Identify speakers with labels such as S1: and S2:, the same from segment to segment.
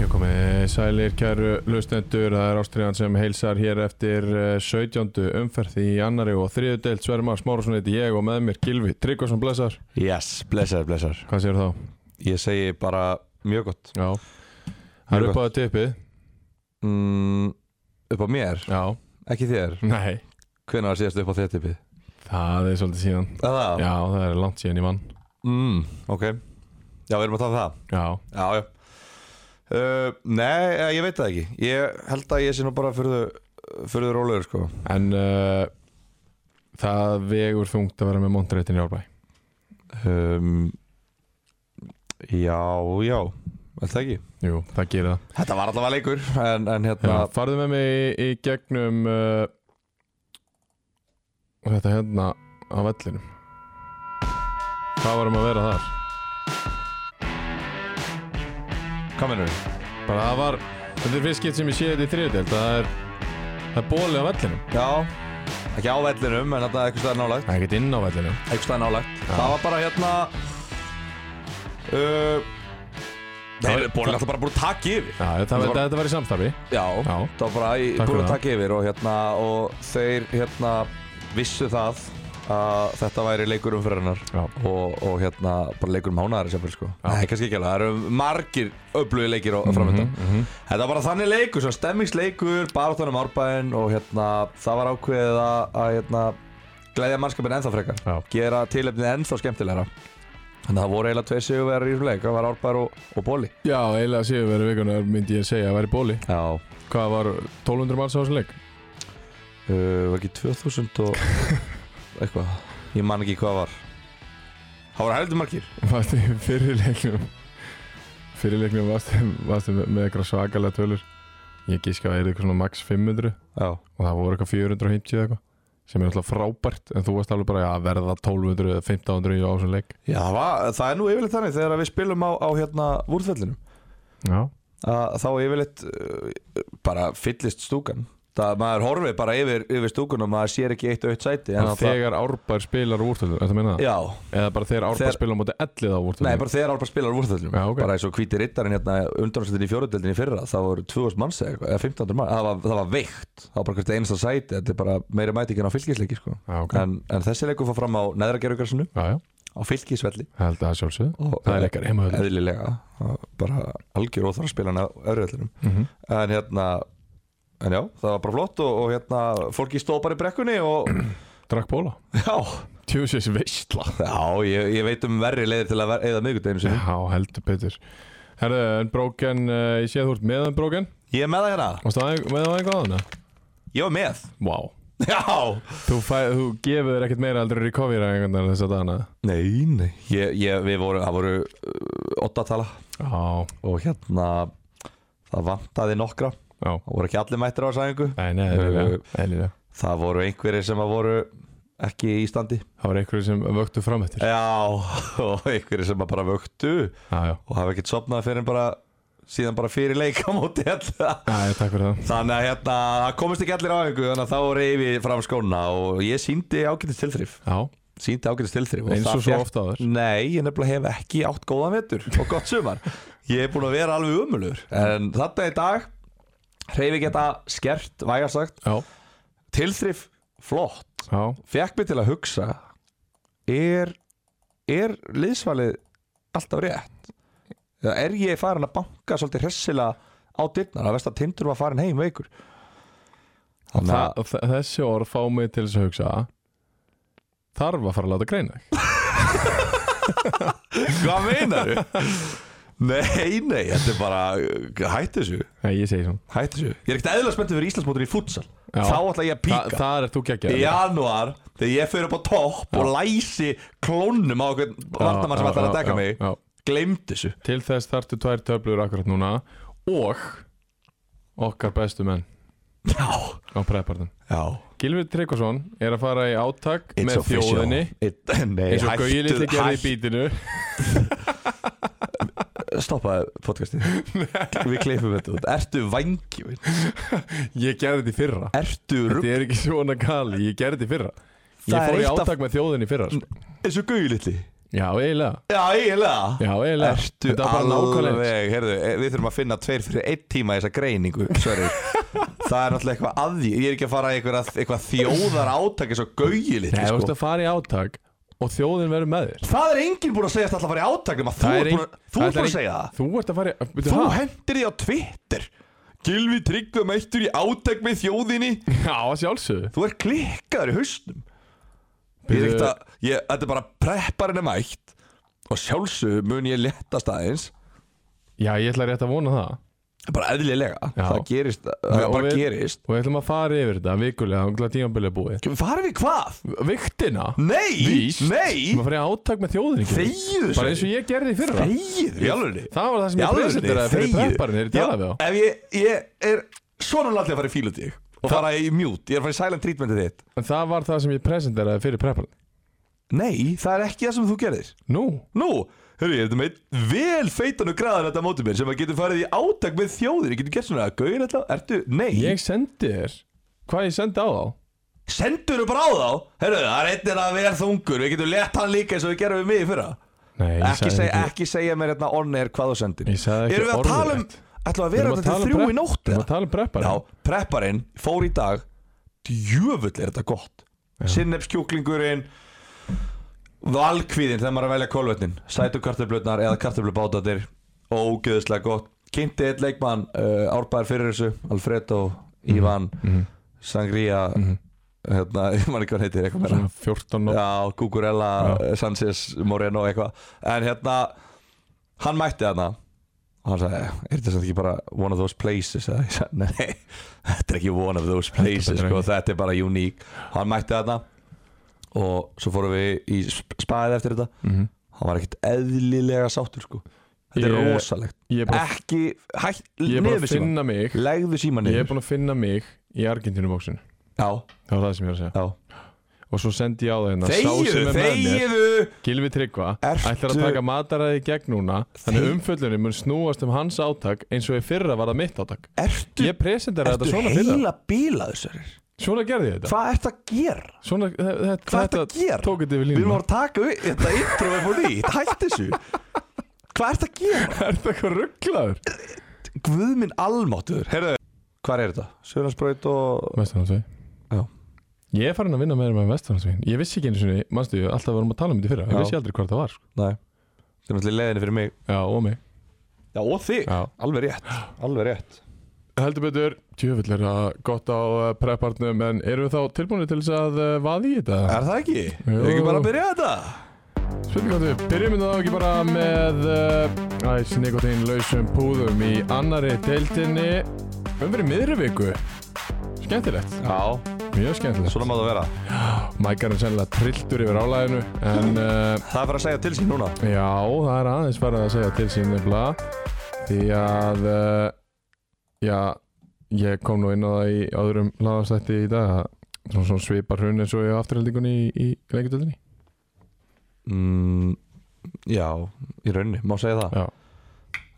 S1: Ég komið sælir kæru lustendur, það er Ástriðan sem heilsar hér eftir eh, 17. umferð í annari og þriðu deilt Svermar Smárasson heiti ég og með mér Gilvi Tryggvason blessar,
S2: Yes, blessaður, blessaður
S1: hvað séu þá?
S2: Ég segi bara mjög gott
S1: Já, það er
S2: Mjög
S1: upp á það tippið
S2: mm, Upp á mér,
S1: Já,
S2: ekki þér
S1: nei,
S2: Hvenær var síðast upp á þér tippið?
S1: það er svolítið síðan
S2: Er Það?
S1: Já, það er langt síðan í mann
S2: Mm, ok Já, við erum að tala um það
S1: Já,
S2: Já, já uh, Nei, eh, ég veit það ekki Ég held að ég sé nú bara fyrir þau rólegur sko
S1: en uh, það vegur þungt að vera með montreitin í árbæ
S2: um, Já, já Held það ekki
S1: Jú, það gerir það
S2: Þetta var allavega leikur En, en
S1: Já,
S2: hérna
S1: farðu með mig í, í gegnum uh, þetta hérna á vellinum Hvað varum að vera þar?
S2: Hvað mennur við?
S1: Bara það var, þetta er fyrst skipt sem ég sé þetta í þriðdelt Það er, það er bóli á vellinum
S2: Já, ekki á vellinum En þetta er eitthvað stæðar nálægt
S1: Það er ekkert inn á vellinum
S2: einhvers staðar nálægt það var bara hérna uh,
S1: Það
S2: Nei,
S1: var-
S2: bólinn alltaf bara búin að taka yfir
S1: Já, þetta,
S2: Það
S1: var,
S2: var-
S1: þetta var í samstarfi
S2: Já,
S1: Já.
S2: það var bara í-
S1: Takk
S2: búin
S1: fyrir
S2: að
S1: það.
S2: taka yfir og hérna og þeir hérna vissu það að þetta væri leikur um fyrirnar
S1: Já,
S2: og, og hérna bara leikur um hánaðar sem fyrir sko
S1: Já. Mhm.
S2: Nei, kannski ekki alveg, það eru margir öflugi leikir og framöndan Þetta var bara þannig leikur, svona stemmingsleikur bara þannig um árbæðin og hérna það var ákveðið að, að hérna gleðja mannskapin ennþá frekar
S1: já,
S2: gera tilefnið ennþá skemmtilegra Þannig að það voru eiginlega tvei sigurverðar í þessum leik, það var Árbær og, og Bóli
S1: já eiginlega séu verið vikunar myndi ég segja að væri bóli
S2: Já
S1: Hvað var 1200 manns á þessu leik?
S2: uh, Var ekki 2000 og eitthvað, ég man ekki hvað var Það voru heldur margir
S1: Varstu í fyrir leiknum Fyrir leiknum varstu, varstu með, með eitthvað svakalega tölur Ég gíska að það er eitthvað svona max 500
S2: Já,
S1: og það voru eitthvað 450 eða eitthvað sem er náttúrulega frábært en þú varst alveg bara að verða 1200 eða 1500 í ásum leik
S2: Já það, var, það er nú yfirleitt þannig þegar að við spilum á, á hérna vúrþvellinum
S1: Já,
S2: að þá yfirleitt uh, bara fyllist stúkan það maður horfið bara yfir, yfir stúkun og maður sér ekki eitt aukt sæti en
S1: en
S2: að
S1: þegar árbær spilar úrtöldum, þetta meina það?
S2: það, Já,
S1: Eða bara þegar árbær
S2: Þegar-
S1: spilar á móti 11 á úrtöldum?
S2: nei bara þegar Árbær spilar á vúrþvellinum
S1: Já, ok.
S2: bara eins og hvíti rittarinn hérna undanúrslitin í fjóruðdeldin í fyrra það voru 2000 manns eða eitthvað, eða 1500 manns það var, það var veikt, það var bara hvert einasta sæti þetta er bara meira mæting en á fylgisleiki sko.
S1: Já, ok,
S2: en, en þessi leikur fór fram á neðra gerugarsinu
S1: já, já,
S2: á fylgisvelli
S1: Ég held að það sjálfsögðu
S2: og
S1: Það er leikar heima höllum
S2: eðlilega það var bara algjör óþar að spila hann á öðruðvellinum
S1: mm -hmm.
S2: en hérna en já, það var bara flott og, og hérna fólki stóð bara í brekkunni og
S1: Drakk bóla
S2: já,
S1: Tjóðsins veistla
S2: já ég, ég veit um verri leiðir til að ver, eða miðgudeginu sinni
S1: Já, heldur betur Herðu, en bróken, uh, ég sé að þú ert með um bróken
S2: ég er með það hérna,
S1: Varstu aðeins- með á einhvað á hana?
S2: ég var með
S1: Vá
S2: já,
S1: Þú, fæ, þú gefur þér ekkert meira aldrei recovery-æfingarnar þess að dana
S2: nei, nei ég, ég, við voru, það voru uh, åtta tala
S1: Já,
S2: og hérna það vantaði nokkra,
S1: já
S2: það voru ekki allir mættir á sæðingu
S1: Nei, nei, eðlilega, eðlilega.
S2: það voru einhverjir sem að voru ekki í standi
S1: Það var einhverju sem vöktu fram eftir
S2: já, og einhverjir sem að bara vöktu
S1: Já, já,
S2: og hafa ekkert sopnað fyrir bara síðan bara fyrir leik á móti hérna
S1: já, takk fyrir það
S2: Þannig að hérna, það komist ekki allir á einhver Þannig að þá reyfi fram skóna Og ég síndi ágætist tilþrif
S1: Já,
S2: Síndi ágætist tilþrif
S1: eins og Mm.
S2: það
S1: svo
S2: fékk-
S1: oft áður
S2: Nei, ég nefnilega hef ekki átt góðan vetur Og gott sumar Ég er búin að vera alveg umulur En þetta í dag Reyfi geta skert, vægarsagt
S1: Já,
S2: Tilþrif, flott
S1: já,
S2: Fekk mig til að hugsa Er, er liðsvalið alltaf rétt? Eða Er ég farin að banka svolítið hressilega á dyrnar að versta tindur var farin heim veikur Þannig að-
S1: Þa, þ- Þessi orð fá mig til þess að hugsa Þarf að fara að láta greina þig
S2: Hvað meinar þú? Nei, nei, þetta er bara Hættu þessu,
S1: Nei, ég segi svona
S2: hættu þessu Ég er ekkert eðla spenntið fyrir Íslandsmótur í futsal
S1: Já.
S2: Þá ætla ég að
S1: Þa,
S2: píka
S1: Það er þú
S2: Í
S1: geggjað
S2: januar, þegar ég fyrir upp á topp Og læsi klónum á okkur Vartamann sem ætlar að dekka mig
S1: já.
S2: Gleymd þessu
S1: Til þess þarftu tvær töflur akkurat núna Og okkar bestu menn
S2: Já,
S1: á preppartum
S2: Já
S1: Gilvi Tryggvason er að fara í átak með þjóðinni
S2: It, Nei,
S1: eins og Gauji
S2: hættu,
S1: litli gerði í
S2: hættu
S1: bítinu
S2: Stoppaðu podcastið Við kleifum þetta út Ertu vangi
S1: Ég gerði þetta í fyrra
S2: Ertu rugg
S1: Þetta er ekki svona kali, ég gerði þetta í fyrra Ég
S2: Það er
S1: fór í
S2: eitt af-
S1: átak með þjóðinni í fyrra sko.
S2: eins og gauði litli
S1: Já, eiginlega
S2: Já, eiginlega
S1: Já, eiginlega
S2: Ertu
S1: Þetta var bara nákvæmlega eins.
S2: alveg Herðu, eh, við þurfum að finna tveir fyrir einn tíma í þessa greiningu Sverri Það er náttúrulega eitthvað að því Ég er ekki að fara í eitthvað, eitthvað þjóðar átak eins og gauði
S1: Nei,
S2: litli
S1: þú veist
S2: sko.
S1: að fara í átak og þjóðin verður með þér
S2: Það er enginn búin að segja þetta alltaf að fara í átak nema Þú
S1: Það
S2: er
S1: ein-
S2: búin að- þú
S1: það
S2: ert búin
S1: ein-
S2: að segja það
S1: Þú ert að fara í Veitu,
S2: Þú
S1: ha?
S2: hendir því á Twitter Gilvi Tryggva mættur í átak með þjóðinni
S1: Já, að sjálfsögðu
S2: Þú er klikkaður í hausnum Ég er ekkert að, ég, þetta er bara prepparinn er mætt og sjálfsög mun ég léttast aðeins
S1: Já, ég ætla rétt að vona það
S2: bara eðlilega,
S1: Já.
S2: það gerist það
S1: Og
S2: bara
S1: við-
S2: gerist
S1: Og við ætlum að fara yfir þetta vikulega Þannig að tímabilið er búið
S2: Farum við hvað?
S1: Viktina
S2: Nei,
S1: Víst. Sem
S2: nei
S1: að fara í átak með þjóðinni ekki?
S2: Þegiðu
S1: Bara eins og ég gerði í fyrra
S2: Þegiður í alveg
S1: Það var það sem ég presenteraði fyrir prepparinn er í talað við á
S2: Ef ég, ég er svona látið að fara í fílutík og fara í mute, ég er að fara í silent treatmentið þitt
S1: En það var það sem ég presenteraði fyrir prepparinn
S2: Nei, það er ekki það sem þú gerir
S1: Nú,
S2: Nú, hörru, ég er þetta með vel feitanu græðan þetta mótið mér sem að getur farið í átak með þjóðir Ég getur gert svona að gauðin alltaf, ertu, nei
S1: ég sendi þér Hvað ég sendi á þá?
S2: Sendur þú bara á þá, hörru, það er einnig að vera þungur Við getum lett hann líka eins og við gerum við mig í fyrra
S1: Nei, ég
S2: Ekki,
S1: sagði
S2: seg, ekki segja mér hérna on air hvað þú sendir
S1: Ég sagði ekki
S2: Erum við að
S1: orðið
S2: tala um,
S1: rétt.
S2: ætlum við að
S1: Við
S2: vera
S1: erum að
S2: þetta
S1: tala um
S2: til þrjú
S1: prep-
S2: í nótt
S1: Við erum
S2: eða?
S1: að tala um prepparinn
S2: Já, prepparinn fór í dag Djöfull er þetta gott Sinnepskjúklingurinn Valkvíðin þegar maður er að velja kolvetnin Sætu kartöflutnar eða kartöflubátatir Ógeðslega gott Kynnti eitt leikmann uh, árbæðar fyrir þessu Alfredo, Ivan Sangria hérna, Ég man ekki hvað hann heitir eitthvað meira
S1: Svona 14 og
S2: Já, Cucurella, Já. Sanchez, Moreno eitthvað En hérna Hann mætti þarna Og hann sagði, er þetta samt ekki bara one of those places eða ég sagði, nei, þetta er ekki one of those places,
S1: betur
S2: sko, þetta er bara uník Hann mætti þarna Og svo fórum við í sp- spaðið eftir þetta
S1: Mhm.
S2: Hann var ekkert eðlilega sáttur, sko Þetta er
S1: Ég-
S2: rosalegt
S1: Ég er bara,
S2: Ekki, hætt,
S1: ég er bara
S2: niður
S1: að
S2: síma
S1: finna mig
S2: Legðu
S1: Ég
S2: síma
S1: er
S2: niður
S1: búin að finna mig í Argentínubóksin
S2: Já,
S1: Það var það sem ég var að segja
S2: já
S1: Og svo sendi ég á það hérna sá sem
S2: Þegiðu,
S1: er með mér,
S2: þegiðu
S1: Gilvi Tryggva
S2: Ertu-
S1: Ætlar að taka mataræði í gegn núna Þannig
S2: Þegi-
S1: umfjöllunni mun snúast um hans átak Eins og í fyrra var það mitt átak
S2: Ertu
S1: Ég presentera þetta
S2: Ertu
S1: svona fyrra
S2: heila bílaðu sérir?
S1: Svona gerði ég þetta
S2: Hvað ertu að gera?
S1: Svona, þe- þe-
S2: Hvað ertu
S1: þetta
S2: að gera?
S1: tók þetta yfir
S2: Við erum
S1: línum
S2: að fara að taka upp þetta intro upp og nýtt Hætti þessu Hvað ertu að gera?
S1: Er þetta eitthvað rugglaður?
S2: Guðminn almáttur Herðu Hvað er þetta? Sjölandsbraut og
S1: Vestanarsvei
S2: Já.
S1: Ég er farin að vinna meira með Vestanarsvegin Ég vissi ekki einu sinni, manstu, alltaf varum að tala um þetta í fyrra Ég
S2: Já.
S1: vissi aldrei hvað það var sko.
S2: Nei Þetta er náttúrulega leiðinni fyrir mig
S1: Já, og mig
S2: Já og þig
S1: Já.
S2: Alveg rétt Alveg rétt
S1: Heldur betur, djöfull er það gott á eh, prepparnum en erum við þá tilbúinir til þess að eh, vaða í þetta?
S2: Er það ekki?
S1: Jú.
S2: Erum við ekki bara að byrja þetta?
S1: Spurningáttu, byrjum við þá ekki bara með uh, æs nikotín lausum púðum í annari deildinni um verið miðri viku Skemmtilegt,
S2: Já
S1: mjög skemmtilegt
S2: Svona má það vera
S1: Mækar er sennilega trilltur yfir álæðinu en uh,
S2: Það er fyrir að segja til sín núna
S1: já, það er aðeins verið að segja til sín nefnilega því að uh, já, ég kom nú inn á það í öðrum laðastætti í dag að svona, svona svipar hrun eins og ég afturheldingunni í, í leikindöldinni
S2: mm, Já Í raunni Má segja það
S1: Já,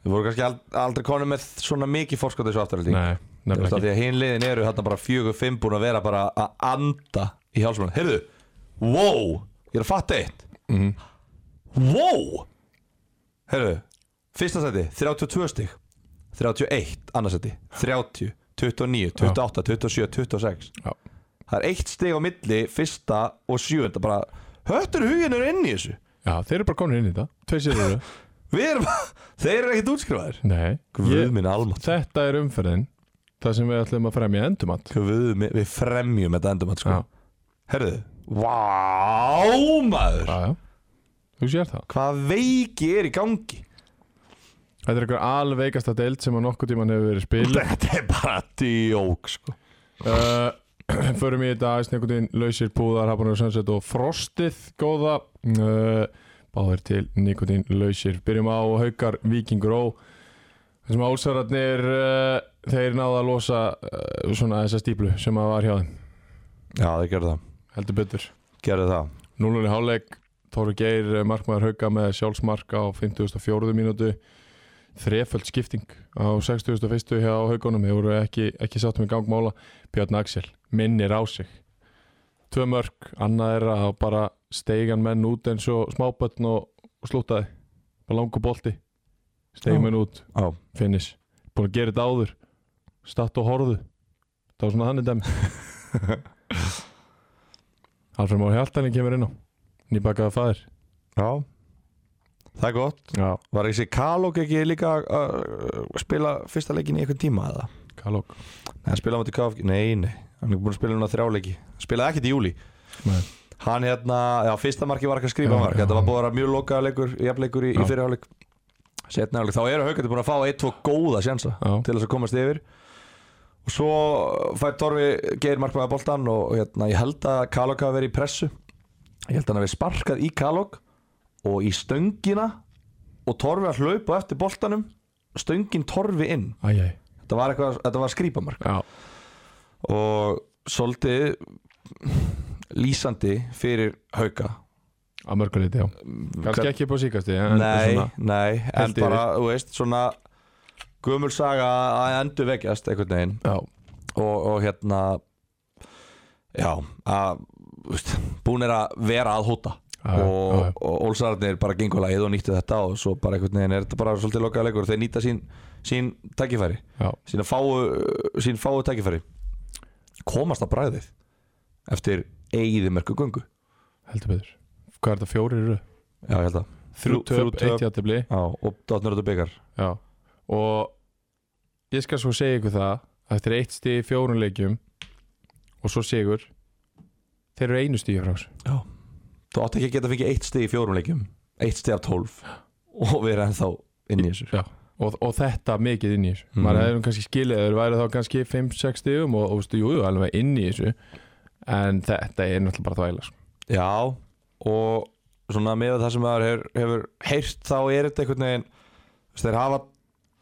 S2: Við vorum kannski ald- aldrei konum með svona mikið fórskot þessu afturhalding
S1: nei,
S2: Þú
S1: nefnilega
S2: veist að
S1: ekki
S2: því að hinn liðin eru hérna bara fjögur, fimm búin að vera bara að anda í hálsmann Heyrðu, wow, ég er að fatta eitt
S1: Mhm.
S2: Wow Heyrðu, fyrsta seti, 32 stig 31, annars seti 30, 29, 28, 27, 26
S1: Já.
S2: Það er eitt stig á milli, fyrsta og sjöunda bara Höttur huginn eru inn í þessu
S1: Já, þeir eru bara komin inn í þetta Tveir sér eru
S2: Við erum, þeir eru ekkert útskrifaðir
S1: Nei
S2: Guð minn almátt
S1: Þetta er umferðin Það sem við ætlum að fremja endumatt
S2: Guð minn, við fremjum þetta endum að sko
S1: Já,
S2: Herðu, vá maður
S1: já, já Þú sér það
S2: Hvað veiki er í gangi
S1: Þetta er einhver alveikasta deild sem á nokkuð tíman hefur verið spil
S2: Þetta er bara djók sko
S1: uh, Förum í þetta Snekutin, Lausir, Púðar, Habanur, Sunset og Frostið Góða uh, Báðir til Nikotin, Lausir Byrjum á Haukar, Víkingur Ó Þessum álsararnir uh, þeir náðu að losa uh, svona þessa stíplu sem að var hjá þeim
S2: Já, þeir gerðu það
S1: heldur betur
S2: Gerðu það
S1: Núlunni háleik, Tóru Geir eh, markmaður hauka með sjálfsmark á 54. mínútu þreföld skipting á 61. hjá haugunum, þeir voru ekki, ekki sáttum í gangmála, Björn Axel minnir á sig tvö mörg, annað er að bara steigan menn út eins og smábötn og, og slútaði, bara langu bolti
S2: Já.
S1: steigan menn út,
S2: Já,
S1: finnis búin að gera þetta áður, statt og horðu það var svona þannig dem Alfred Már Hjaltani kemur inn á nýbakaða fæðir
S2: já Það er gott
S1: Já,
S2: Var ekki sér Kalok ekki líka að að spila fyrsta leikin í einhvern tíma eða?
S1: Kalok
S2: Nei, hann spilaði á móti KFG Nei, nei, hann er búin að spila núna þrjáleiki Spilaði ekkert í júli
S1: Nei.
S2: Hann hérna, já, fyrsta marki var ekki að skrifa
S1: Já,
S2: mark
S1: já.
S2: Þetta var búin að vera mjög lokaða leikur, jafnleikur í, í
S1: Já.
S2: fyrirháleik Setna hálfleik, þá eru haugandi búin að fá eitt, tvo góða sjansa
S1: Já,
S2: til þess að komast yfir og svo fær Torfi geir markmaða boltan og hérna, ég held að Kalok hafi verið í pressu ég held að hann hafi sparkað í Kalok og í stöngina og Torfi að hlaupa á eftir boltanum stöngin Torfi inn
S1: æjæ
S2: þetta var, eitthvað, þetta var skrýpamark
S1: Já,
S2: og svolítið lýsandi fyrir hauka
S1: að mörguleiti, já Kannski ekki upp á síkasti en,
S2: nei,
S1: svona,
S2: nei, en
S1: Held yfir.
S2: bara, þú veist, svona gömul saga að endur vekjast einhvern veginn
S1: Já,
S2: og, og hérna já að, úst, búin er að vera að hóta
S1: já, já, já,
S2: og, og Olsararnir bara gengur lagið og nýttu þetta og svo bara einhvern veginn er þetta bara svolítið lokaða leikur þeir nýta sín, sín tækifæri
S1: já,
S2: sín fáu, sín fáu tækifæri komast að bræðið eftir eigiðmerku gungu
S1: heldur betur Hvað er þetta, fjórir eru?
S2: já ég held að
S1: Þrjú
S2: Þrjú- þrjú
S1: töp,
S2: töp.
S1: eitt játtifli
S2: já, og dátnur þetta byggar
S1: Já, og ég skal svo segja ykkur það að Eftir eitt stig í fjórun leikjum og svo sigur þeir eru einu stíði frá þessu
S2: þú átt ekki að geta fengið eitt stig í fjórum leikjum eitt stig af tólf og vera ennþá inn í þessu
S1: Já, og, og þetta mikið inn í þessu
S2: Mhm.
S1: maður hefði nú kannski skilið að þeir væri þá kannski 5-6 stigum og, og veistu, jú, jú, alveg inn í þessu en þetta er náttúrulega bara þvæla sko.
S2: Já og svona með það sem maður hefur, hefur heyrt þá er þetta einhvern veginn þú veist, þeir hafa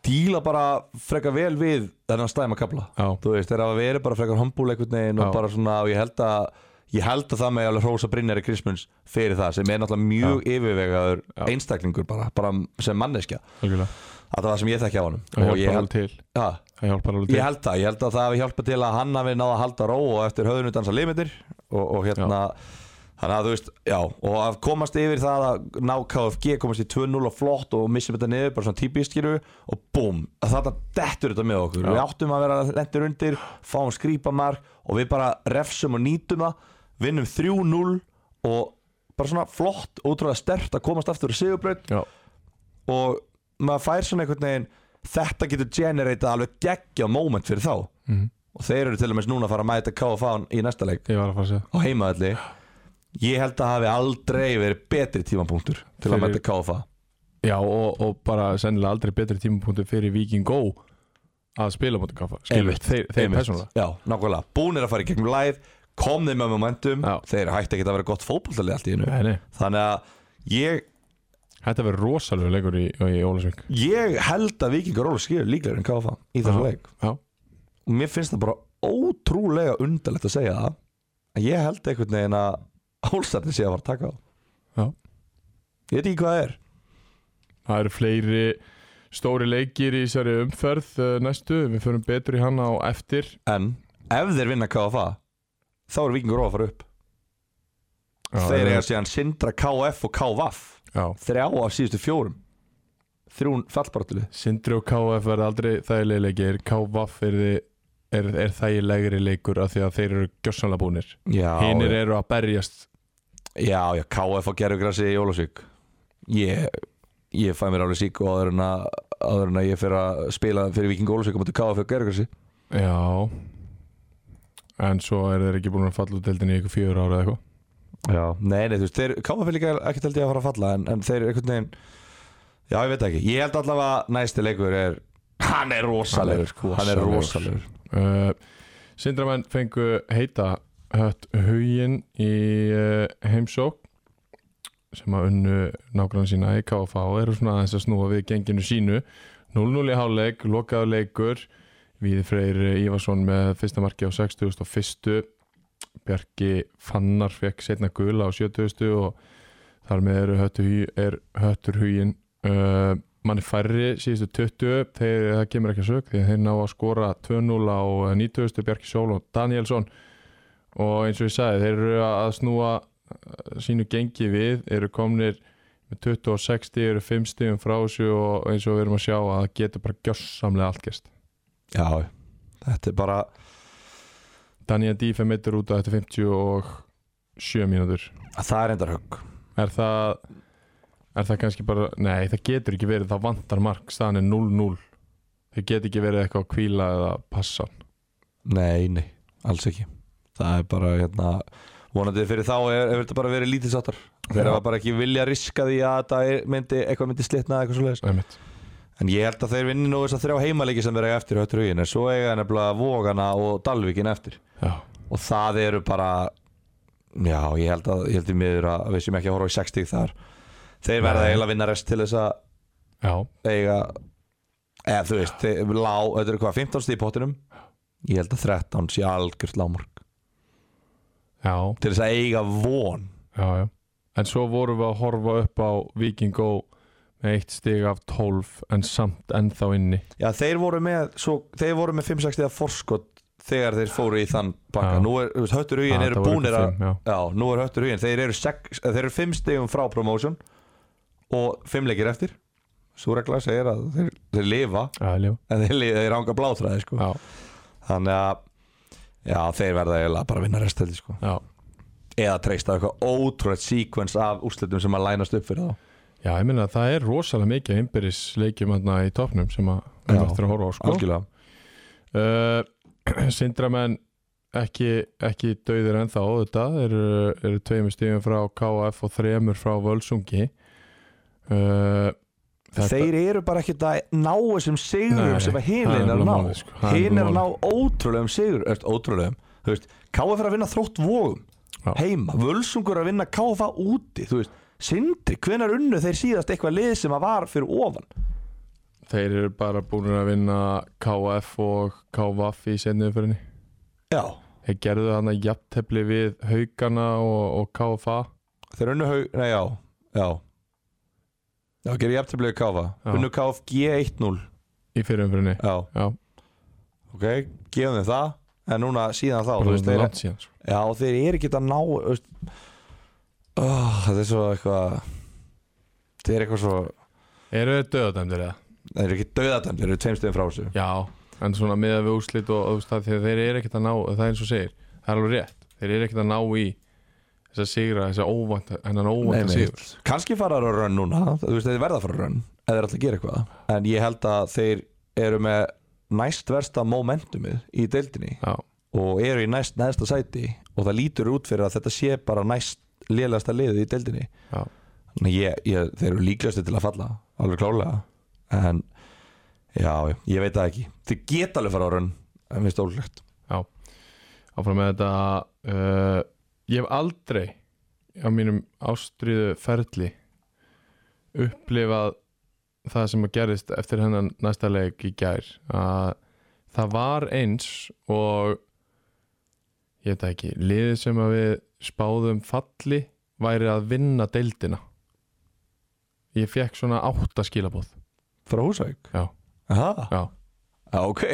S2: díla bara freka vel við þennan stæma kapla
S1: Já,
S2: þú veist þeir hafa verið bara frekar hombúl einhvern veginn
S1: Já.
S2: og bara svona og ég held að ég held að það með alveg hrósa Brynjari Krismunds fyrir það sem er náttúrulega mjög yfirvegaður
S1: Já.
S2: einstaklingur bara, bara sem manneskja
S1: algjörlega
S2: að það var sem ég þekki á honum
S1: það
S2: og
S1: hjálpar
S2: ég
S1: alveg
S2: held,
S1: til
S2: að,
S1: það hjálpar alveg til
S2: ég held það, ég held að það hafi hjálpað til að hann hafi náða að halda ró og eftir höfðunum dansa limitir og, og hérna þannig að þú veist, já, og að komast yfir það að ná KFG, komast í 2-0 og flott og missum þetta niður, bara svona típist skilur við, og búm, þetta dettur þetta með okkur,
S1: Já.
S2: við áttum að vera lendir undir, fáum skrýpamark og við bara refsum og nýtum það vinnum 3-0 og bara svona flott, ótrúlega stert að komast aftur í sigurbraut
S1: Já,
S2: og maður fær svona einhvern veginn þetta getur generatað alveg geggja moment fyrir þá
S1: Mhm.
S2: og þeir eru til og meins núna að fara að mæta KFA í næsta leik
S1: ég var að fara að segja
S2: á heimaðalli ég held að hafi aldrei verið betri tímapunktur til að
S1: Fyrir-
S2: mæta KFA
S1: Já, og, og bara sennilega aldrei betri tímapunktu fyrir Viking Go að spila mútið kaffa skilur,
S2: Einmitt,
S1: þeir, þeir persónulega
S2: já, nákvæmlega, búnir að fara í gegnum live komnir með momentum,
S1: Já.
S2: þeir hætti ekki að vera gott fótbolltalið allt í hennu
S1: Nei, nei,
S2: þannig að ég,
S1: Þetta verður rosalegu leikur í, í Ólasvík
S2: ég held að Vikingur Óla skilur líklega en KFA í þessu leik
S1: Já,
S2: og mér finnst það bara ótrúlega undarlegt að segja það en ég held einhvern veginn að hólstarni sé að fara að taka á
S1: Já.
S2: ég veit ekki hvað það er
S1: það eru fleiri stóri leikir í þessari umferð uh, næstu, við förum betur í hana á eftir
S2: en ef þeir vinna KFA þá eru vikingur að fara upp
S1: Já,
S2: þeir
S1: en-
S2: eiga síðan Sindra KF og KVaf
S1: Já,
S2: þrjá af síðustu fjórum þrjún fallbartili
S1: Sindri og KF verða aldrei þægilegir leikir KVF er, þi- er, er þægilegri leikur af því að þeir eru gjössanlega búnir
S2: já,
S1: Hinnir eru að berjast
S2: já, já, KF og Gerfugrassi í Ólasvík ég, ég fæ mér alveg sík og áður en að, áður en að ég fyrir að spila fyrir vikingur Ólasvík og mútu KF og Gerfugrassi
S1: Já En svo eru þeir ekki búin að falla út deildin í ykkur fjögur ára eða eitthvað
S2: Já, nei, nei, þú veist, þeir KFF líka ekki held ég að fara að falla en, en þeir einhvern veginn Já, ég veit ekki, ég held allavega að næsti leikur er Hann er rosalegur, sko Hann er rosalegur
S1: Uh, Sindramenn fengu heita hött huginn í uh, heimsók sem að unnu nágrann sína í KFA og eru svona aðeins að snúa við genginu sínu 0-0 í háleik, lokaðu leikur Víði Freyr Ívarsson með fyrsta marki á 60.1. Bjarki Fannar fekk setna gula á 70. og þar með eru höttu, Hugi- er höttur hugin uh, manni færri síðustu 20 þeir, það kemur ekki að sög því að þeir ná að skora 2-0 á 90. Bjarki Sjól og Danielsson og eins og ég sagði þeir eru að snúa eh, sínu gengi við eru komnir með 26 stíð eru 5 stíðum frá þessu og eins og við erum að sjá að það getur bara gjörsamlega allt gerst
S2: Já, þetta er bara
S1: Daniel Dífe meittur út á þetta 57 mínútur
S2: það er endar högg
S1: er það er það kannski bara, nei það getur ekki verið það vantar mark, staðan er 0-0 það getur ekki verið eitthvað að kvíla eða passa
S2: Nei, nei, alls ekki Það er bara hérna vonandi fyrir þá er, er þetta bara verið lítið sattar
S1: Já.
S2: þeir hafa bara ekki vilja riska því að það er, myndi, eitthvað myndi slitna eða eitthvað svoleiðis
S1: Einmitt.
S2: en ég held að þeir vinni nú þess að þrjá heimaleiki sem vera eftir höttur hugin en svo eiga nefnilega Vógana og Dalvíkin eftir
S1: já,
S2: og það eru bara já, ég held að, ég held í miður að við séum ekki að horfa í 60 þar þeir verða
S1: Nei.
S2: eiginlega að vinna rest til þess að
S1: já,
S2: eiga eða þú veist, þeir, lá, þetta eru hvað 15 stíð í pottinum ég held að 13 sé algjört lámark
S1: já,
S2: til þess að eiga von
S1: já, já en svo vorum við að horfa upp á Viking Go með eitt stig af 12 en samt ennþá inni
S2: já, þeir voru með, svo, þeir voru með 5-6 stíða forskot þegar þeir fóru í þann baka,
S1: Já.
S2: nú er, þú veist, höttur hugin
S1: Ah,
S2: eru
S1: það voru
S2: búnir að
S1: eitthvað fimm,
S2: já, nú er höttur hugin, þeir eru, sex, þeir eru 5 stíðum frá promotion og 5 leikir eftir svo regla segir að þeir, þeir lifa
S1: já, já, já,
S2: en þeir, li- þeir hanga blátræði sko.
S1: já,
S2: þannig að já, þeir verða eiginlega bara að vinna resteldi sko.
S1: já.
S2: eða treysta á eitthvað ótrúlega sequence af úrslitum sem að lænast upp fyrir þá
S1: Já, ég meina að það er rosalega mikið af innbyrðis leikjum hérna í topnum sem að við erum
S2: Já.
S1: eftir að horfa á sko.
S2: algjörlega
S1: Uh, Sindramenn ekki, ekki döðir ennþá þetta eru, eru tveimur stífum frá KF og þremur frá Völsungi uh,
S2: þeir eru bara ekkert að ná þessum sigurum
S1: Nei,
S2: sem
S1: það
S2: að
S1: er
S2: hinlein er að
S1: nefnilega
S2: ná
S1: málið, sko. Það er
S2: hinn er
S1: nefnilega
S2: að ná ótrúlegum sigur öst, ótrúlegum, þú veist, KF er að vinna þrótt vógum
S1: Já.
S2: heima, völsungur að vinna KF úti, þú veist Sindri, hvenar unnu þeir síðast eitthvað lið sem að var fyrir ofan?
S1: þeir eru bara búin að vinna KF og KVF í senniðumferinni
S2: Já,
S1: þeir gerðu þarna jafntefli við Haugana og, og KFA
S2: þeir unnu haug, nei já, já Já, gerir ég eftirblöðu KF
S1: Já.
S2: Unnu KF G1-0
S1: í fyrirumferinni
S2: Já,
S1: Já,
S2: ok, gefum þeim það En núna síðan þá, þú
S1: bara
S2: veist,
S1: þetta
S2: þeir,
S1: langt síðan sko.
S2: Já, og þeir eru ekki að ná þú veist, oh, Það er svo eitthvað Þeir eru eitthvað svo
S1: Eru þeir döðadæmdir eða?
S2: Þeir eru ekki dauðadæmd, þeir eru tveim stöðum frá þessu
S1: Já, en svona með við úrslit og og þú veist það, þegar þeir eru ekkert að ná það er eins og segir, það er alveg rétt þeir eru ekkert að ná í þess að sigra þess að óvænt, hennan óvænt að
S2: Nei, nei.
S1: sigur
S2: Kanski fara þeir að rönn núna Þú veist, þeir verða að fara að rönn Eða þeir ætla að gera eitthvað En ég held að þeir eru með næst versta momentumið í deildinni
S1: Já,
S2: og eru í næst neðsta sæti og það lítur út fyrir að þetta sé bara næst liðlegasta liðið í deildinni
S1: já,
S2: Þannig að ég, ég, þeir eru líklegasti til að falla alveg klálega en já, ég veit það ekki þeir geta alveg fara á raun en finnst ólulegt
S1: áfram með þetta uh, ég hef aldrei á mínum ástriðu ferli upplifað það sem að gerist eftir hennan næsta leik í gær að það var eins og ég veit það ekki, liðið sem að við spáðum falli væri að vinna deildina ég fekk svona átta skilabóð
S2: fara á húsæk
S1: já,
S2: Aha.
S1: já
S2: já, ok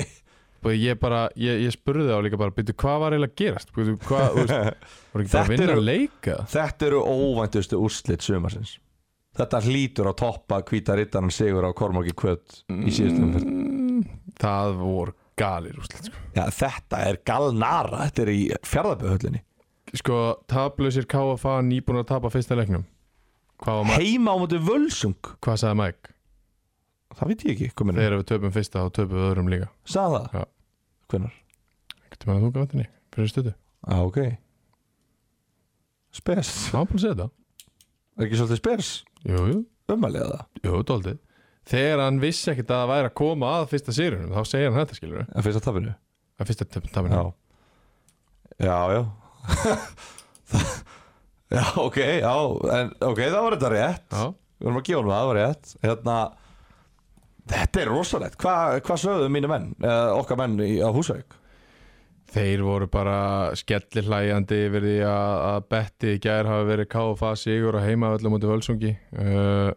S1: og ég bara, ég, ég spurði á líka bara byrju, hvað var eiginlega að gerast byrju, hvað, þú veist, voru ekki bara að
S2: Þetta
S1: vinna
S2: eru-
S1: leika
S2: þetta eru óvæntustu úrslit sumarsins þetta hlýtur á toppa hvíta rittaran sigur á Kormáki Kvöt í síðustum fyrir
S1: Mm, það voru galir úrslit sko.
S2: já, þetta er galnara, þetta er í fjárðaböðhöllinni
S1: sko, tablusir KFA nýbúin að tapa fyrsta leiknum hvað, var Ma-
S2: heima á mútu völsung
S1: hvað sagði Mike?
S2: það veit ég ekki, komin
S1: þegar við töpum fyrsta og töpum við öðrum líka
S2: sagði
S1: Já.
S2: það, hvenar
S1: getur maður að þunga vatni fyrir stötu
S2: já, ok spes,
S1: það var bara að segja þetta
S2: er ekki svolítið spes
S1: jú, jú,
S2: umalega það
S1: jú, dóldi þegar hann vissi ekkert að það væri að koma að fyrsta sérunum þá segir hann þetta skilur
S2: að fyrsta tapinu
S1: að fyrsta tapinu
S2: já já, já Það- já, ok, já en, ok, það var þetta rétt
S1: já,
S2: við erum að gefa honum það, það var rétt hérna, Þetta er rosalegt, Hva, hvað sögðu mínu menn, uh, okkar menn í, á Húsavík?
S1: Þeir voru bara skellihlæjandi yfir því að, að betti í gær hafi verið KFA sigur á heimavöllum út í Völsungi uh,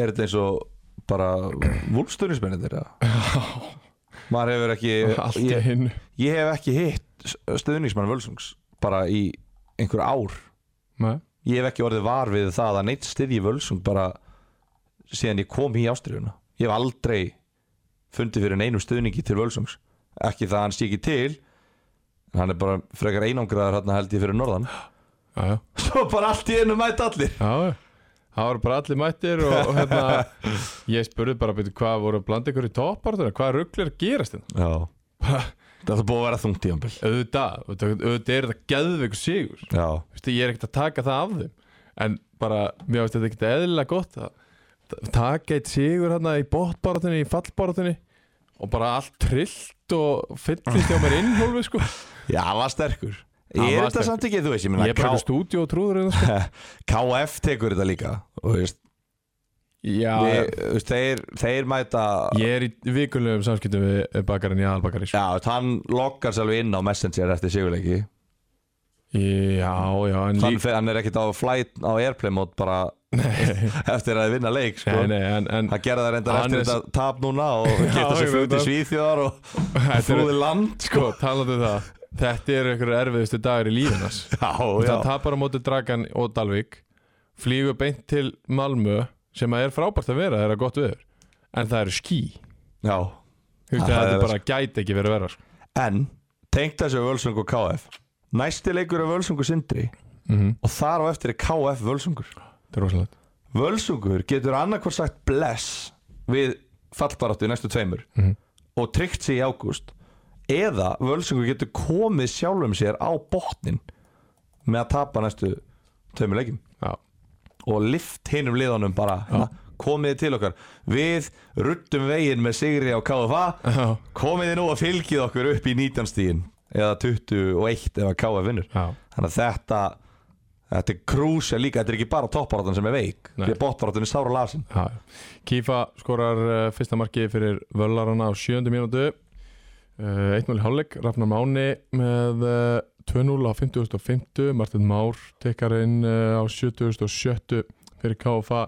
S2: Er þetta eins og bara vúlstunismennir þeirra? Maður hefur ekki,
S1: Allt í
S2: ég,
S1: hinn
S2: ég hef ekki hitt stuðningsmann Völsungs bara í einhver ár
S1: Nei,
S2: Ég hef ekki orðið var við það að neitt styðji Völsung bara síðan ég kom í Ástriðuna. Ég hef aldrei fundið fyrir neinu stuðningi til Völsungs. Ekki það að hann sé ekki til, en hann er bara frekar einangraðar hérna held ég fyrir norðan.
S1: já, já
S2: Svo bara allt í einu mætt allir.
S1: Já, já. það voru bara allir mættir og, og hérna, ég spurði bara byrju, hvað voru bland ykkur í toppartuna, hvað rugglir gerast hérna?
S2: Já. það er búið að vera þungt í anbíl.
S1: Auðvitað, auðvitað auðvitað er þetta geðveikur sigur,
S2: Já.
S1: Vistu, ég er ekkert að taka það af þeim, en bara mér finnst þetta ekkert eðlilega gott að ta- taka eitt sigur hérna í botbaratunni, í fallbaratunni og bara allt trillt og fyllist hjá mér innhólfi sko.
S2: Já, hann var sterkur.
S1: Hann
S2: er
S1: var
S2: þetta
S1: sterkur.
S2: samt ekki, þú veist, ég
S1: Ég
S2: minna,
S1: er bara í stúdíu og trúður hérna sko.
S2: KF tekur þetta líka. Og, þú veist,
S1: Já,
S2: ég, þú veist, þeir, þeir mæta...
S1: ég er í vikulegum samskiptum við bakarinn í aðalbakari sko.
S2: Já, þú veist, hann lokkar sér alveg inn á Messenger eftir sigurleiki
S1: Já, já, en líka
S2: hann, fer- hann er ekkert á flight á airplay mode bara eftir að vinna leik sko.
S1: Nei, nei, en, en
S2: hann gerði það reyndar
S1: Hann
S2: eftir
S1: er s-
S2: þetta tap núna og geta
S1: ég
S2: sér
S1: veit
S2: fjöld í
S1: það.
S2: Svíþjóðar og
S1: þetta eru,
S2: flúði land sko.
S1: sko, talandi um það Þetta eru einhverju erfiðustu dagur í lífinas
S2: já, já,
S1: Það tapar á móti Dragan og Dalvik Flýgur beint til Malmö sem að er frábært að vera, það er að gott viður En það eru ský
S2: já.
S1: Þú veist,
S2: Það
S1: Þetta
S2: er-
S1: Ah, er bara gæti ekki verið að vera sko.
S2: en tengt þessu Völsung og KF næsti leikur er Völsung og Sindri
S1: mm
S2: og þar á eftir er KF Völsungur
S1: Það er rosalegt
S2: Völsungur getur annarkvort sagt bless við fallbaráttu í næstu tveimur
S1: Mhm.
S2: og tryggt sig í ágúst eða Völsungur getur komið sjálfum sér á botnin með að tapa næstu tveimur leikim
S1: Já,
S2: og lift hinum liðanum bara hérna, komið til okkar við ruttum veginn með Sigri á KFA
S1: já,
S2: komið þið nú og fylgið okkur upp í 19 stíðin eða 21 ef að KF vinnur
S1: já.
S2: þannig að þetta þetta er krúsa líka, þetta er ekki bara topparáttan sem er veik
S1: Nei.
S2: því að botparáttan er sára lasin
S1: Já, já. Kífa skorar uh, fyrsta markið fyrir völlarana á sjöndu mínútu uh, 1-0 í hálfleik Rafnar Máni með uh, 2-0 á 50.50 Martin Már tekkar inn uh, á 70.70 fyrir KFA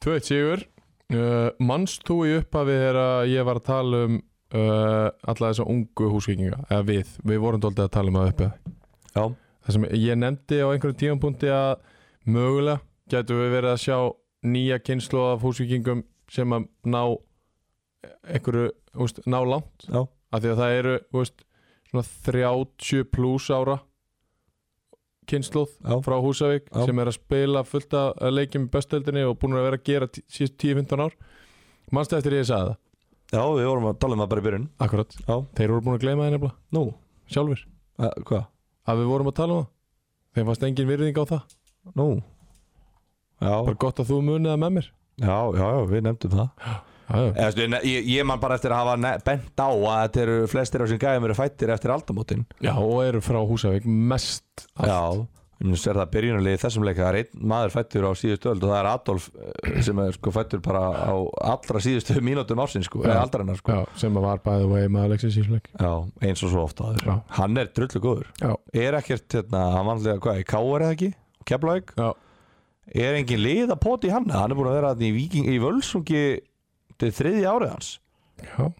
S1: 2-1 sigur uh, mannst þú í upphafi þegar ég var að tala um uh, alla þessa ungu húsvíkinga eða við, við vorum doldið að tala um það uppi
S2: Já.
S1: það sem ég nefndi á einhverjum tímanpunkti að mögulega gætu við verið að sjá nýja kynslu af húsvíkingum sem að ná einhverju, úst, ná langt
S2: Já.
S1: af því að það eru úst, svona 30 pluss ára kynsluð
S2: Já.
S1: frá Húsavík
S2: Já.
S1: sem er að spila fullt af leikjum í bestöldinni og búin að vera að gera tí- síðustu 10-15 ár mannstu eftir ég sagði það
S2: Já, við vorum að tala um það bara í byrjun
S1: akkurat,
S2: Já.
S1: þeir voru búin að gleyma það nefnilega
S2: Nú,
S1: sjálfur,
S2: uh, hvað?
S1: að við vorum að tala um það þeim fannst engin virðing á það,
S2: Nú já.
S1: bara gott að þú munið það með mér
S2: já, já, já, við nefndum það
S1: já, já.
S2: Eða, stu, ég, ég man bara eftir að hafa ne- bent á að þetta eru flestir af sem gæðum eru fættir eftir aldamótin
S1: Já, og eru frá Húsavík mest allt.
S2: Já, ég sér það byrjunarlið í þessum leika, það er einn maður fættur á síðustu öld og það er Adolf eh, sem er sko fættur bara á allra síðustu mínútum ásinn sko, eða aldarinnar sko
S1: Já, sem að var bæði vegi maður leiksins í slik
S2: Já, eins og svo ofta aður
S1: Já.
S2: Hann er drullu góður
S1: Já,
S2: Er ekkert, hérna, hann vanlega, hvað, í K.R. eða ekki? Keflavík?
S1: já,
S2: Er engin lið að poti hann? Hann er búin að vera þarna í, Víking, í Völsungi til þriðja árið hans
S1: já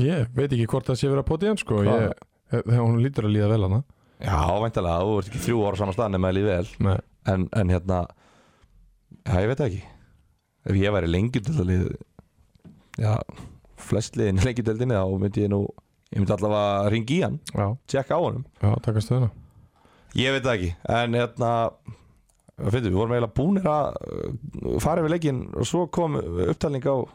S1: Ég veit ekki hvort það sé verið að poti hann sko
S2: Hvað?
S1: ég, Þegar hún lítur að líða vel hana
S2: Já, væntalega, þú ert ekki þrjú ára saman stað nema að líði vel
S1: Nei,
S2: en, en hérna já, ég veit það ekki ef ég væri lengjudöldalið já, flest liðin lengjudöldinni þá myndi ég nú ég myndi allavega ringi í hann,
S1: já,
S2: tjekka á honum
S1: já, taka stöðuna
S2: ég veit það ekki, en hérna finnum, við vorum eiginlega búnir að uh, fara yfir leikinn og svo kom upptalning á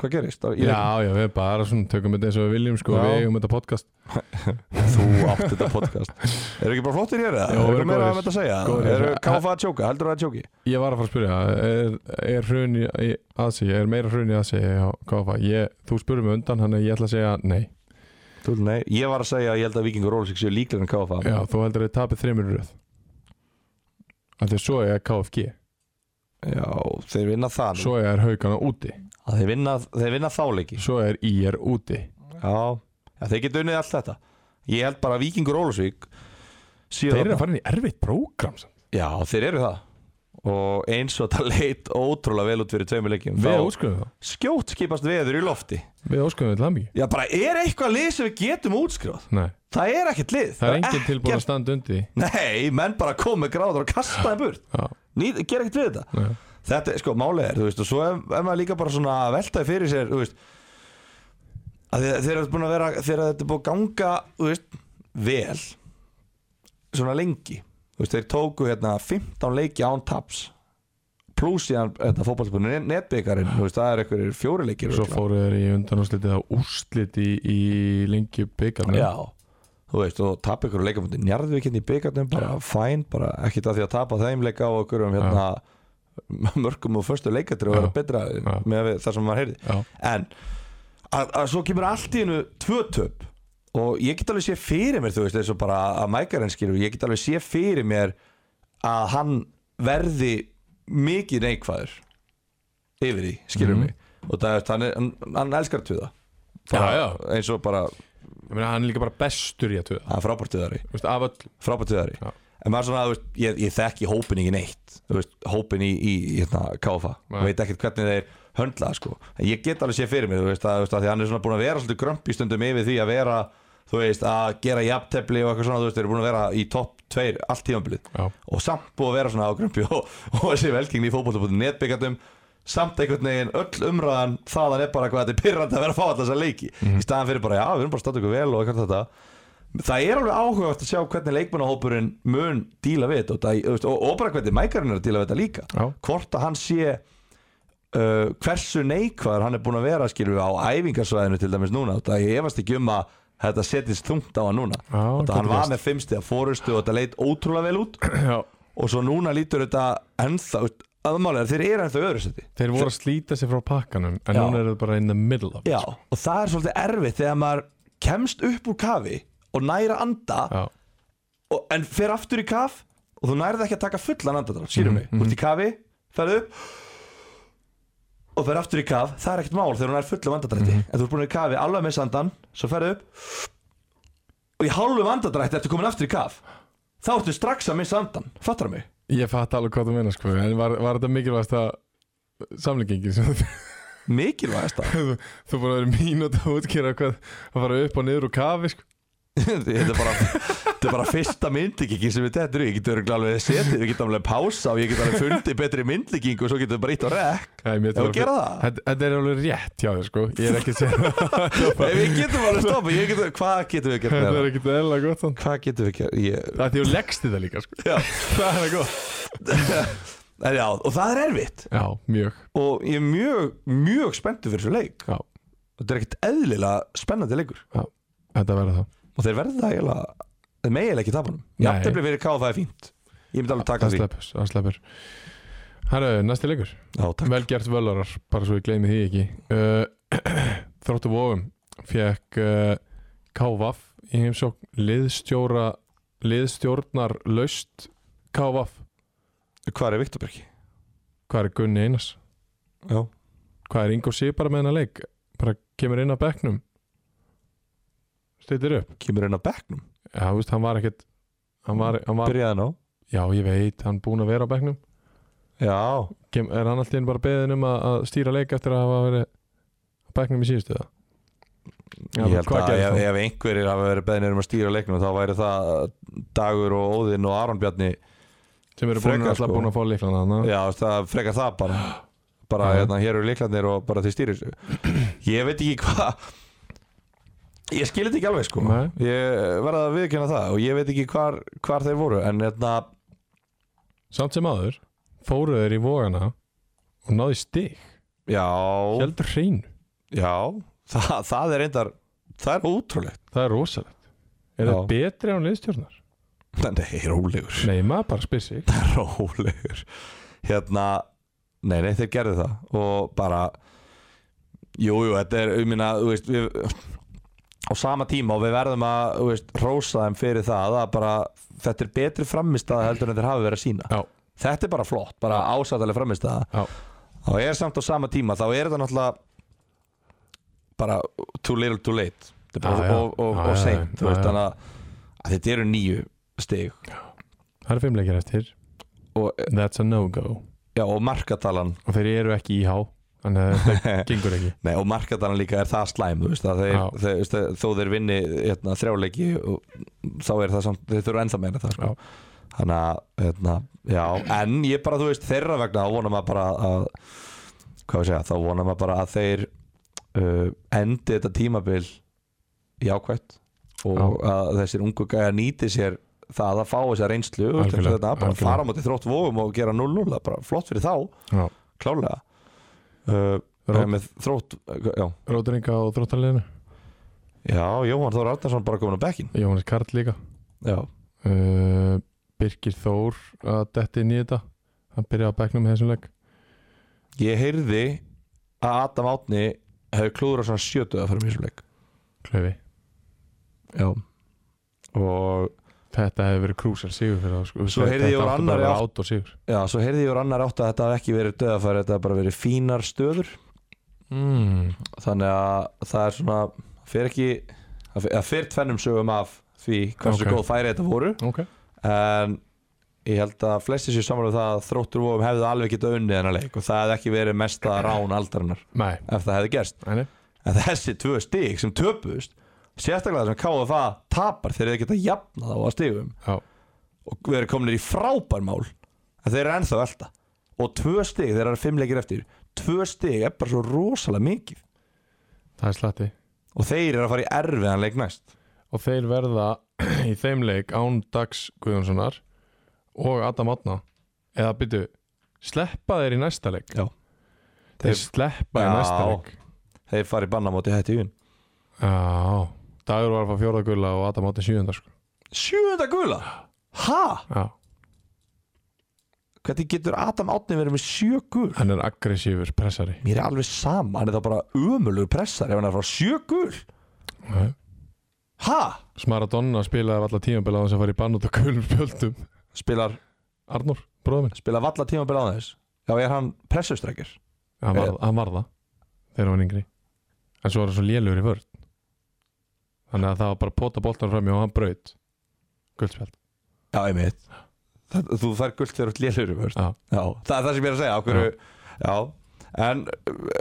S2: hvað gerist á- í
S1: Já, já, við bara svona tökum þetta eins og við viljum sko
S2: Já.
S1: Við eigum þetta podcast
S2: leiknum. þú átt þetta podcast eru ekki bara flottir hér eða?
S1: Jó,
S2: eru
S1: við erum
S2: meira
S1: góðir.
S2: að þetta að segja?
S1: Góðir.
S2: eru káfa að tjóka? heldur það að tjóki?
S1: Ég var að fara að spyrja, er, er hrun í í aðsigi, er meira hrun í aðsigi á KFA? Ég, þú spurði mig undan, hann ég ætla að segja nei.
S2: Þú, nei, ég var að segja að ég held að Víkingur Rólisík séu líklega en káfa
S1: Já, þú heldur að þið tapið þreymur röð. Af því að svo er KFG.
S2: Já, þeir vinna það nú.
S1: svo er haugana úti
S2: að þeir vinna, þeir vinna þáleiki
S1: Svo er IR úti
S2: já. já, þeir geta unnið allt þetta ég held bara að Víkingur Ólusvík
S1: Þeir eru að fara inn í erfitt prógram samt.
S2: já, þeir eru það og eins og það leit ótrúlega vel út fyrir tveimur leikjum
S1: Við
S2: þá
S1: óskuðum það
S2: skjótt skipast veður í lofti
S1: Við óskuðum við lambi
S2: já, bara er eitthvað lið sem við getum útskráð
S1: Nei,
S2: það er ekkert lið
S1: það er enginn tilbúin að standa undi því.
S2: Nei, menn bara kom með gráður og kastaði burt
S1: Já,
S2: Ný, Gera ekkert við þetta
S1: nei.
S2: Þetta er sko málið er, þú veist Og svo er, er maður líka bara svona að veltaði fyrir sér Þú veist að þe- Þeir eru búin að vera Þeir eru búin að ganga, þú veist, vel Svona lengi Þú veist, þeir tóku hérna 15 leiki án taps Plus síðan þetta fótballspunni netbyggarinn Þú veist, það er einhverjir fjóri leikir
S1: Svo
S2: örugglega.
S1: fóru þeir í undanúslitið á úrsliti í lengju byggarnum
S2: Já, þú veist, og tapa ykkur leika mútið njarðvíkinn í byggarnum, bara fæn bara ekkert að því að tapa þeim leika á okkur um hérna mörgum og föstu leikatri og vera
S1: Já.
S2: betra
S1: Já.
S2: með við, það sem maður heyrði
S1: Já.
S2: en að, að svo kemur allt í hennu tvö töp og ég get alveg sé fyrir mér þú veist eins og bara að mækarinn skilur ég get alveg sé fyrir mér að hann verði mikið neikvæður yfir því skilur
S1: Mhm.
S2: mig og það er, hann, er, hann, hann elskar tvöða
S1: Já, já.
S2: eins og bara
S1: Ég meina, hann er líka bara bestur í að tuða
S2: hann er frábært tvöðari
S1: Þú veist, af öll
S2: frábært viðari
S1: Já.
S2: en maður svona, þú veist, ég, ég þekki hópin ekki neitt þú veist, hópin í, í hérna, KFA
S1: Nei.
S2: og veit ekkert hvernig þeir höndla það, sko, en ég get alveg sé fyrir mér þú veist, að, þú veist, að því hann er svona búin að vera svolítið grömpi stundum yfir því að vera þú veist, að gera jafntefli og eitthvað svona þú veist, þeir eru búin að vera í topp 2 allt tímanbilið
S1: Já.
S2: og samt búið að vera svona á grömpi og, og þessi velkingni í fótbollabútin netbyggandum samt einhvern veginn öll umræðan þaðan er bara hvað þetta er pyrrandi að vera að fá alltaf þessa leiki
S1: Mhm.
S2: í staðan fyrir bara já við erum bara að standa ykkur vel og eitthvað þetta það er alveg áhugavert að sjá hvernig leikmannahópurinn mun díla við þetta og, það- þú veist, og, og bara hvernig mækarinn er að díla við þetta líka
S1: Já.
S2: hvort að hann sé uh, hversu neikvar hann er búin að vera skilur við á æfingarsvæðinu til dæmis núna og það ég efast ekki um að þetta setjist þungt á hann núna
S1: Já,
S2: og það
S1: gæti
S2: hann var
S1: gerst.
S2: með fimmsti að fórustu og þetta leit ótrúlega vel út
S1: Já.
S2: og svo núna lítur þetta ennþá aðmálega þeir eru ennþá öðru seti
S1: Þeir voru að slíta sig frá pakkanum En
S2: Já.
S1: núna eru þeir bara in the middle of it,
S2: Já,
S1: sko.
S2: og það er svolítið erfitt þegar maður kemst upp úr kafi og næra anda
S1: Já.
S2: og, en fer aftur í kaf og þú nærið ekki að taka fullan andadrátt, skýrum mig mm -hmm. út í kafi, ferðu upp og fer aftur í kaf það er ekkert mál þegar hún er fullum andadrætti en þú ert búin í kafi alveg með sandan svo ferðu upp og í hálfum andadrætti ertu komin aftur í kaf þá ertu strax að missa andan, fattar mig
S1: Ég fatt alveg hvað þú meina sko En var, var þetta mikilvægast að Samlingingin sem þú
S2: mikilvægast það
S1: Þú búin að vera mínúti að útkýra hvað Að fara upp og niður úr kafi sko
S2: þetta er bara þetta er bara fyrsta myndlíking sem við tettur í ég getur alveg setið, ég getur alveg pása og ég getur alveg fundið betri myndlíking og svo getur bara ítt á rekk
S1: Æ, mér
S2: Ef
S1: þetta
S2: við gera það?
S1: Þetta- Þetta er alveg rétt hjá þér sko Ég er ekki að segja
S2: Nei, við getum alveg stoppa, ég getum, hvað getum við gert
S1: Þetta
S2: meira?
S1: er ekki eðla gott þann
S2: hvað getum við gert ég,
S1: Það er því að leggst í það líka sko
S2: já,
S1: Það er það gott
S2: en já, og það er erfitt
S1: Já, mjög
S2: og ég er mjög, mjög spenntur fyrir þessu leik
S1: Já,
S2: þetta er ekkert eðlilega spennandi leikur
S1: já. Þetta verður það
S2: og þeir verða það eiginlega þeir megilega ekki tapanum, já,
S1: Nei.
S2: þetta blir verið káð það er fínt ég myndi alveg taka
S1: Það
S2: því
S1: sleppur, það sleppur Herru, næsti leikur
S2: já, takk.
S1: Vel gert völarar, bara svo ég gleymi því ekki uh, Þróttu vóum fekk uh, K.V.A.F. í heimsókn liðstjóra liðstjórnar laust K.V.A.F.
S2: hvað er Viktor Birki?
S1: Hvað er Gunni Einars?
S2: já,
S1: Hvað er Ingo Sýr bara með hennar leik? Bara kemur inn á bekknum Stýttir upp
S2: kemur inn á bekknum,
S1: Já, þú veist, hann var ekkert hann var, hann var,
S2: byrjaði ná
S1: Já, ég veit, hann búin að vera á bekknum
S2: já,
S1: Kem, Er hann alltaf bara beðin um að, að stýra leik eftir að hafa verið á bekknum í síðustu það?
S2: Ég held að ef,
S1: það?
S2: ef einhverjir hafa verið beðnir um að stýra leiknum þá væri það Dagur og Óðinn og Aron Bjarni
S1: sem eru
S2: Frekar,
S1: búin, alltaf
S2: sko.
S1: búin að fá líklan þannig
S2: Já, það frekar það bara bara
S1: Já.
S2: hérna, hér eru leiklarnir og bara þeir stýrir sig Ég veit ekki hvað Ég skil þetta ekki alveg sko
S1: Nei.
S2: Ég verða að viðkynna það og ég veit ekki hvar, hvar þeir voru en hérna,
S1: samt sem aður fóru þeir í vógana og náðu í stig,
S2: já
S1: heldur hreinu
S2: Já, það, það er reyndar það er ótrúlegt
S1: það er rosalegt er
S2: Já.
S1: það betri án liðstjórnar?
S2: Nei, rólegur
S1: Nei, maður bara spyr sig
S2: rólegur hérna, nei, nei, þeir gerðu það og bara jújú, jú, þetta er, ég minna, þú veist við, á sama tíma og við verðum að, þú veist, rósa þeim fyrir það að bara, þetta er betri framistæða heldur en þeir hafi verið að sína
S1: Já.
S2: þetta er bara flott, bara ásættalega framistæða
S1: Já.
S2: þá er samt á sama tíma þá er þetta náttúrulega bara too little too late Þetta er bara
S1: Já, já.
S2: og, og,
S1: Já,
S2: og
S1: já,
S2: seint
S1: já,
S2: þú veist,
S1: já.
S2: þannig að, að þetta eru nýju stig
S1: Það eru fimm leikir eftir
S2: og,
S1: That's a no-go
S2: já, og markatalan
S1: Og þeir eru ekki í há Þannig að þetta gengur ekki
S2: Nei, og markatalan líka er það slæm þú veist, að þeir,
S1: Já.
S2: þeir, veist, að þó þeir vinni hérna, þrjáleiki og þá er það samt, þeir þurfa ennþá meira það sko. þannig að hérna, já, en ég bara, þú veist, þeirra vegna þá vona maður bara að hvað við segja, þá vona maður bara að þeir uh, endi þetta tímabil jákvætt og
S1: Já.
S2: að þessir ungu gæja nýti sér það að fá þessa reynslu þú veist, eins og
S1: Algjörlega,
S2: þetta, bara
S1: algjörlega.
S2: fara á móti þrótt vóum og gera 0-0, það er bara flott fyrir þá
S1: Já.
S2: klálega uh,
S1: Rót-
S2: með þrótt, já
S1: Rótringa og þróttarleginu
S2: Já, Jóhann Þór Arnarsson bara komin á bekkin
S1: Jóhannes Karl líka
S2: Já,
S1: uh, Birgir Þór að detti inn í þetta hann byrjaði á bekknum með þessum leik
S2: ég heyrði að Adam Átni hefði klúður á svona sjötuða fyrir mjög leik
S1: Klaufi
S2: Já Og
S1: Þetta hefði verið krúsal sigur fyrir þá sko.
S2: Svo heyrði ég úr annarri átt-
S1: átt og sigur
S2: já, svo heyrði ég úr annar átt að þetta hafði ekki verið döðafæri Þetta hafði bara verið fínar stöður Hmm,
S1: mm.
S2: Þannig að það er svona Fer ekki Það fer- það fer tvennum sögum af því hversu
S1: Ok.
S2: góð færi þetta voru
S1: Ok
S2: En ég held að flestir sér samanlega það að Þróttur vofum hefði alveg getað unnið hennar leik Og það hefði ekki verið mesta rán aldarinnar
S1: Nei,
S2: Ef það hefði gerst
S1: nei, nei.
S2: en þessi tvö stig sem töpuðust sérstaklega sem KFA tapar þegar þeir geta jafnað á að stigum
S1: Já,
S2: og við erum kominir í frábær mál en þeir eru ennþá elda og tvö stig, þeir eru fimm leikir eftir tvö stig er bara svo rosalega mikið
S1: það er slatti
S2: og þeir eru að fara í erfiðan leik næst
S1: Og þeir verða í þeim leik án Dags Guðjónssonar og Adam Átna eða byrju, sleppa þeir í næsta leik
S2: Já.
S1: Þeir
S2: Þeir-
S1: sleppa í
S2: Já.
S1: næsta leik
S2: þeir fara í bannamóti hætti í vinn
S1: Já, Dagur var að fá fjóra gulla og Adam Átna sjöunda sko.
S2: sjöunda gula ha?
S1: Já,
S2: hvernig getur Adam Átni verið með sjö gul?
S1: hann er aggressífur pressari
S2: mér er alveg sama, hann er þá bara umulur pressar ef hann er frá sjö gul
S1: Já
S2: ha?
S1: Smaradonna spilaði allar tímabili á þess að fara í bann út á gulum spjöldum
S2: spilar,
S1: Arnór, bróður minn
S2: spilar valla tíma að byrja á þess já, er hann pressustrækir?
S1: hann var, hann var það þegar hann var yngri en svo var hann svo lélugur í vörð þannig að það var bara að pota boltan fram í og hann braut guldspjöld
S2: Já, einmitt það, Þú fær gult þegar þú lélur um
S1: Já.
S2: Já, það er það sem ég er að segja af hverju, já. en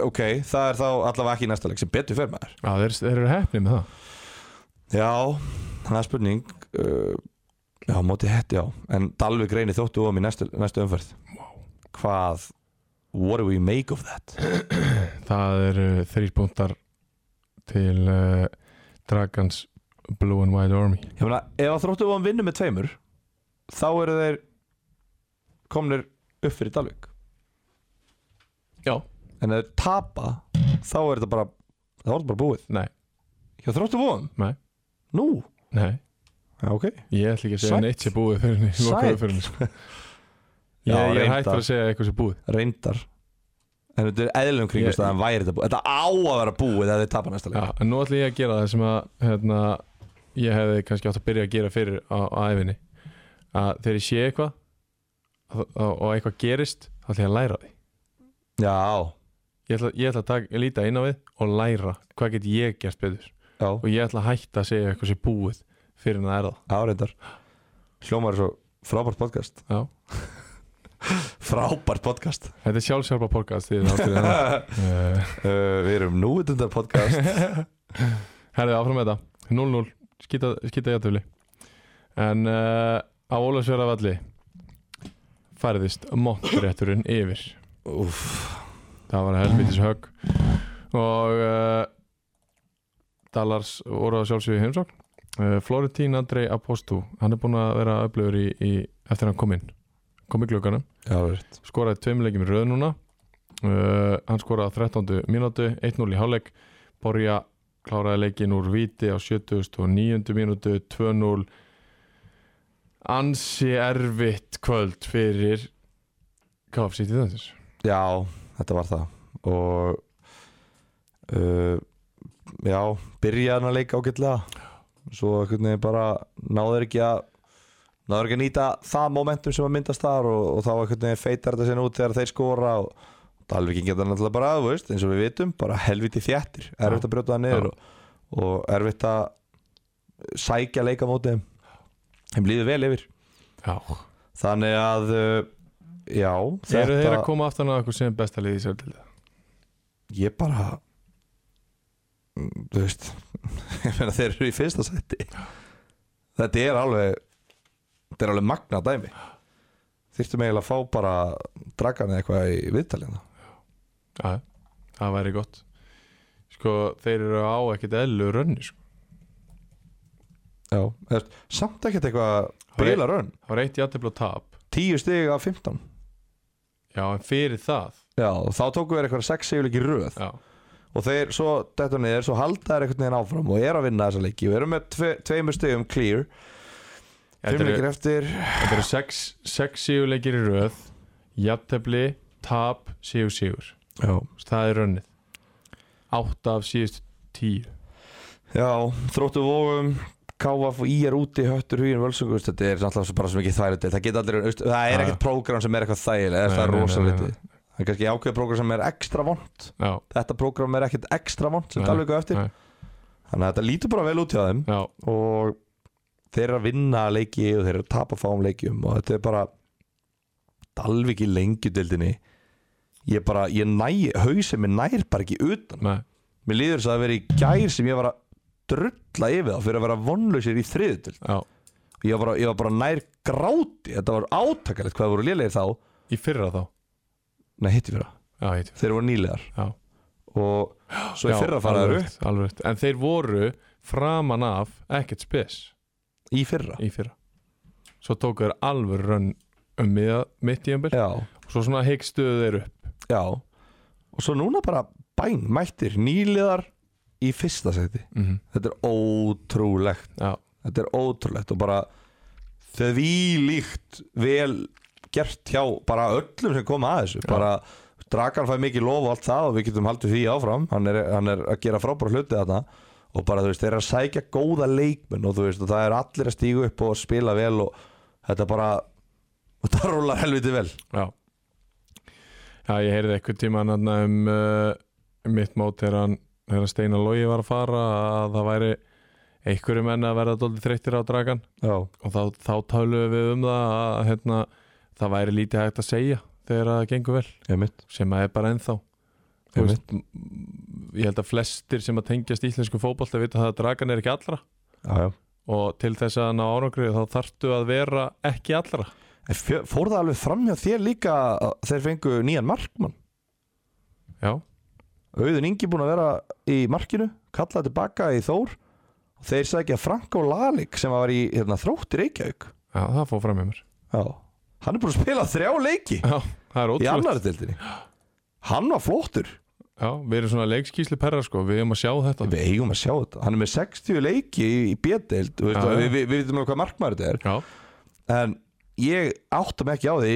S2: ok, það er þá allavega ekki í næsta leik sem betur fyrir maður
S1: Já, þeir, þeir eru hefni með það
S2: Já, það er spurning uh, Já, móti hett, já En Dalvik reynir þóttu um í næstu, næstu umferð Hvað What do we make of that?
S1: það eru þrýr punktar til uh, Dragons Blue and White Army
S2: Ég meina, ef að þróttu um vinnum með tveimur þá eru þeir komnir upp fyrir Dalvik
S1: Já.
S2: En ef þeir tapa þá er þetta bara, þá er þetta bara búið
S1: Nei,
S2: Hjá þróttu vóðum?
S1: Nei.
S2: Nú?
S1: nei,
S2: Já, ok
S1: ég ætla ekki að segja
S2: Sæll.
S1: neitt sé búið fyrir henni
S2: Sæll.
S1: fyrir henni sko. ég,
S2: Já,
S1: ég er
S2: reyndar.
S1: hættur að segja eitthvað sé búið
S2: Reyndar En þetta er eðlum kringumstæðan væri þetta búið Þetta á að vera búið eða þið tapa næsta leik
S1: Já, en nú ætlum ég að gera það sem að hérna, ég hefði kannski átt að byrja að gera fyrir á, á æfinni að þegar ég sé eitthvað og, og eitthvað gerist þá ætlum ég að læra af því
S2: Já,
S1: ég ætla, ég ætla að taka, líta inn á við og læra hvað get ég gert betur
S2: já,
S1: og ég ætla að hætta að segja eitthvað sem búið fyrir en það er það
S2: já, reyndar Hljómar er svo frábært podcast
S1: Já.
S2: Frábært podcast
S1: Þetta er sjálfsjálfa podcast því það áttir það
S2: uh,
S1: Eh,
S2: Við erum núvitundar podcast
S1: Herðu áfram með þetta 0-0, skýta, skýta játöfli en uh, á Ólafsverðavalli færðist montrétturinn yfir
S2: Úf,
S1: það var helvitis högg og uh, Dallars voru að sjálfsögðu í heimsókn uh, Florentín Andrei Apostu hann er búinn að vera öflugur í, í eftir að hann kom inn, kom í glugganum
S2: já, reynd
S1: skoraði tveim leikjum í röð núna uh, hann skoraði á 13. mínútu 1-0 í hálfleik Borja kláraði leikin úr viti á 79. mínútu 2-0 ansi erfitt kvöld fyrir KFC til þessis
S2: Já, þetta var það Og uh, Já, byrjaði hann að leika ágætlega Svo einhvern veginn bara náður ekki að náður ekki að nýta það momentum sem að myndast þar og, og þá einhvern veginn feitar þetta sinna út þegar þeir skora og Dalvíkin geta náttúrulega bara, þú veist, eins og við vitum bara helviti þjættir, erfitt að brjóta það
S1: Já.
S2: niður og, og erfitt að sækja leika mótið þeim þeim líður vel yfir
S1: Já,
S2: þannig að uh, já,
S1: eru þeir að koma aftan að okkur sem besta liði í sér til
S2: ég bara Mm, þú veist ég meina þeir eru í fyrsta sæti þetta er alveg þetta er alveg magna dæmi þyrftum eiginlega að fá bara dragan eða eitthvað í hérna. viðtalina
S1: Já, það væri gott Sko, þeir eru á ekkert eðlu rönni sko.
S2: já, eftir, samt ekkert eitthvað
S1: er-
S2: brila raun,
S1: Það var eitt játtifl og tap
S2: 10 stig af 15
S1: Já, en fyrir það
S2: já, og þá tókum við eitthvað 6 sigurleiki í röð
S1: Já,
S2: og þeir svo dettur niður, svo halda þeir einhvern veginn áfram og eru að vinna þessa leiki og eru með tve, tveimur stigum clear,
S1: þetta
S2: 5
S1: eru,
S2: leikir eftir
S1: þetta eru sex, sex síguleikir í röð Játtifli, tap, sígur, sígur
S2: já
S1: Það er rönnið Átta af síðustu tíu
S2: Já, þróttu vóum KF og í er úti, höttur hugin völsungust þetta er náttúrulega bara svo mikið þægilegt það geta allir, veist, það er
S1: Já,
S2: ekkert prógram sem er eitthvað þægilegt
S1: Nei,
S2: það er
S1: nei, nei,
S2: rosa
S1: nei,
S2: litið það er kannski ákveð prógram sem er ekstra vond
S1: Já,
S2: þetta prógram er ekkert ekstra vond sem
S1: Nei,
S2: talvöku eftir
S1: nei.
S2: þannig að þetta lítur bara vel út hjá þeim
S1: já,
S2: og þeir eru að vinna leiki og þeir eru að tapa fáum leikjum og þetta er bara Dalvik í lengjudildinni ég bara, ég næ, hausið mér nær bara ekki utan
S1: nei
S2: Mér líður þess að það veri í gær sem ég var að drulla yfir þá fyrir að vera vonlausir í þriðutöld
S1: Já,
S2: ég, var bara- ég var bara nær gráti Þetta var átakalegt hvað það voru lélegir þá
S1: í fyrra þá
S2: Nei, hitti fyrir það
S1: Já, heitum
S2: Þeir voru nýlegar
S1: Já.
S2: Og svo í
S1: Já,
S2: fyrra fara
S1: alveg
S2: þeir upp
S1: rétt, alveg rétt. En þeir voru framan af ekkert spes
S2: Í fyrra
S1: í fyrra Svo tóku þeir alveg rönn um miða, mitt í ennbel
S2: Já,
S1: Svo svona hyggstuðu þeir upp
S2: já Og svo núna bara bæn, mættir nýlegar í fyrsta seti
S1: mm -hmm.
S2: Þetta er ótrúlegt
S1: Já,
S2: Þetta er ótrúlegt og bara því líkt vel gert hjá bara öllum sem koma að þessu bara Dragan fæ mikið lof og allt það og við getum haldið því áfram hann er, hann er að gera frábæra hluti þarna og bara þú veist, þeir eru að sækja góða leikmenn og þú veist, og það er allir að stígu upp og spila vel og þetta bara og það rúlar helviti vel
S1: já Já, ég heyrði eitthvað tíma hann um uh, mitt mót þegar hann þegar Steinar Logi var að fara að það væri einhverju menn að verða dóldi þreyttir á dragan
S2: Já,
S1: og þá, þá taluðum við um það að hérna, það væri lítið hægt að segja þegar það gengur vel
S2: ég mitt
S1: sem að er bara ennþá Þú veist, m- ég held að flestir sem að tengjast íslensku fótbolta vita það að dragan er ekki allra
S2: já, já.
S1: og til þess að ná árangrið þá þarftu að vera ekki allra
S2: En fjö- Fór það alveg fram hjá þér líka að þeir fengu nýjan markmann
S1: já,
S2: Auðun Ingi búin að vera í markinu kallaði tilbaka í Þór og þeir sækja Franko Lalik sem var í hérna, þrótti Reykjavík
S1: já það fór fram með mér
S2: Já. hann er búin að spila þrjá leiki
S1: já, það er
S2: í
S1: ótrúlega
S2: annari deildinni hann var flottur
S1: já, við erum svona leikskísli perra sko, við erum að sjá þetta
S2: við eigum að sjá þetta, hann er með 60 leiki í, í B-deild
S1: Já,
S2: við,
S1: já.
S2: við, við veitum alveg hvað markmaður þetta
S1: já,
S2: er en ég áttum ekki á því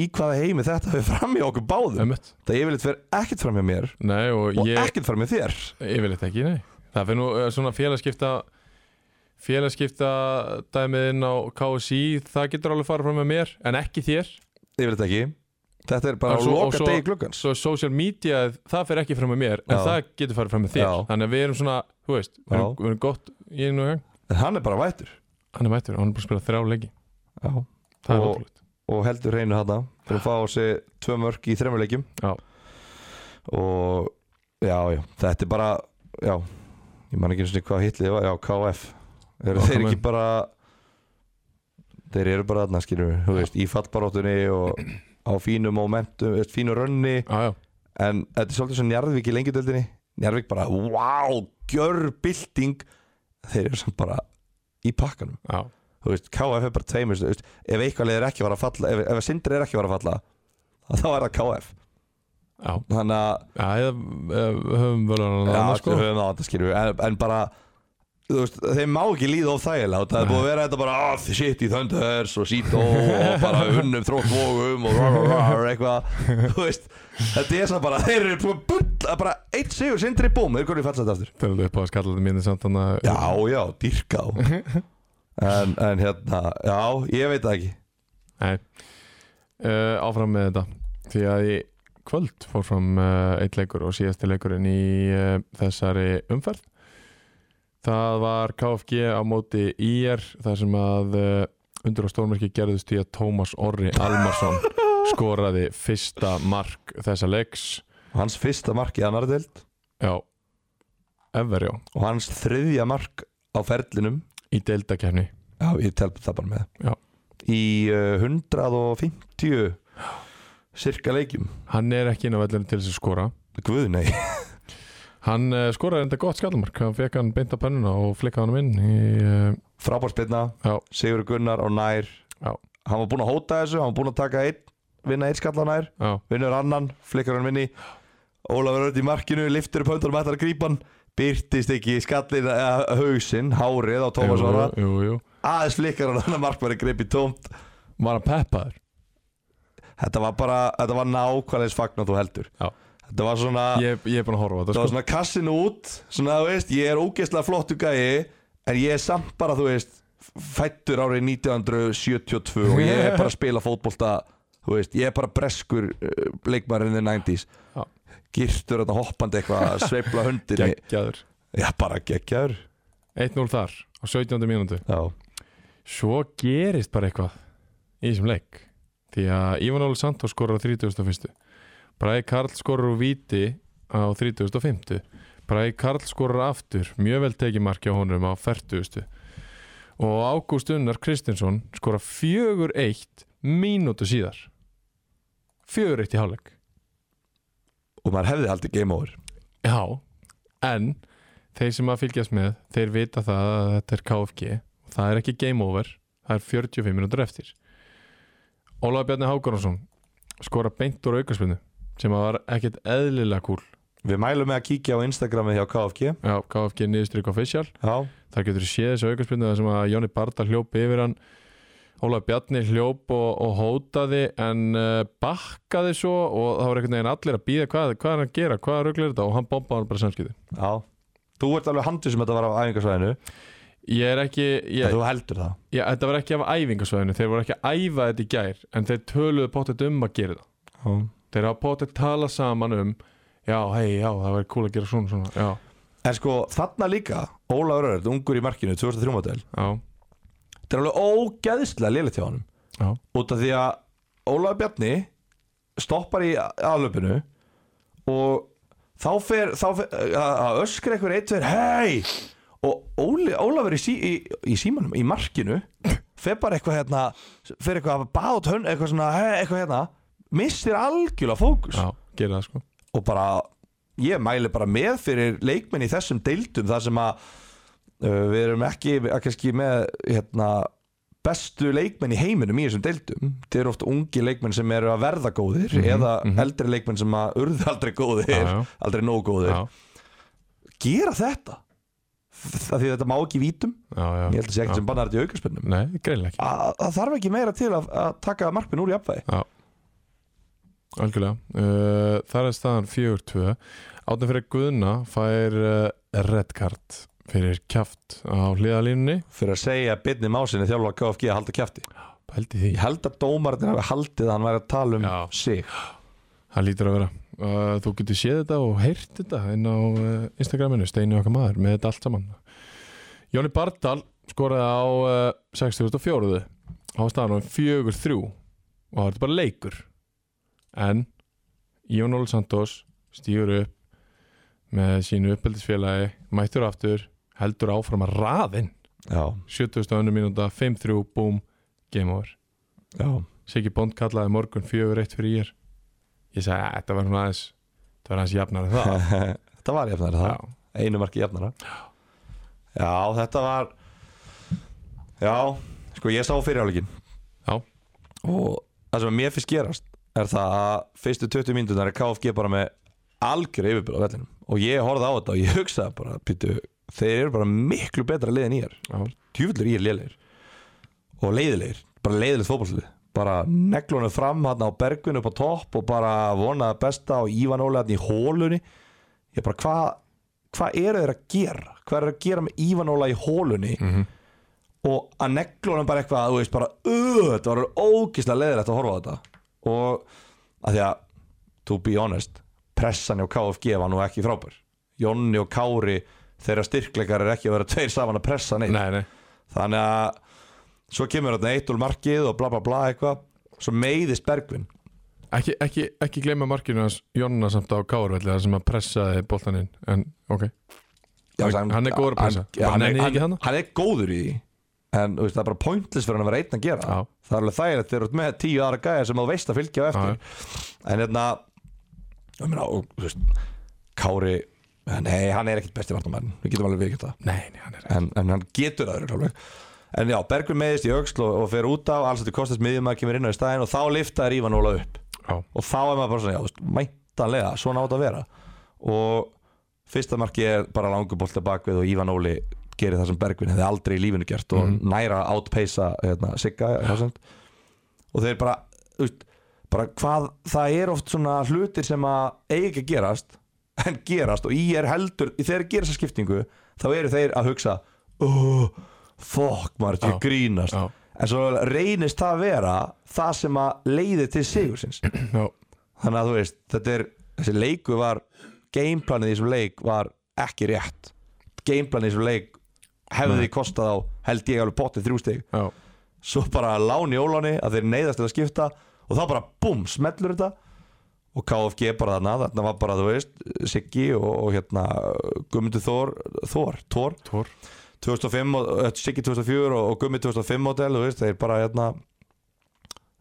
S2: í hvaða heimi þetta hefur fram í okkur báðum
S1: ömmett
S2: það ég vil eitthvað ekkert fram í mér
S1: nei, og
S2: og
S1: ég,
S2: ekkert fram í þér
S1: ég vil þetta ekki, nei það fyrir nú eh, svona félagskipta félagskipta dæmiðin á KSI, það getur alveg farið fram með mér en ekki þér
S2: ég vil þetta ekki þetta er bara
S1: Og
S2: að
S1: svo- og
S2: loka
S1: svo-
S2: degi gluggans
S1: svo social media, það fer ekki fram með mér en
S2: Já.
S1: það getur farið fram með þér
S2: Já.
S1: þannig að við erum svona, þú veist, við erum,
S2: Já.
S1: við erum gott í einu og gang
S2: en hann er bara vættur
S1: hann er mættur, og hann er búin að spila þrjá leiki
S2: Já.
S1: það er
S2: Og-
S1: ótrúlegt
S2: og heldur reynu hana fyrir að fá á sig tvö mörg í þremmuleikjum
S1: Já.
S2: og já, já, þetta er bara já, ég man ekki einu sinni hvað hitlið var, já, KF eru
S1: Já,
S2: þeir
S1: KF.
S2: ekki bara þeir eru bara þarna, skilur við, þú veist, í fallbaróttunni og á fínu momentum, veist, fínu rönni
S1: já, já,
S2: en þetta er svolítið svo Njarðvík í lengjudöldinni Njarðvík bara, wow, gjör bylting, þeir eru samt bara í pakkanum
S1: já,
S2: þú veist, KF er bara tveimur þú veist, ef eitthvað leið er ekki að fara að falla ef, ef Sindri er ekki að fara að falla þá er það KF
S1: já,
S2: þannig að
S1: já eða, eða höfum vel að
S2: já,
S1: annað sko
S2: við höfum það, það skilur við en, en bara þú veist, þeim má ekki líða of þægilega og það er búið að vera þetta bara oh, shit í Thunders og Sito og bara unnum þróttvogum og rar, rar, rar, eitthvað þú veist, þetta er svo bara þeir eru búin að bulla bara eitt sigur Sindri búm, þeir konið falla þetta aftur
S1: Þegar þú upp á að skalla þetta mínu samt þannig að
S2: já, já, dýrka á en, en hérna, já, ég veit það ekki
S1: Eh, Nei, uh, áfram með þetta Því að í kvöld fór fram uh, eitt leikur og síðasti leikurinn í uh, þessari umferð það var KFG á móti IR þar sem að uh, undur á stórmerki gerðust í að Tómas Orri Almarsson skoraði fyrsta mark þessa leiks
S2: Hans fyrsta mark í annar deild
S1: já, ever já
S2: og hans þriðja mark á ferlinum
S1: í deildakefni
S2: Já, ég tel það bara með
S1: Já.
S2: Í uh, 150 cirka leikjum
S1: hann er ekki inn á vellunum til þess að skora
S2: Guð, nei
S1: hann uh, skoraði enda gott skallmark hann fekk hann beint á pennuna og flikkaði hann inn í, uh,
S2: Frábárspilna,
S1: Já.
S2: Sigur Gunnar og Nær
S1: Já.
S2: Hann var búinn að hóta þessu, hann var búinn að taka einn vinna einn skalla nær,
S1: já,
S2: vinnur annan flikkar hann vinni, Ólafur Örd í markinu liftur upp höndunum, ætlar að grípa hann byrtist ekki skallin að hausinn hárið á Tómas
S1: jú,
S2: Orra
S1: jú, jú.
S2: aðeins flikkar hann, hann að markmanni greipi tómt
S1: var hann peppaður
S2: þetta var bara, þetta var nákvæmleins fagn og þú heldur
S1: Já.
S2: þetta var svona
S1: ég, ég er búin að horfa á
S2: Ah. Það
S1: þetta
S2: var
S1: sko.
S2: svona kassin út Svona þú veist, ég er ógeðslega flottu gæi En ég er samt bara, þú veist Fættur árið 1972 Og ég er bara að spila fótbolta Þú veist, ég er bara breskur uh, Leikmarinn í 90s
S1: Já.
S2: Girtur þetta hoppandi eitthvað að sveifla hundinni
S1: geggjaður
S2: Já, bara geggjaður
S1: 1-0 þar á 17. mínútu
S2: Já,
S1: svo gerist bara eitthvað í þessum leik því að Ivan Óli Santos skorur á 31. Bræði Karl skorur úr víti á 35. Bræði Karl skorur aftur mjög vel tekið marki á honum á 40. og Ágúst Unnar Kristinsson skora 4-1 mínútu síðar 4-1 í hálfleik
S2: og maður hefði haldið game over
S1: Já, en þeir sem að fylgjast með, þeir vita það að þetta er KFG og það er ekki game over, það er 45 minútur eftir Ólaður Bjarni Hákonarsson skora beint úr aukarspunni sem að var ekkert eðlilega kúl
S2: Við mælum með að kíkja á Instagrami hjá KFG
S1: Já, KFG niðurstrykk official
S2: Já,
S1: þar getur þú séð þessu aukarspunni þar sem að Jóni Barta hljóp yfir hann Ólaður Bjarni hljóp og, og hótaði en uh, bakkaði svo og það var einhvern veginn allir að býða hvað, hvað er hann að gera, hvað rugl er þetta og hann bombaði hann bara samskipti
S2: já Þú ert alveg handið sem þetta var á æfingarsvæðinu
S1: Ég er ekki, ég,
S2: yeah. Þú heldur það
S1: Já, þetta var ekki af æfingasvæðinu, þeir voru ekki að æfa þetta í gær en þeir töluðu pottet um að gera það
S2: Já
S1: þeir hafa pottet talað saman um já, hei, já, það væri cool að gera svona, svona já,
S2: En sko þarna líka Ólafur Örd, ungur í markinu 2003 model
S1: já,
S2: Þetta er alveg ógeðslega liðlega hjá honum
S1: já,
S2: Út af því að Ólafur Bjarni Stoppar í aðlöpinu Og þá fer Þá fer að að öskra einhver eitt fyrir Hei Og Óli, Ólafur í, sí, í, í símanum Í markinu Fer bara eitthvað hérna Fer eitthvað að baða út hönn Eitthvað svona hei, Eitthvað hérna Missir algjörlega fókus
S1: já, gera það sko
S2: og bara ég mæli bara með fyrir leikmenn í þessum deildum þar sem að uh, við erum ekki að kannski með hérna, bestu leikmenn í heiminum í þessum deildum þeir eru oft ungi leikmenn sem eru að verða góðir
S1: Mhm,
S2: eða
S1: mhm.
S2: eldri leikmenn sem að urðu aldrei góðir
S1: já, já,
S2: aldrei nóg góðir
S1: já,
S2: gera þetta það því þetta má ekki í vítum
S1: já, já
S2: ég held að sé ekkert
S1: já.
S2: sem bannar þetta í aukarspennum
S1: Nei, greinlega ekki,
S2: að það þarf ekki meira til að, að taka markminn úr í apvæði
S1: algjörlega uh, Það er staðan 4-2 Áttan fyrir Guðna fær uh, red card fyrir kjaft á hliðalínunni
S2: fyrir að segja að byrni másinni þjálfa KFG að halda kæfti
S1: Pældi því
S2: ég held að dómarinn hafi haldið að hann væri að tala um
S1: Já.
S2: sig
S1: Það lítur að vera. Uh, þú getur séð þetta og heyrt þetta inn á uh, Instagraminu, Steini okkar maður, með þetta allt saman. Jóni Bardal skoraði á uh, 64. á staðanum 4-3 og það var þetta bara leikur. En Jón Óli Santos stýur upp með sínu uppeldisfélagi, mættur aftur, heldur áfram að raðinn.
S2: Já,
S1: 70. minúta, 5-3, búm, game over.
S2: já,
S1: Siggi Bond kallaði morgun fjögur eitt fyrir ég ég sagði að þetta var svona aðeins þetta var aðeins jafnar en það
S2: þetta var jafnara það,
S1: Já,
S2: einu marki jafnara Já, þetta var Já, sko ég sá fyrirháleikin
S1: Já.
S2: Og það sem mér finnst gerast er það að fyrstu 20 mínútunar er KFG bara með algjör yfirbyrð á vellinum og ég horfði á þetta og ég hugsaði bara pítu, þeir eru bara miklu betra liðin í þér
S1: já,
S2: djúvillur í er lélegir og leiðilegir, bara leiðilegt fótballslið bara neglunum fram hann á bergvinu upp á topp og bara vonaði besta og Ívan Óli hann í hólunni ég bara hvað hva eru þeir að gera hvað eru þeir að gera með Ívan Óla í hólunni
S1: Mhm.
S2: og að neglunum bara eitthvað þú veist bara, uh, þetta var ógislega leiðilegt að horfa á þetta og að því að to be honest pressan hjá KFG var nú ekki frábær Jonni og Kári þeirra styrkleikar er ekki að vera tveir saman að pressa neitt
S1: Nei, nei
S2: þannig að svo kemur þarna 1-0 markið og bla bla bla eitthvað svo meiðist Bergvin
S1: Ekki, ekki, ekki gleyma markinu hans Jonna samt á Kárvelli þar sem að pressaði boltaninn en ok, Hann- hann er góður að pressa.
S2: hann, já,
S1: Bara
S2: hann, er,
S1: nenni ekki
S2: hann,
S1: þarna.
S2: hann er góður í því en þú veist, það er bara pointless fyrir hann að vera einn að gera það.
S1: Já.
S2: það er alveg þægilegt þegar þú ert með tíu aðra gæja sem þú veist að fylgja á
S1: Já,
S2: eftir en hérna ég meina, og, þú veist, Kári nei, hann er ekkit besti vartamærin við getum alveg viðkjönt það
S1: nei, nei, hann er
S2: en, en hann getur það örugglega alveg. en já, Bergvin meiðist í auksl og, og fer út af alls þetta kostast miðjumæður kemur inn á í staðin og þá liftaðir Ívan Óla upp
S1: Já,
S2: og þá er maður bara svona, já, þú veist, mæntanlega svona átt að vera og fyrsta marki er bara langur bolta bakvið og Ívan Óli gerir það sem Bergvin hefði aldrei í lífinu gert og
S1: Mhm.
S2: næra að outpacea hérna, Sigga Hjásand og þeir bara, þú veist, bara hvað, það er oft svona hlutir sem að eigi ekki að gerast en gerast og í er heldur þegar þeir gera þessa skiptingu, þá eru þeir að hugsa oh, fuck maður, þetta er
S1: Já.
S2: að grínast
S1: já,
S2: en svo reynist það að vera það sem að leiði til sigursins
S1: já,
S2: þannig að þú veist, þetta er þessi leiku var, gameplanið í þessum leik var ekki rétt gameplanið í þessum leik hefði
S1: Nei.
S2: því kostað á held ég alveg potið þrjústig
S1: já,
S2: svo bara láni óláni að þeir neyðast til að skipta og þá bara búm, smellur þetta og KFG bara þarna, þarna var bara þú veist Siggi og, og hérna Gummundur Þór, Þór, Tór
S1: tór
S2: 2005, og- eh, Siggi 2004 og, og Gummi 2005 model, þú veist, þeir bara hérna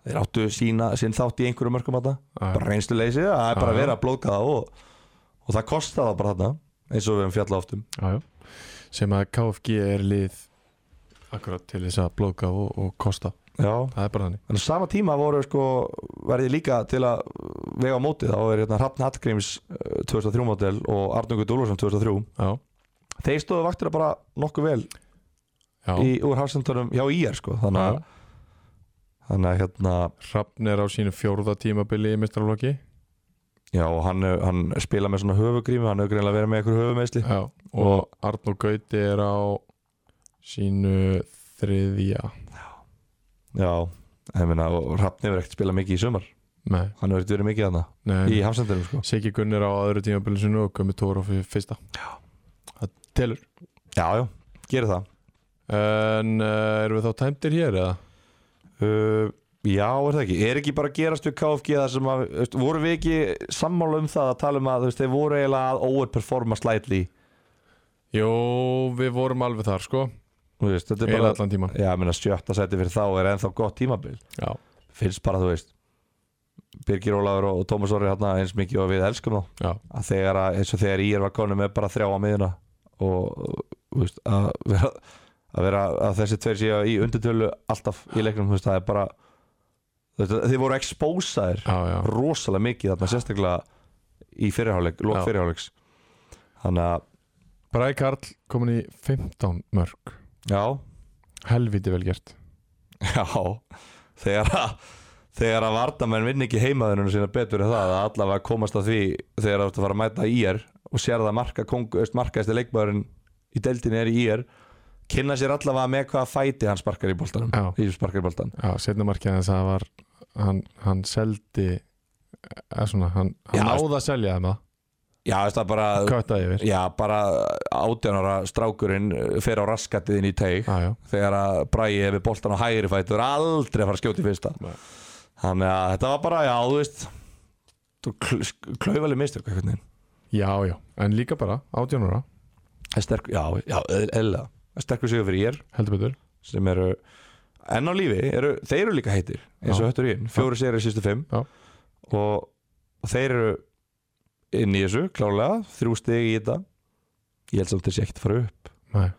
S2: þeir áttu sína, sín þátt í einhverju mörgum þetta bara reynslu leysi, það er
S1: Já,
S2: bara
S1: já.
S2: verið að blóka það og, og það kostar það bara þarna eins og við höfum fjallað oft um
S1: já, já. sem að KFG er lið akkurat til þess að blóka og, og kosta
S2: já.
S1: það er bara þannig
S2: en á sama tíma voru sko verði líka til að vega á móti þá er hérna Hrafn Hallgríms eh, 2003 model og Arnungur Dúlursson 2003
S1: já,
S2: þeir stóðu vaktina bara nokkuð vel
S1: já,
S2: í, úr hafsendunum hjá IR sko þannig að,
S1: Já.
S2: þannig að hérna
S1: Hrafn er á sínu fjórða tímabili í mistralóki
S2: já og hann, eh, hann spila með svona höfugrími hann hefur greinlega verið með einhver höfumeisli
S1: já, og Arnur Gauti er á sínu þriðja
S2: já, ég meina og Hrafn hefur ekkert spilað mikið í sumar
S1: nei,
S2: hann hefur ekkert verið mikið þarna
S1: nei,
S2: í hafsendunum sko
S1: Siggi Gunn er á öðru tímabili sinu og Gummi Tóra fyrir fyrsta
S2: Já.
S1: það telur
S2: Já, já, gerir það
S1: en uh, erum við þá tæmtir hér eða?
S2: uh, Já, er það ekki Er ekki bara að gerast við KFG það sem að þú veist, Voru við ekki sammála um það að tala um að þú veist, Þeir voru eiginlega að overperforma slightly
S1: Jó, við vorum alveg þar sko
S2: Þú veist, Þetta er
S1: eða
S2: bara
S1: allan tíman
S2: Já, ég meina sjötta seti fyrir þá er ennþá gott tímabil
S1: já,
S2: Finnst bara, þú veist Birgir Ólafur og og Tómas Orri hérna eins mikið og við elskum þá
S1: já,
S2: að þegar að, eins og þegar ég er var konum með bara þrjá á miðuna og þú veist, að vera að vera að þessi tveir séu í undirtölu alltaf í leiknum, þú veist, það er bara þú veist, þeir voru expósaðir
S1: já, já.
S2: rosalega mikið þarna sérstaklega í fyrirháleik, lók
S1: Já.
S2: fyrirháleiks þannig að,
S1: Bræði Karl komin í 15 mörg
S2: já
S1: Helviti vel gert
S2: já, þegar að þegar að vardamenn vinn ekki heimaðunum sína betur en það að allavega komast að því þegar þú ert að fara að mæta IR og sér það marka, kongu, öst markaðist leikmaðurinn í deildinni er í IR kynna sér allavega með hvaða fæti hann sparkar í boltanum
S1: Já.
S2: í sparkar í boltan
S1: Já, setna markið þess að það var hann, hann seldi eða svona, hann,
S2: Já,
S1: hann náði að selja þeim það
S2: já, veist það bara,
S1: Kvætaði yfir
S2: já, bara átjánara strákurinn eh, fer á raskatiðin í teig
S1: Já, já,
S2: þegar að Bragi hefur boltan á hægri fæti þú er aldrei að fara að skjóta í fyrsta
S1: Nei.
S2: þannig að þetta var bara, já, þú veist þú kl klaufaleg mistök einhvern veginn,
S1: já, já En líka bara, 18 ára,
S2: Það er sterk, já, já, eðlega sterkur sigur fyrir ég
S1: heldur betur
S2: sem eru enn á lífi, eru, þeir eru líka heitir eins
S1: Já.
S2: og höttur í inn, fjóri séri sístu fimm
S1: Já.
S2: og, og þeir eru inn í þessu, klálega þrjú stig í þetta ég held samt þessi ekkert að fara upp
S1: Nei,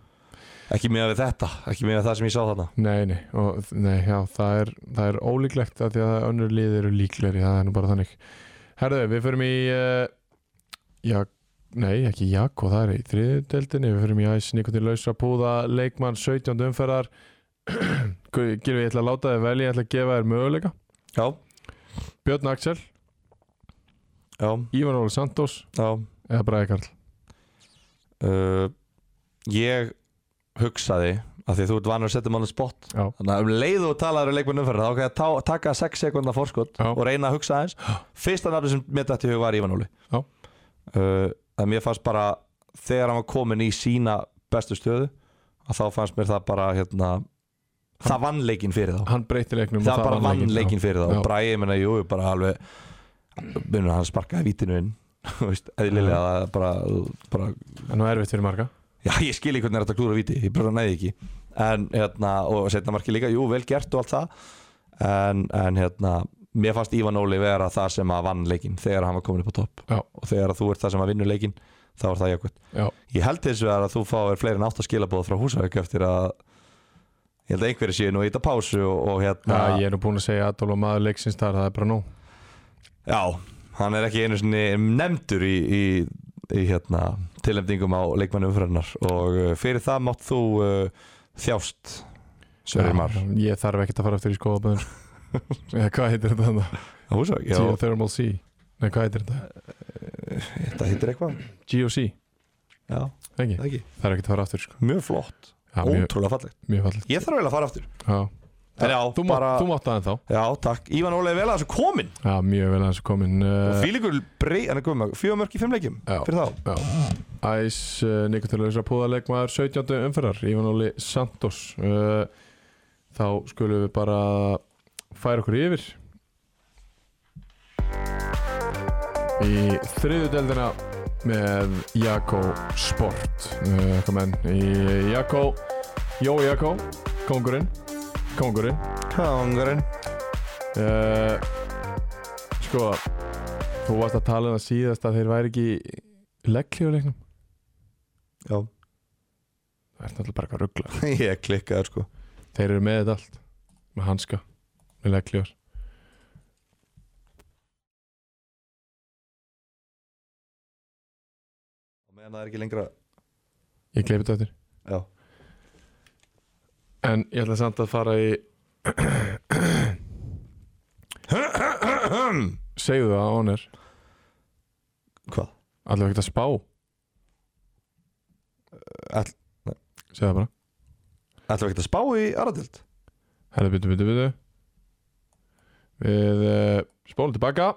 S2: ekki með við þetta, ekki með það sem ég sá þarna
S1: nei, nei, og, nei já, það er, það er ólíklegt að því að önnur lið eru líklegri, það er nú bara þannig Herðu, við förum í uh, Já, nei, ekki Jakko, það er í þriðudeldinni Við förum í æs Nikotin Lausra Púða, leikmann 17 umferðar Gylfi, ég ætla að láta þið velja, ég ætla að gefa þér möguleika
S2: já,
S1: Björn Axel,
S2: já,
S1: Ívan Óli Santos
S2: já
S1: eða Bræði Karl
S2: uh, ég hugsaði af því að þú ert vanur að setja mánu spott
S1: Já.
S2: þannig að um leið og talaður um leikmenn umferðar þá kann ég að taka 6 sekundar fórskot
S1: Já.
S2: og reyna að hugsa aðeins fyrsta nafni sem mér dætti hug var Ívan Óli
S1: Já.
S2: uh, að mér fannst bara þegar hann var komin í sína bestu stöðu að þá fannst mér það bara hérna, það vann leikinn fyrir þá
S1: hann breyti leiknum
S2: það bara vann leikinn fyrir það
S1: Já.
S2: og Bræði, ég menna, jú, bara alveg minna, hann sparkaði vítinu inn þú veist, eðlilega það er bara, bara
S1: en það er erfitt fyrir marga
S2: já, ég skil ekki hvernig er þetta klúra víti, ég bara næði ekki en, hérna, og setna marki líka jú, vel gert og allt það en, en hérna, mér fannst Ívan Óli vera það sem að vann leikinn þegar hann var komin upp á topp
S1: Já.
S2: og þegar að þú ert það sem að vinnur leikinn þá er það jákvæmt
S1: Já.
S2: ég held hins vegar að þú fáir fleiri en átt að skilabóð frá Húsavík eftir að ég held að einhverju séu nú í þetta pásu og, og hérna
S1: Já, ég er nú búin að segja Adolf og maður leiksins þar, það er bara nóg
S2: Já, hann er ekki einu sinni nefndur í, í, í hérna, tilnefningum á leikmannu umfyrirnar og uh, fyrir það mátt þú uh, þjást Sverrir Mar
S1: Já, Ég þarf ekkert að fara eftir í skoðaböðun Eða hvað heitir þetta þannig?
S2: Húsavík, já, Uh,
S1: Geothermal Sea Nei, hvað heitir þetta?
S2: þetta hittir eitthvað
S1: GOC,
S2: Já,
S1: ekki?
S2: það ekki,
S1: Það er ekkert að fara aftur sko.
S2: mjög flott,
S1: Já, mjög,
S2: ótrúlega fallegt
S1: mjög fallegt
S2: Ég þarf vel að fara aftur
S1: Já,
S2: En já,
S1: þú,
S2: bara,
S1: mátt, þú mátt aðeins þá
S2: já, takk, Ívan Ólega vel að þessu komin
S1: Já, mjög vel aðeins komin
S2: uh,
S1: uh,
S2: Fýlíkur breið, hann er komin með fjögumörk í fimmleikjum
S1: Já.
S2: fyrir þá
S1: Já. Æs uh, Nikotilusa púðalegmaður 17. umferðar Ívan Óli Santos uh, Þá skulum við bara færa okkur yfir í þriðu deldina með Jakko Sport uh, okkar menn í Jakko Jó Jakko, kongurinn kongurinn
S2: Kongurinn
S1: Eh, Sko Þú varst að tala um það síðast að þeir væri ekki leggli á leiknum
S2: Já,
S1: Það er náttúrulega bara eitthvað ruggla
S2: ég klikkaði sko
S1: Þeir eru með þetta allt Með hanska, með leggliðar
S2: Meðan það er ekki lengra
S1: Ég gleypi þetta eftir
S2: Já,
S1: En ég ætla samt að fara í Segðu það á hann er
S2: hvað?
S1: Allavega ekkert að spá
S2: all- nei.
S1: Segðu það bara
S2: Ætlum við ekki að spá í Aradild?
S1: Herðu, byttu, byttu, byttu Við uh, spólum tilbaka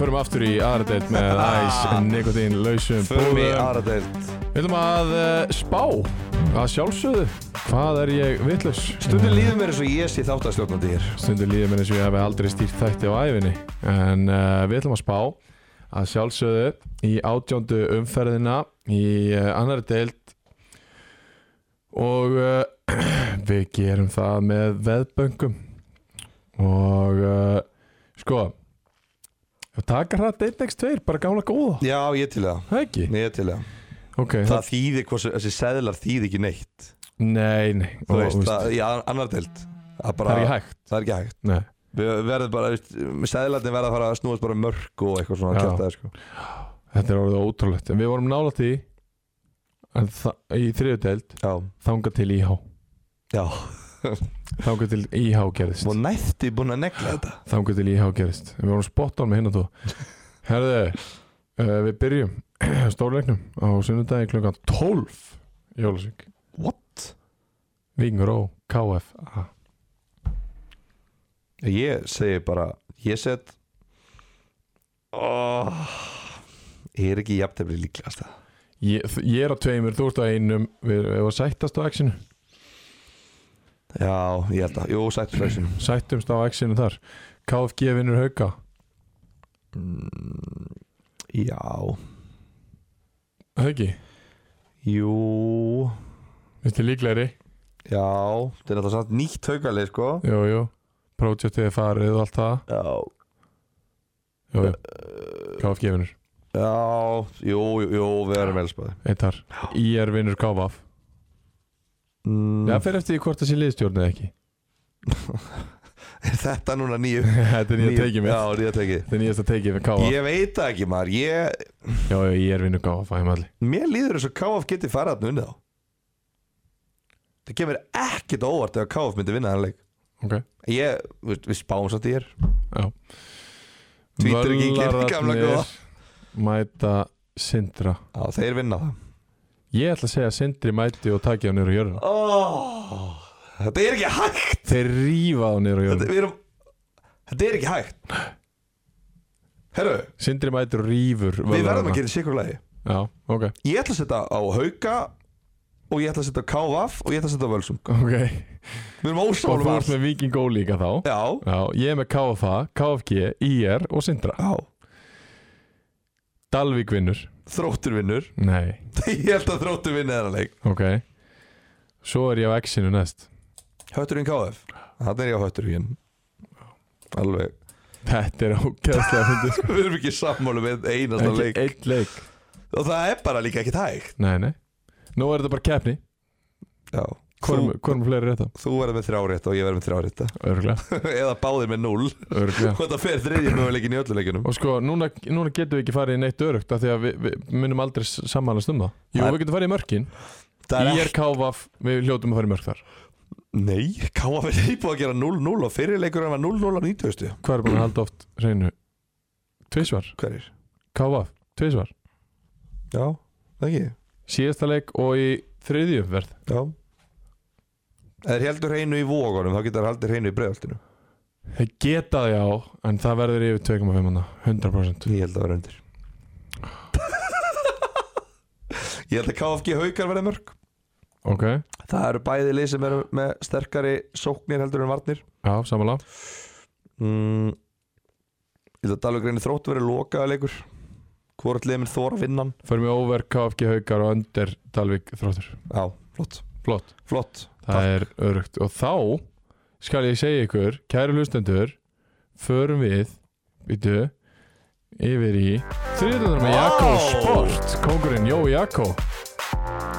S1: Förum aftur í aðra deild með æs, nikotín, lausum,
S2: Förum í
S1: búðum.
S2: aðra deild
S1: Við ætlum að uh, spá að sjálfsögðu Hvað er ég vitlaus?
S2: Stundum líður mér eins og ég sé þáttastjórnandi hér
S1: Stundur líður mér eins og ég hef aldrei stýrt þætti á æfinni En uh, við ætlum að spá að sjálfsögðu í átjóndu umferðina í uh, annari deild og uh, við gerum það með veðböngum og uh, sko ef taka hratt 1x2 bara gamla góða,
S2: Já, ég til það
S1: það ekki?
S2: Ég til það
S1: Ok,
S2: Það þýðir hvað sem- þessi seðlar þýðir ekki neitt
S1: nei, nei
S2: Þú
S1: og,
S2: veist,
S1: veist,
S2: það, í a- annar deild Það,
S1: það
S2: bara,
S1: er ekki hægt
S2: það er ekki hægt
S1: Nei.
S2: Við verðum bara, veist, seðlarnir verða að fara að snúast bara um mörk og eitthvað svona
S1: Já.
S2: kjartaði sko
S1: Þetta er orðið ótrúlegt En við vorum nála því En það, í þriðu deild
S2: Já,
S1: Þanga til IH
S2: já
S1: Þanga til IH gerðist
S2: Og nætti búin að negla þetta
S1: Þanga til IH gerðist En Við vorum spott án með hinn og þú Herðu uh, Við byrjum Stórleiknum Á sunnudagi klukkan 12 Jólasvík
S2: What?
S1: Vingur Ó KF
S2: Ég segi bara, ég set oh, Ég er ekki jafntefli líklegast það
S1: ég, þ- ég er á tveimur Þú ert á einum Við við varum sættast á exinu
S2: Já, ég held að, jú, sættisflæsum
S1: Sættumst á exinu þar KFG vinnur hauka
S2: Mm, Já
S1: Er Það ekki
S2: Jú
S1: Vistu líklegri
S2: Já, þetta er náttúrulega samt nýtt haukalið sko
S1: Jú, jú Projektið er farið og allt það
S2: Já
S1: Jú, jú KFG vinnur
S2: Já, jú, jú, jú við erum elspæði
S1: Eittar IR vinnur KVF
S2: mm,
S1: Það fer eftir því hvort það sé liðstjórn eða ekki
S2: Er þetta núna nýju
S1: Þetta er nýja tekið mér
S2: Já, nýja tekið
S1: Þetta er nýjasta tekið með KVF
S2: Ég veit það ekki maður ég,
S1: Já, já, IR vinnur KVF Það er maður
S2: Mér líður þess að KF geti farið þarna unni þá Það kemur ekkert á óvart ef KF myndi vinna þannleik
S1: Ok
S2: Ég, við, við spáum samt í þér Tvítur ekki, ekki, gamla góða.
S1: Völararnir Mæta Sindra
S2: Já, þeir vinna það
S1: Ég ætla að segja að Sindri mæti og taki á niður á jörðina
S2: oh, Þetta er ekki hægt
S1: Þeir rífa á niður á
S2: þetta,
S1: jörðina
S2: við erum, þetta er ekki hægt Herru,
S1: Sindri mætir og rífur
S2: við verðum
S1: vöðvana.
S2: að gera sikurlegi
S1: Já, ok,
S2: Ég ætla að setja á Hauka og ég ætla að setja á KVF og ég ætla að setja á Völsung
S1: ok
S2: Við erum
S1: Og
S2: ósálum
S1: þú ert með Viking Go líka þá
S2: Já,
S1: Já, ég er með KFA, KFG, IR og Sindra
S2: já,
S1: Dalvík vinnur
S2: þróttur vinnur
S1: Nei,
S2: Ég held að þróttur vinni þennan leik
S1: ok Svo er ég á X-inu næst
S2: Hötturinn KF, þannig er ég á Hötturinn Alveg
S1: Þetta er ógeðslega fyndið sko.
S2: Við erum ekki sammálu með einasta
S1: Ekki
S2: leik
S1: einn leik
S2: Og það er bara líka ekkert hægt
S1: Nei, nei Nú er þetta bara keppni
S2: Já
S1: Hvorm
S2: Þú,
S1: er fleiri rétt á?
S2: þú verður með þrjárétt og ég verður með þrjárétta
S1: Örglega,
S2: Eða báðir með null
S1: örglega
S2: Og það fer þriðjum möguleikin í öllu leikunum
S1: Og sko, núna, núna getum við ekki farið í neitt örugt af því að við, við munum aldrei samanast um það Jú,
S2: Það er-
S1: við getum farið í mörkin
S2: Það
S1: Í
S2: er
S1: er kávaf, við hljótum að fara í mörk þar
S2: Nei, KF er íbúið að gera 0-0 og fyrir leikurinn var 0-0 á 90
S1: Hvað er búin að halda oft reynu? Tvisvar,
S2: Hverjir?
S1: kávaf, tvisvar
S2: Já, það ekki
S1: Síðasta leik og í þriðju verð
S2: Já Ef þeir heldur hreinu í vógunum þá getur þeir haldið hreinu í bregðaltinu
S1: Þeir geta það já, en það verður yfir 2,5 manna, 100%
S2: Ég held að vera undir Ég held að KFG haukar verða mörg
S1: Ok,
S2: Það eru bæði lið sem eru með sterkari sóknir heldur en varnir
S1: já, samanlá
S2: mm. Ég held að Dalvik reynir þróttu verið lokaða leikur Hvort lið minn þóra vinnan
S1: Förum við over KFG Haukar og under Dalvik Þróttur
S2: Já, flott
S1: Flott,
S2: Flott
S1: það er örugt Og þá skal ég segja ykkur Kæru hlustendur Förum við, býtu Yfir í Þriðunar með Jakko
S2: Vá!
S1: Sport Kongurinn Jó Jakko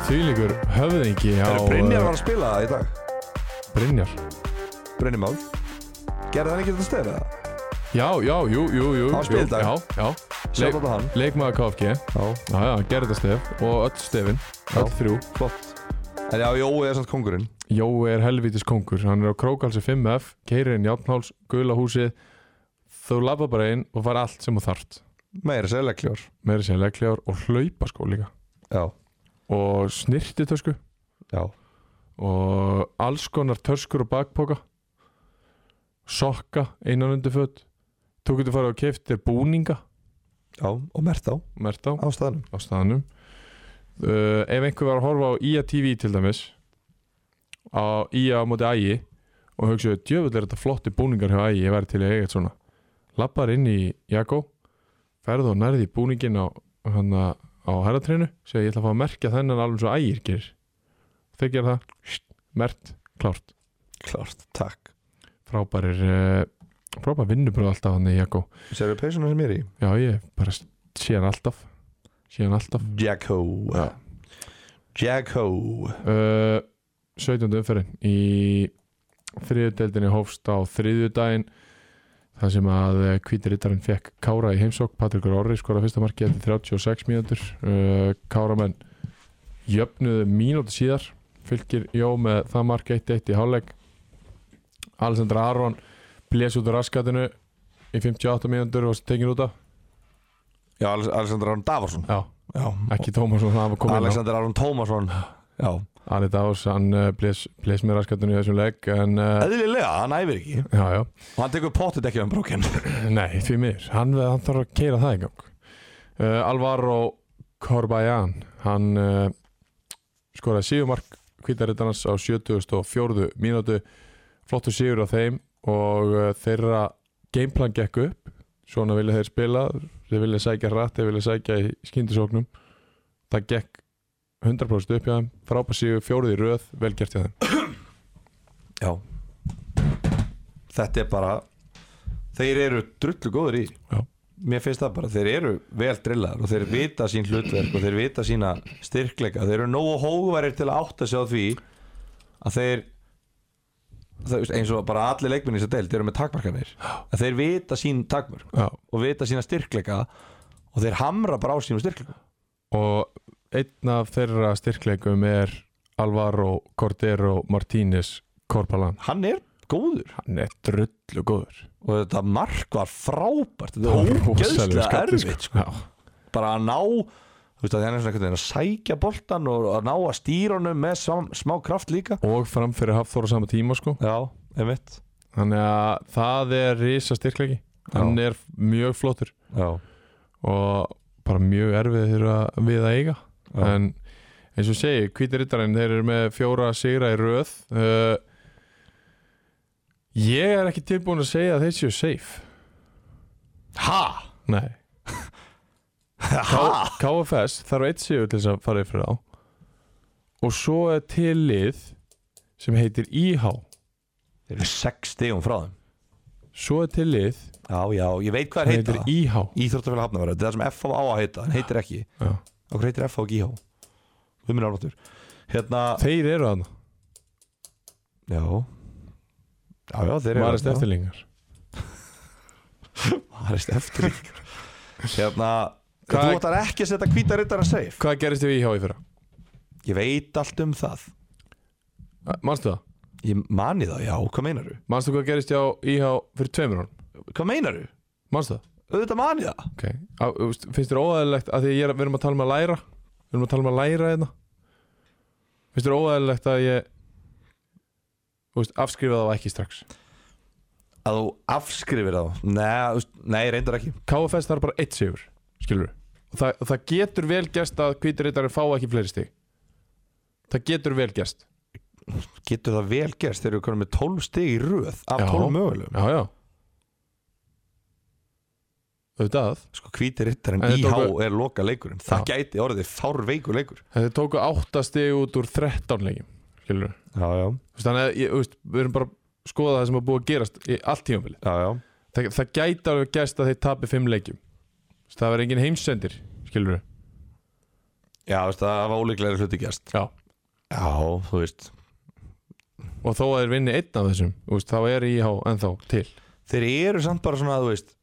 S1: Þvílíkur höfðingi á eh,
S2: Þeir Brynjar var að spila það í dag
S1: Brynjar
S2: Brynjar Már Gerði hann ekki þetta stöðu eða?
S1: Já, já, jú, jú, jú
S2: Hann spilaði í dag.
S1: jú, Já, já
S2: Sjátt á hann
S1: Leikmaður KFG
S2: Já,
S1: Já, já, gerði þetta stef Og öll stefin
S2: Já.
S1: Öll þrjú
S2: flott En já, Jói er samt kongurinn
S1: Jói er helvítis kongur, hann er á Krókalsi 5F, keirinn Játnháls, Gula húsið, þú labba bara inn og fara allt sem þú þart.
S2: Meira sér leikljör
S1: Meira sér legglegar og hlaupa sko líka.
S2: Já,
S1: Og snirtitösku
S2: já
S1: og alls konar töskur og bakpoka, sokka innan undir fött. Þú getur farið og keift þér búninga,
S2: Já, og mert á,
S1: mert á,
S2: á staðnum
S1: á staðanum. Uh, ef einhver var að horfa á IA TV til dæmis, á IA á móti ægi og hugsaðu, djöfull er þetta flotti búningar hjá ægi, ég væri til að eiga eitt svona lappar inn í Jakko ferð og nærði búningin á hann að- á herratreinu segja ég ætla að fá að merkja þennan alveg svo ægir gerir þeir gera það, sht, mert, klárt
S2: Klart, takk
S1: frábærir uh, frábær vinnubröð alltaf hann í Jakko
S2: Sérðu peysuna sem ég er í?
S1: já ég bara sé hann alltaf sé hann alltaf
S2: Jacko
S1: Já.
S2: Jacko
S1: uh, 17. umferðin í þriðudeldinni hófst á þriðudaginn þar sem að eh, hvítir rittarinn fekk Kára í heimsók, Patrikur Orri skora fyrsta marki eftir 36 mínútur uh, Káramenn jöfnuðu mínútu síðar fylgir Jó með það mark 1-1 í hálfleik Alessandra Aron blés út úr raskatinu í 58 mínútur og tekin út af
S2: Já, Aless- Alexander Aron Davarsson
S1: Já,
S2: Já,
S1: ekki Tómasson hann var komið inn á
S2: Alexander Aron Tómasson Já,
S1: Ari Dás, hann uh, blés, blés með raskatinu í þessum leik en uh,
S2: eðlilega, hann æfir ekki
S1: já, já
S2: Og hann tekur pottet ekki um brókin
S1: Nei, því miður, hann, hann þarf að keira það í gang uh, Alvaro Corbajan hann uh, skoraði síðumark hvítarittarnas á 74. mínútu flottu síður á þeim og uh, þeirra gameplan gekk upp svona vilja þeir spila þeir vilja sækja hratt, þeir vilja sækja í skyndisóknum það gekk 100% upp hjá þeim, frábær síður fjóruð í röð, vel gert hjá þeim
S2: Já Þetta er bara Þeir eru drullu góður í
S1: Já. Mm.
S2: Mér finnst það bara, þeir eru vel drillar og þeir vita sín hlutverk og þeir vita sína styrkleika, þeir eru nógu hóvarir til að átta sig á því að þeir það, veist, eins og bara allir leikminni sem deild eru með takmarkanir, að þeir vita sín takmark
S1: Já.
S2: og vita sína styrkleika og þeir hamra bara á sínum styrkleika
S1: og einn af þeirra styrkleikum er Alvaro Cordero Martínez Corpalan
S2: Hann er góður
S1: hann er drullu góður
S2: og þetta mark var frábært þetta er
S1: Rosalega
S2: ógeðslega
S1: skallið,
S2: erfitt
S1: sko. Já.
S2: bara að ná þú veist að hann er svona einhvern veginn að sækja boltan og að ná að stýra honum með smá, smá kraft líka
S1: og fram fyrir Hafþór á sama tíma sko
S2: já, einmitt
S1: þannig að það er risa styrkleiki hann er mjög flottur
S2: já,
S1: og bara mjög erfið þeir að við að eiga
S2: já,
S1: en eins og ég segi, hvítir rittarinn þeir eru með fjóra sigra í röð uh, ég er ekki tilbúin að segja að þeir séu safe
S2: ha,
S1: nei
S2: ha,
S1: K- KFS þarf eitt sigur til þess að fara yfir á og svo er til lið sem heitir IH
S2: þeir eru sex stegum frá þeim
S1: svo er til lið
S2: já, já, ég veit hvað
S1: sem
S2: er
S1: heitir
S2: heita
S1: IH
S2: Íþróttafélag Hafnavara, þetta er það sem FH á að heita hann heitir ekki,
S1: Já.
S2: okkur heitir FH og GH við minna áráttur hérna,
S1: þeir eru þarna,
S2: já já, já, þeir eru
S1: marist
S2: þarna.
S1: eftirlingar
S2: Marist eftirlíkur Hérna
S1: Hvað-
S2: Þú ætlar ekki að setja hvíta rittara safe
S1: hvað gerist við IH í fyrra?
S2: Ég veit allt um það
S1: manstu það?
S2: Ég mani það, já, hvað meinaru?
S1: manstu hvað gerist hjá IH fyrir tveimur hún?
S2: Hvað meinaru?
S1: manstu það?
S2: Auðvitað mani það
S1: ok, Á, þú veist, finnst þér óæðilegt að því að ég er, við erum að tala um að læra við erum að tala um að læra hérna finnst þér óæðilegt að ég þú veist, afskrifa það ekki strax
S2: Að þú afskrifir þá Nei, þú veist, nei reyndar ekki
S1: KFS þarf bara eitt sigur skilur og það, og það getur vel gæst að kvíturritarinn fá ekki fleiri stig það getur vel gæst
S2: Getur það vel gerst þegar við komum með 12 stig í röð Af
S1: Já.
S2: 12 mögulegum
S1: já já auðvitað
S2: Sko hvíti rittarinn
S1: En þetta
S2: IH
S1: tóku-
S2: er loka leikurinn Það gæti orðið fárveikur leikur
S1: en þeir tóku átta stig út úr 13 leikjum skilur
S2: Já, já,
S1: þannig að ég, þú veist, við erum bara að skoða það sem er búið að gerast í allt tímafélið
S2: já, já.
S1: það, það gæti alveg gæst að þeir tapi 5 leikjum Þú veist, það verður engin heimsendir skilur
S2: Já, þú veist, það var ólíklega hluti gerst
S1: já
S2: Já, þú veist
S1: og þó að þeir vinni einn af þessum þú veist, þá er IH ennþá til
S2: þeir eru samt bara svona þú veist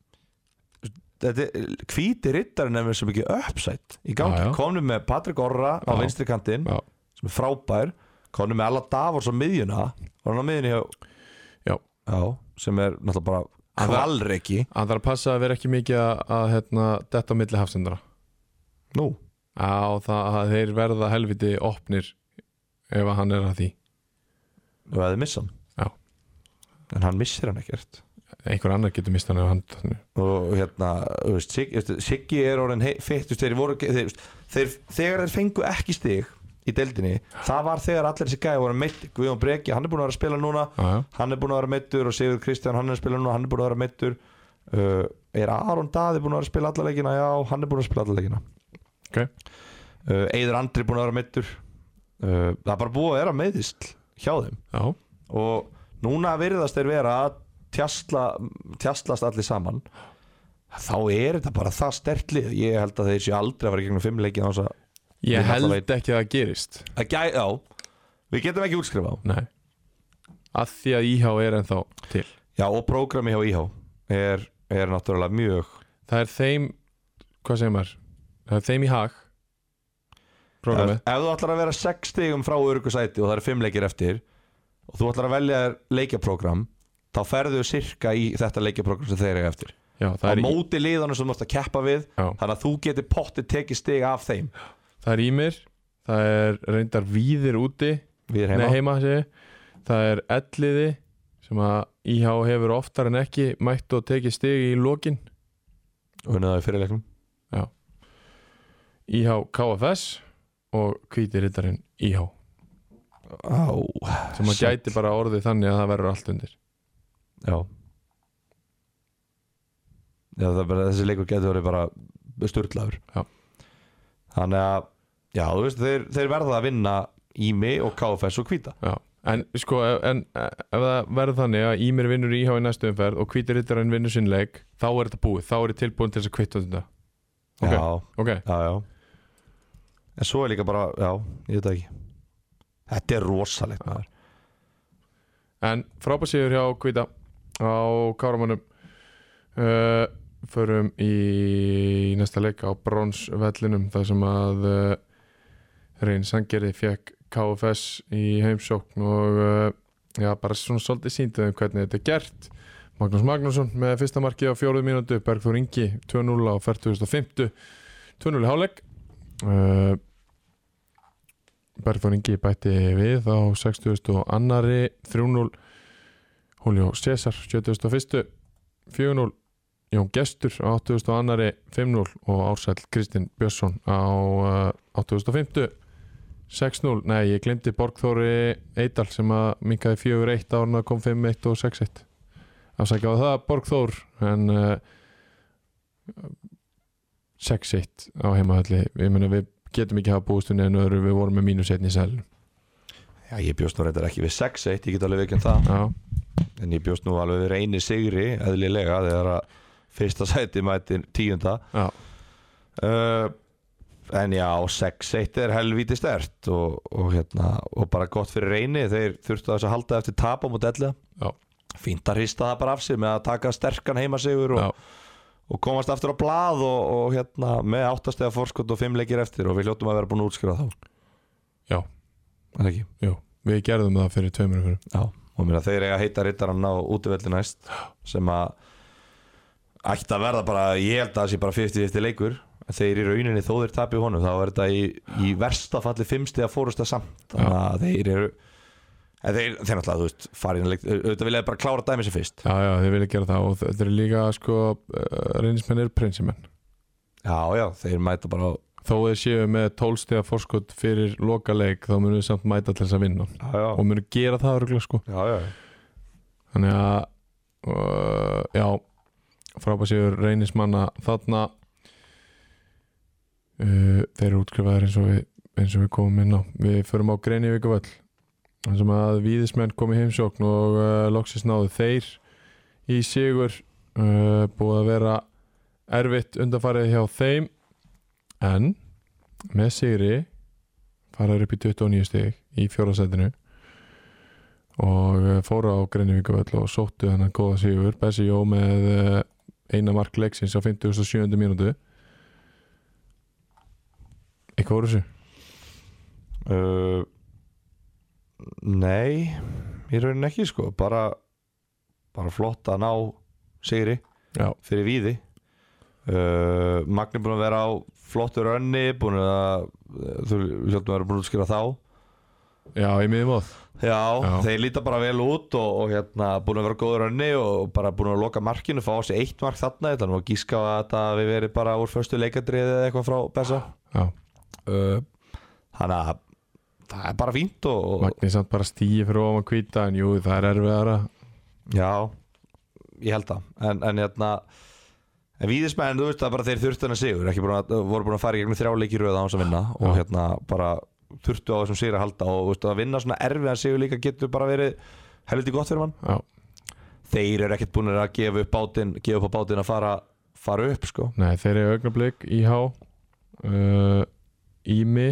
S2: þetta er hvíti rittarinn er með svo mikið uppsætt í gangi,
S1: Já, já.
S2: komnum með Patrik Orra á
S1: Já.
S2: vinstri kantinn,
S1: Já.
S2: sem er frábær komnum með alla Davos á miðjuna var hann á miðjunni hjá
S1: Já.
S2: sem er náttúrulega bara
S1: Hann var-
S2: kvalreiki
S1: Hann þarf að passa að vera ekki mikið að, að hérna, detta á milli hafsendara
S2: nú,
S1: á það að þeir verða helviti opnir ef að hann er að því
S2: ef þið missa hann
S1: Já.
S2: en hann missir hann ekkert
S1: einhver annar getur mist hann ef hann
S2: og hérna, þú veist, Sig- þú veist, Siggi er orðin fyrtust, þeir voru þeir, þú veist, þeir, þegar þeir fengu ekki stig í deildinni, það var þegar allir þessi gæði voru meitt, Guðjón Breki, hann er búin að vera að spila núna
S1: Já, já.
S2: hann er búin að vera meittur og Sigur Kristján hann er að spila núna, hann er búin að vera meittur uh, er Aron Daði búin að vera að spila alla leikina já, hann er búin að spila alla leikina
S1: Ok.
S2: uh, Eður Andri búin að vera meittur uh, það er bara búið að vera meiðisl hjá þeim
S1: Já,
S2: og núna virðast þeir vera að tjastla, tjastlast allir saman þá er þetta bara það stertlið ég held að þeir séu aldrei að vera í gegnum fimm leikin á þess að, Ég
S1: ég held
S2: náttúrulega veit-
S1: ekki að það gerist
S2: að gæ, já, við getum ekki útskrifa á
S1: Nei að því að IH er ennþá til
S2: já, og prógrami hjá IH er, er náttúrulega mjög
S1: Það er þeim, hvað segir maður það er þeim í hag
S2: ef,
S1: prógramið
S2: ef þú ætlar að vera 6 stigum frá öryggisæti og það eru 5 leikir eftir og þú ætlar að velja þér leikjaprógram þá ferðu cirka í þetta leikjaprógram sem þeir eru eftir
S1: Já, það
S2: á
S1: er, í,
S2: móti liðanum sem þú ætlar að keppa við
S1: Já.
S2: þannig að þú getur pottið tekið stig af þeim
S1: það er Ímir það er reyndar víðir úti
S2: við erum
S1: Nei,
S2: heima,
S1: heima segi. ég. Það er elliði sem að IH hefur oftar en ekki mætt og tekið stig í lokin
S2: og unnið það í fyrirleiknum
S1: IH KFS og hvíti rittarinn IH
S2: á,
S1: sem að gæti bara orðið þannig að það verður allt undir
S2: já já það er bara þessi leikur getur verið bara sturglaður
S1: Já.
S2: þannig að já þú veist þeir, þeir verða að vinna Ími og KFS og Kvíta
S1: Já. En sko, ef- en, ef það verður þannig að Ímir vinnur IH í næstu umferð og hvíti rittarinn vinnur sinn leik þá er þetta búið, þá er þetta tilbúin til þess að kvitta um þetta Ok.
S2: já
S1: Ok,
S2: já, já. En svo er líka bara, já, ég veit það ekki Þetta er rosalegt maður
S1: en frábærsíður hjá hvita á Káramannum uh, förum í næsta leik á bronsvellinum þar sem að uh, Reyn Sangeri fekk KFS í heimsókn og uh, já, bara svona svolítið síndið um hvernig þetta er gert Magnús Magnússon með fyrsta markið á fjóruð mínútu Bergþór Ingi 2-0 á 40.50 2-0 í háleik uh, Bergþór Ingi bætti við á 60. annari 3-0 Julio César 71. 4-0 Jón Gestur á 80. annari 5-0 og Ársæll Kristinn Björnsson á uh, 85. 6-0, nei ég glemdi Borgþóri Eidal sem að minkaði 4-1 árna kom 5-1 og 6-1 afsækja á það Borgþór en uh, 6-1 á heimahalli ég meina við getum ekki hafa búist unni en öðru við vorum með mínus 1 í sælun
S2: Já, ég bjóst nú reyndar ekki við 6-1, ég get alveg ekki um það
S1: já,
S2: en ég bjóst nú alveg við reyni sigri eðlilega þegar að fyrsta sæti mæti tíunda
S1: já,
S2: uh, en já 6-1 er helvíti stert og, og, hérna, og bara gott fyrir reyni þeir þurftu að þess að halda eftir tap á mót ellu
S1: Já.
S2: fínt að hrista það bara af sér með að taka sterkan heimasigur
S1: Já.
S2: og, og komast aftur á blað og, og hérna, með áttastega fórskot og fimm leikir eftir og við hljóttum að vera búin að útskrifa þá
S1: Já.
S2: Er það ekki
S1: jú við gerðum það fyrir tveimur fyrir
S2: Já, og mér að þeir eiga að heita rittarann á útivelli næst sem að ætti að verða bara, ég held að það sé bara 50-50 leikur en þeir í rauninni þó þeir tapja honum þá er þetta í, í versta falli fimmstið að fórusta samt þannig að þeir eru en þeir, þeir náttúrulega, þú veist, farin leik auðvitað vilja þeir bara klára dæmi sem fyrst
S1: já, já, þið vilja gera það og þetta er líka sko reynismenn er prinsimenn
S2: Já, já, þeir mæta bara á
S1: þó þeir séu með tólstega forskot fyrir lokaleik þá munum við samt mæta til þess að vinna
S2: Já, já,
S1: og munum gera það örgulega sko
S2: já, já,
S1: þannig að uh, já frábæsíður reynismanna þarna uh, þeir eru útskrifaðir eins og við eins og við komum inn á við förum á Greinivíku völl þar sem að víðismenn kom í heimsókn og uh, loksist náðu þeir í sigur uh, búið að vera erfitt undanfarið hjá þeim en með sigri faraður upp í 29 stig í fjórasætinu og eh, fóru á Greinivíkavöll og sóttu hennan góða sigur Bessi Jó með eh, eina mark leiksins á 57. mínútu eitthvað voru þessu
S2: Uh, nei, í rauninni ekki sko bara, bara flott að ná sigri
S1: Já.
S2: fyrir víði uh, Magni búin að vera á flottur önni búin að eh, þú hljóttum að vera búin að skýra þá
S1: já, í miðmóð
S2: Já,
S1: Já.
S2: þeir líta bara vel út og, og hérna, búin að vera góður önni og bara búin að loka markinu, fá á sig eitt mark þarna þetta er nú að gíska að þetta við verið bara úr föstu leikadriði eða eitthvað frá Bessa
S1: já,
S2: uh, Þannig að það er bara fínt og, og,
S1: Magni samt bara stíi fyrir ofan kvíta en jú, það er erfiðara
S2: Já, ég held það En, en hérna En víðismenn, þú veist það bara þeir þurftu hennar sigur ekki búin að, voru búin að fara í gegnum þrjáleiki röð á hans að vinna og
S1: Já.
S2: hérna bara þurftu á þessum sigur að halda og þú veist, að vinna svona erfiðan sigur líka getur bara verið helviti gott fyrir mann
S1: já,
S2: Þeir eru ekkert búin að gefa upp bátinn gefa upp á bátinn að fara, fara upp sko
S1: nei, þeir eru augnablík IH uh, Ími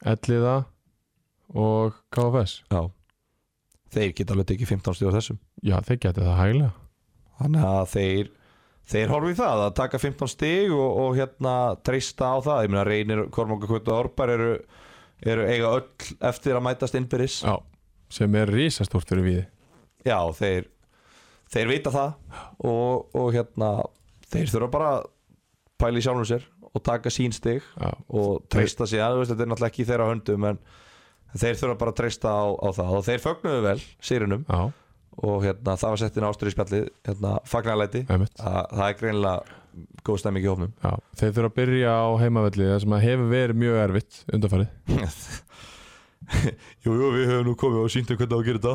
S1: Elliða og KFS
S2: Já Þeir geta alveg tekið 15 stíð á þessum
S1: já, þeir geti það hæglega
S2: Þannig að þeir þeir horfið það að taka 15 stig og, og hérna treysta á það ég meina reynir Kormóka Kutu og Orbar eru, eru eiga öll eftir að mætast innbyrðis
S1: já, sem er risastórt fyrir við
S2: já þeir þeir vita það og, og hérna þeir þurfa bara að pæla í sjálfum sér og taka sín stig
S1: já,
S2: og treysta síðan, þú veist þetta er náttúrulega ekki í þeirra höndum en þeir þurfa bara að treysta á, á það og þeir fögnuðu vel sírunum
S1: já,
S2: og hérna það var settin ástur í spjallið hérna fagnalæti
S1: einmitt
S2: það, það er greinilega góð stemming í hófnum
S1: Já, þeir þurfa að byrja á heimavelli það sem að hefur verið mjög erfitt undanfarið
S2: Jú, jú, við höfum nú komið og síndum hvernig það á að gera þetta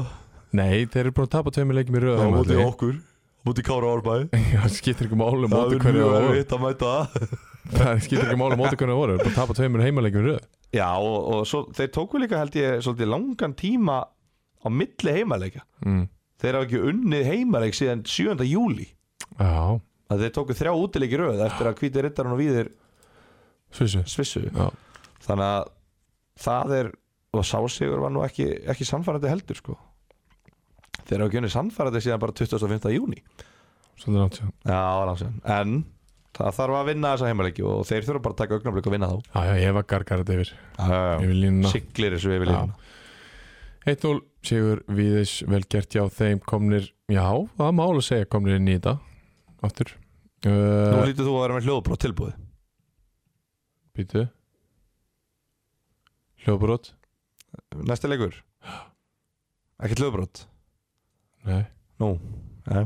S1: Nei, þeir eru búin að tapa tveimur leikjum í röð
S2: Það móti
S1: heimavelli
S2: okkur, móti Kára Árbæði
S1: Já, það skiptir ekki máli á
S2: Það
S1: móti
S2: er
S1: hvernig
S2: mjög
S1: það voru
S2: erfitt að mæta það
S1: Það skiptir ekki máli á móti hvernig það voru Þeir eru búin að tapa tveimur heimaleikjum í röð
S2: Já, og, og svo, þeir tóku líka held ég svolítið langan tíma á milli heimaleika
S1: mm.
S2: Þeir hafa ekki unnið heimaleik síðan 7. júli
S1: Já,
S2: að þeir tóku þrjá útileiki í röð eftir að hvíti rittarinn og víðir
S1: svissu
S2: svissu
S1: Já,
S2: Þannig að það er og sásigur var nú ekki, ekki samfærandi heldur sko Þeir hafa ekki unnið samfærandi síðan bara 25. júni
S1: svolítið nátt síðan
S2: Já, það var langt síðan En það þarf að vinna þessa heimaleiki og þeir þurfa bara að taka augnablik og vinna þá
S1: Já, já, ég var gargarð yfir
S2: já,
S1: Yfir línuna
S2: Siglir þessu yfir
S1: Já.
S2: lífuna
S1: 1-0 Sigur Víðis vel gert hjá þeim komnir Já, það má alveg segja komnir inn í þetta Aftur
S2: Nú
S1: uh,
S2: lítur þú að vera með hljóðbrótt tilbúið
S1: býtu hljóðbrot
S2: Næsti leikur Ekkert lögbrot
S1: nei,
S2: Nú Nei.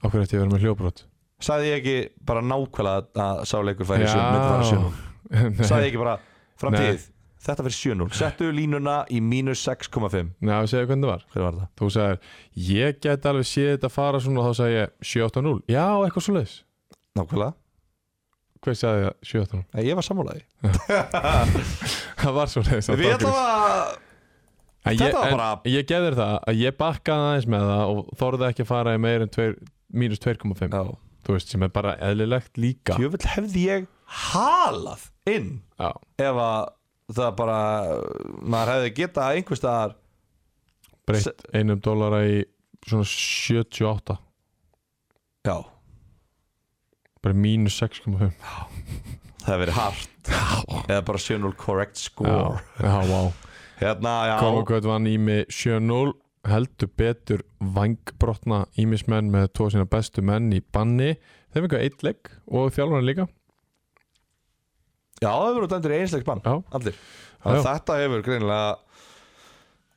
S1: af hverju ætti ég að vera með hljóðbrot
S2: Sagði ég ekki bara nákvæmlega að sá leikur færi
S1: Já.
S2: 7 myndi fara 7-0
S1: Nei.
S2: Sagði ég ekki bara framtíð
S1: Nei.
S2: Þetta fyrir 7-0 Settu línuna í mínus 6,5
S1: Nei, við segja hvernig það var
S2: Hvernig var það?
S1: Þú sagðir, ég get alveg séð þetta fara svona og þá sagði ég 7-8-0 Já, eitthvað svo leis
S2: Nákvæmlega
S1: Hver sagði það 7-8-0?
S2: Nei, Ég var sammálaði
S1: Það var svo leis
S2: Við ætlum að
S1: En
S2: Þetta
S1: ég,
S2: var
S1: en
S2: bara-
S1: ég gefðir það að ég bakkaði aðeins með það og þorði ekki að fara í meir en 2, mínus 2,5
S2: Já
S1: þú veist sem er bara eðlilegt líka
S2: Jöfnvel hefði ég halað inn
S1: Já,
S2: ef að það bara maður hefði getað einhvers staðar
S1: breytt einum dólara í svona 78
S2: Já,
S1: bara mínus 6,5
S2: það hefði verið hart eða bara 7-0 correct
S1: Já,
S2: score
S1: já, vá
S2: Hérna, já
S1: Kókvöld vann Ími 7-0 heldur betur vangbrotna Ímismenn með tvo sína bestu menn í banni þeim eitthvað eitt leik og þjálfarinn líka
S2: Já, það hefur verið dæmdur í einsleik bann
S1: Já.
S2: Allir Þannig að
S1: Já.
S2: Þetta hefur greinilega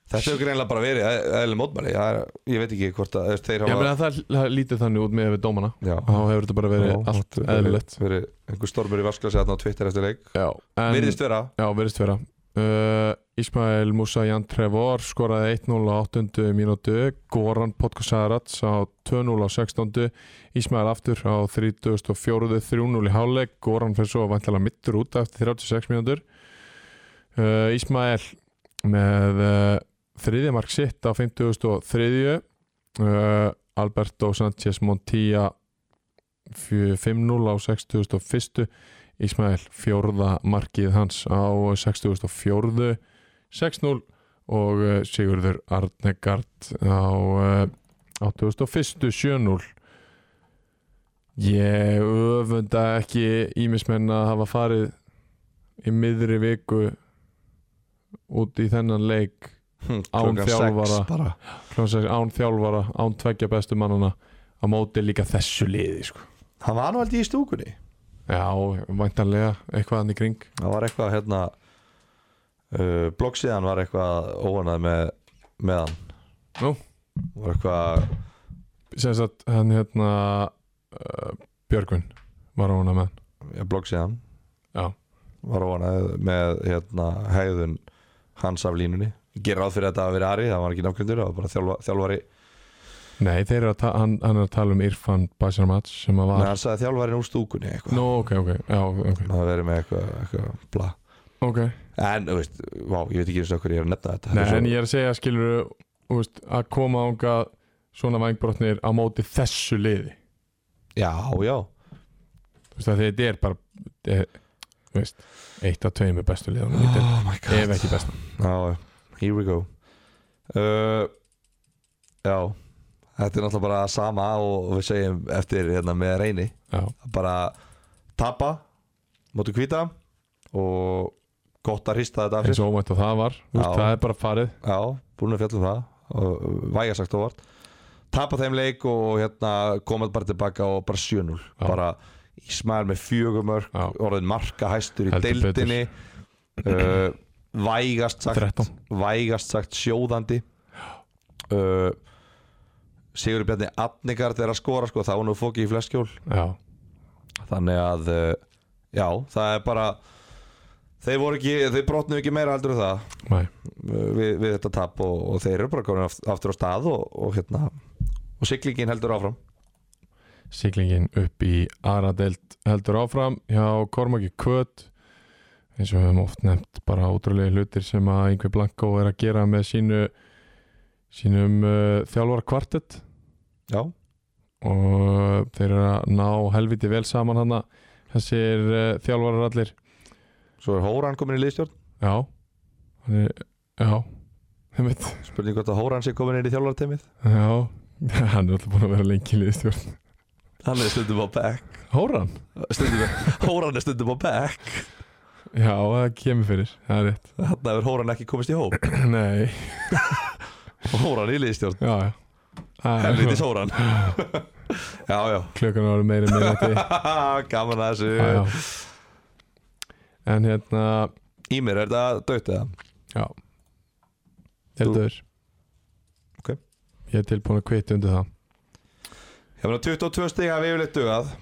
S2: Þetta hefur greinilega bara verið eðli mótmæli Já, ég veit ekki hvort að þú veist, þeir
S1: Ég
S2: hafa
S1: meina það, það lítið þannig út með við dómana
S2: Já,
S1: þá hefur þetta bara verið
S2: Já,
S1: allt
S2: verið-
S1: eðlilegt
S2: verið einhver stormur í vasklæsi þarna á Twitter eftir leik
S1: Já, en,
S2: Virðist vera
S1: já, virðist vera uh, Ismail Musa Jan Trevor skoraði 1-0 á 8. mínútu Goran Podkasarats á 2-0 á 16. Ismail aftur á 34. 3-0 í hálfleik Goran fyrir svo vantilega mittur út eftir 36 mínútur uh, Ismail með uh, þriðjumark sitt á 53. Uh, Alberto Sanchez Montilla fjö- 5-0 á 61. Ísmael fjórða markið hans á 64. 6-0 og eh, Sigurður Arnegard á eh, 81. 7-0 Ég öfunda ekki ímismenn að hafa farið í miðri viku út í þennan leik
S2: hm,
S1: Án
S2: klukkan
S1: þjálfara.
S2: sex bara.
S1: Klonsæs, án þjálfara, án tveggja bestu mannana á móti líka þessu liði sko.
S2: Hann var nú aldrei í stúkunni
S1: Já, væntanlega eitthvað hann í kring
S2: það var eitthvað hérna uh, bloggsíðan var eitthvað óanað með, með hann
S1: Nú?
S2: var eitthvað
S1: sem sagt hann hérna uh, Björgvin var ána með hann.
S2: ja, bloggsíðan
S1: Já.
S2: var óanað með hérna hæðun hans af línunni Ég gerir ráð fyrir að þetta að vera Ari, það var ekki nákvæmdur það var bara þjálfa, þjálfari,
S1: Nei, þeir eru að ta- hann, hann er að tala um Irfan Bajarmats sem að
S2: Nei,
S1: var
S2: hann sagði þjálfarin úr stúkunni eitthvað,
S1: Nú, ok, ok, já, ok,
S2: það var verið með eitthvað, eitthvað bla,
S1: okay.
S2: en þú veist vá, ég veit ekki eins og okkur ég er að nefna þetta
S1: Nei,
S2: Þetta er
S1: en
S2: svo-
S1: ég er að segja, skilur veist, að koma ánga svona vangbrotnir á móti þessu liði
S2: já, já,
S1: Þú veist að þetta er bara eh, þú veist, eitt af tveimur bestu liðunum í deildinni,
S2: oh my god
S1: ef ekki bestu
S2: Já, here we go uh, Já Þetta er náttúrulega bara sama og við segjum eftir hérna með reyni
S1: Já,
S2: bara tapa mótu kvíta og gott að hrista þetta af sér
S1: eins og ómætt og það var þú veist,
S2: Já.
S1: það er bara farið
S2: Já, búin að fjalla um það og væga sagt óvart tapa þeim leik og hérna komað bara tilbaka og bara 7-0
S1: Já.
S2: bara Ísmael með fjögumörk
S1: Já.
S2: orðin marka hæstur í
S1: Heldur betur.
S2: deildinni uh, vægast sagt
S1: 13.
S2: vægast sagt sjóðandi uh, Sigur Bjarni Atningard er að skora sko, þá er nú fókið í fleskjól
S1: Já,
S2: þannig að uh, já, það er bara þeir voru ekki, þeir brotnu ekki meira heldur en það
S1: mæ,
S2: uh, við, við þetta tap og, og þeir eru bara komin aft- aftur á stað og, og hérna og siglingin heldur áfram
S1: siglingin upp í Aradelt heldur áfram hjá Kormaki Kvöt eins og við höfum oft nefnt bara ótrúlega hlutir sem að einhver Blanko er að gera með sínu sínum uh, þjálfara kvartett
S2: já,
S1: og þeir eru að ná helviti vel saman hana þessir uh, þjálfarar allir
S2: svo er Hóran komin í liðstjórn
S1: já hann er, já, einmitt
S2: spurning hvort að Hóran sé komin inn í þjálfarteimið
S1: já, hann er alltaf búin að vera lengi í liðstjórn
S2: hann er stundum á back
S1: Hóran,
S2: stundum, Hóran er stundum á back
S1: já, það kemur fyrir það er rétt,
S2: þarna hefur Hóran ekki komist í hóp
S1: nei,
S2: Hóran í liðstjórn,
S1: já, já Það er-
S2: helvitis Hóran já, já
S1: klukkan var meiri meira til
S2: gaman að þessu
S1: Já, já. en hérna,
S2: Í mér er þetta dött eða
S1: já Heldur
S2: Ok.
S1: Ég er tilbúin að kviti undir það
S2: Ég meina 22 stig hafa yfirleitt dugað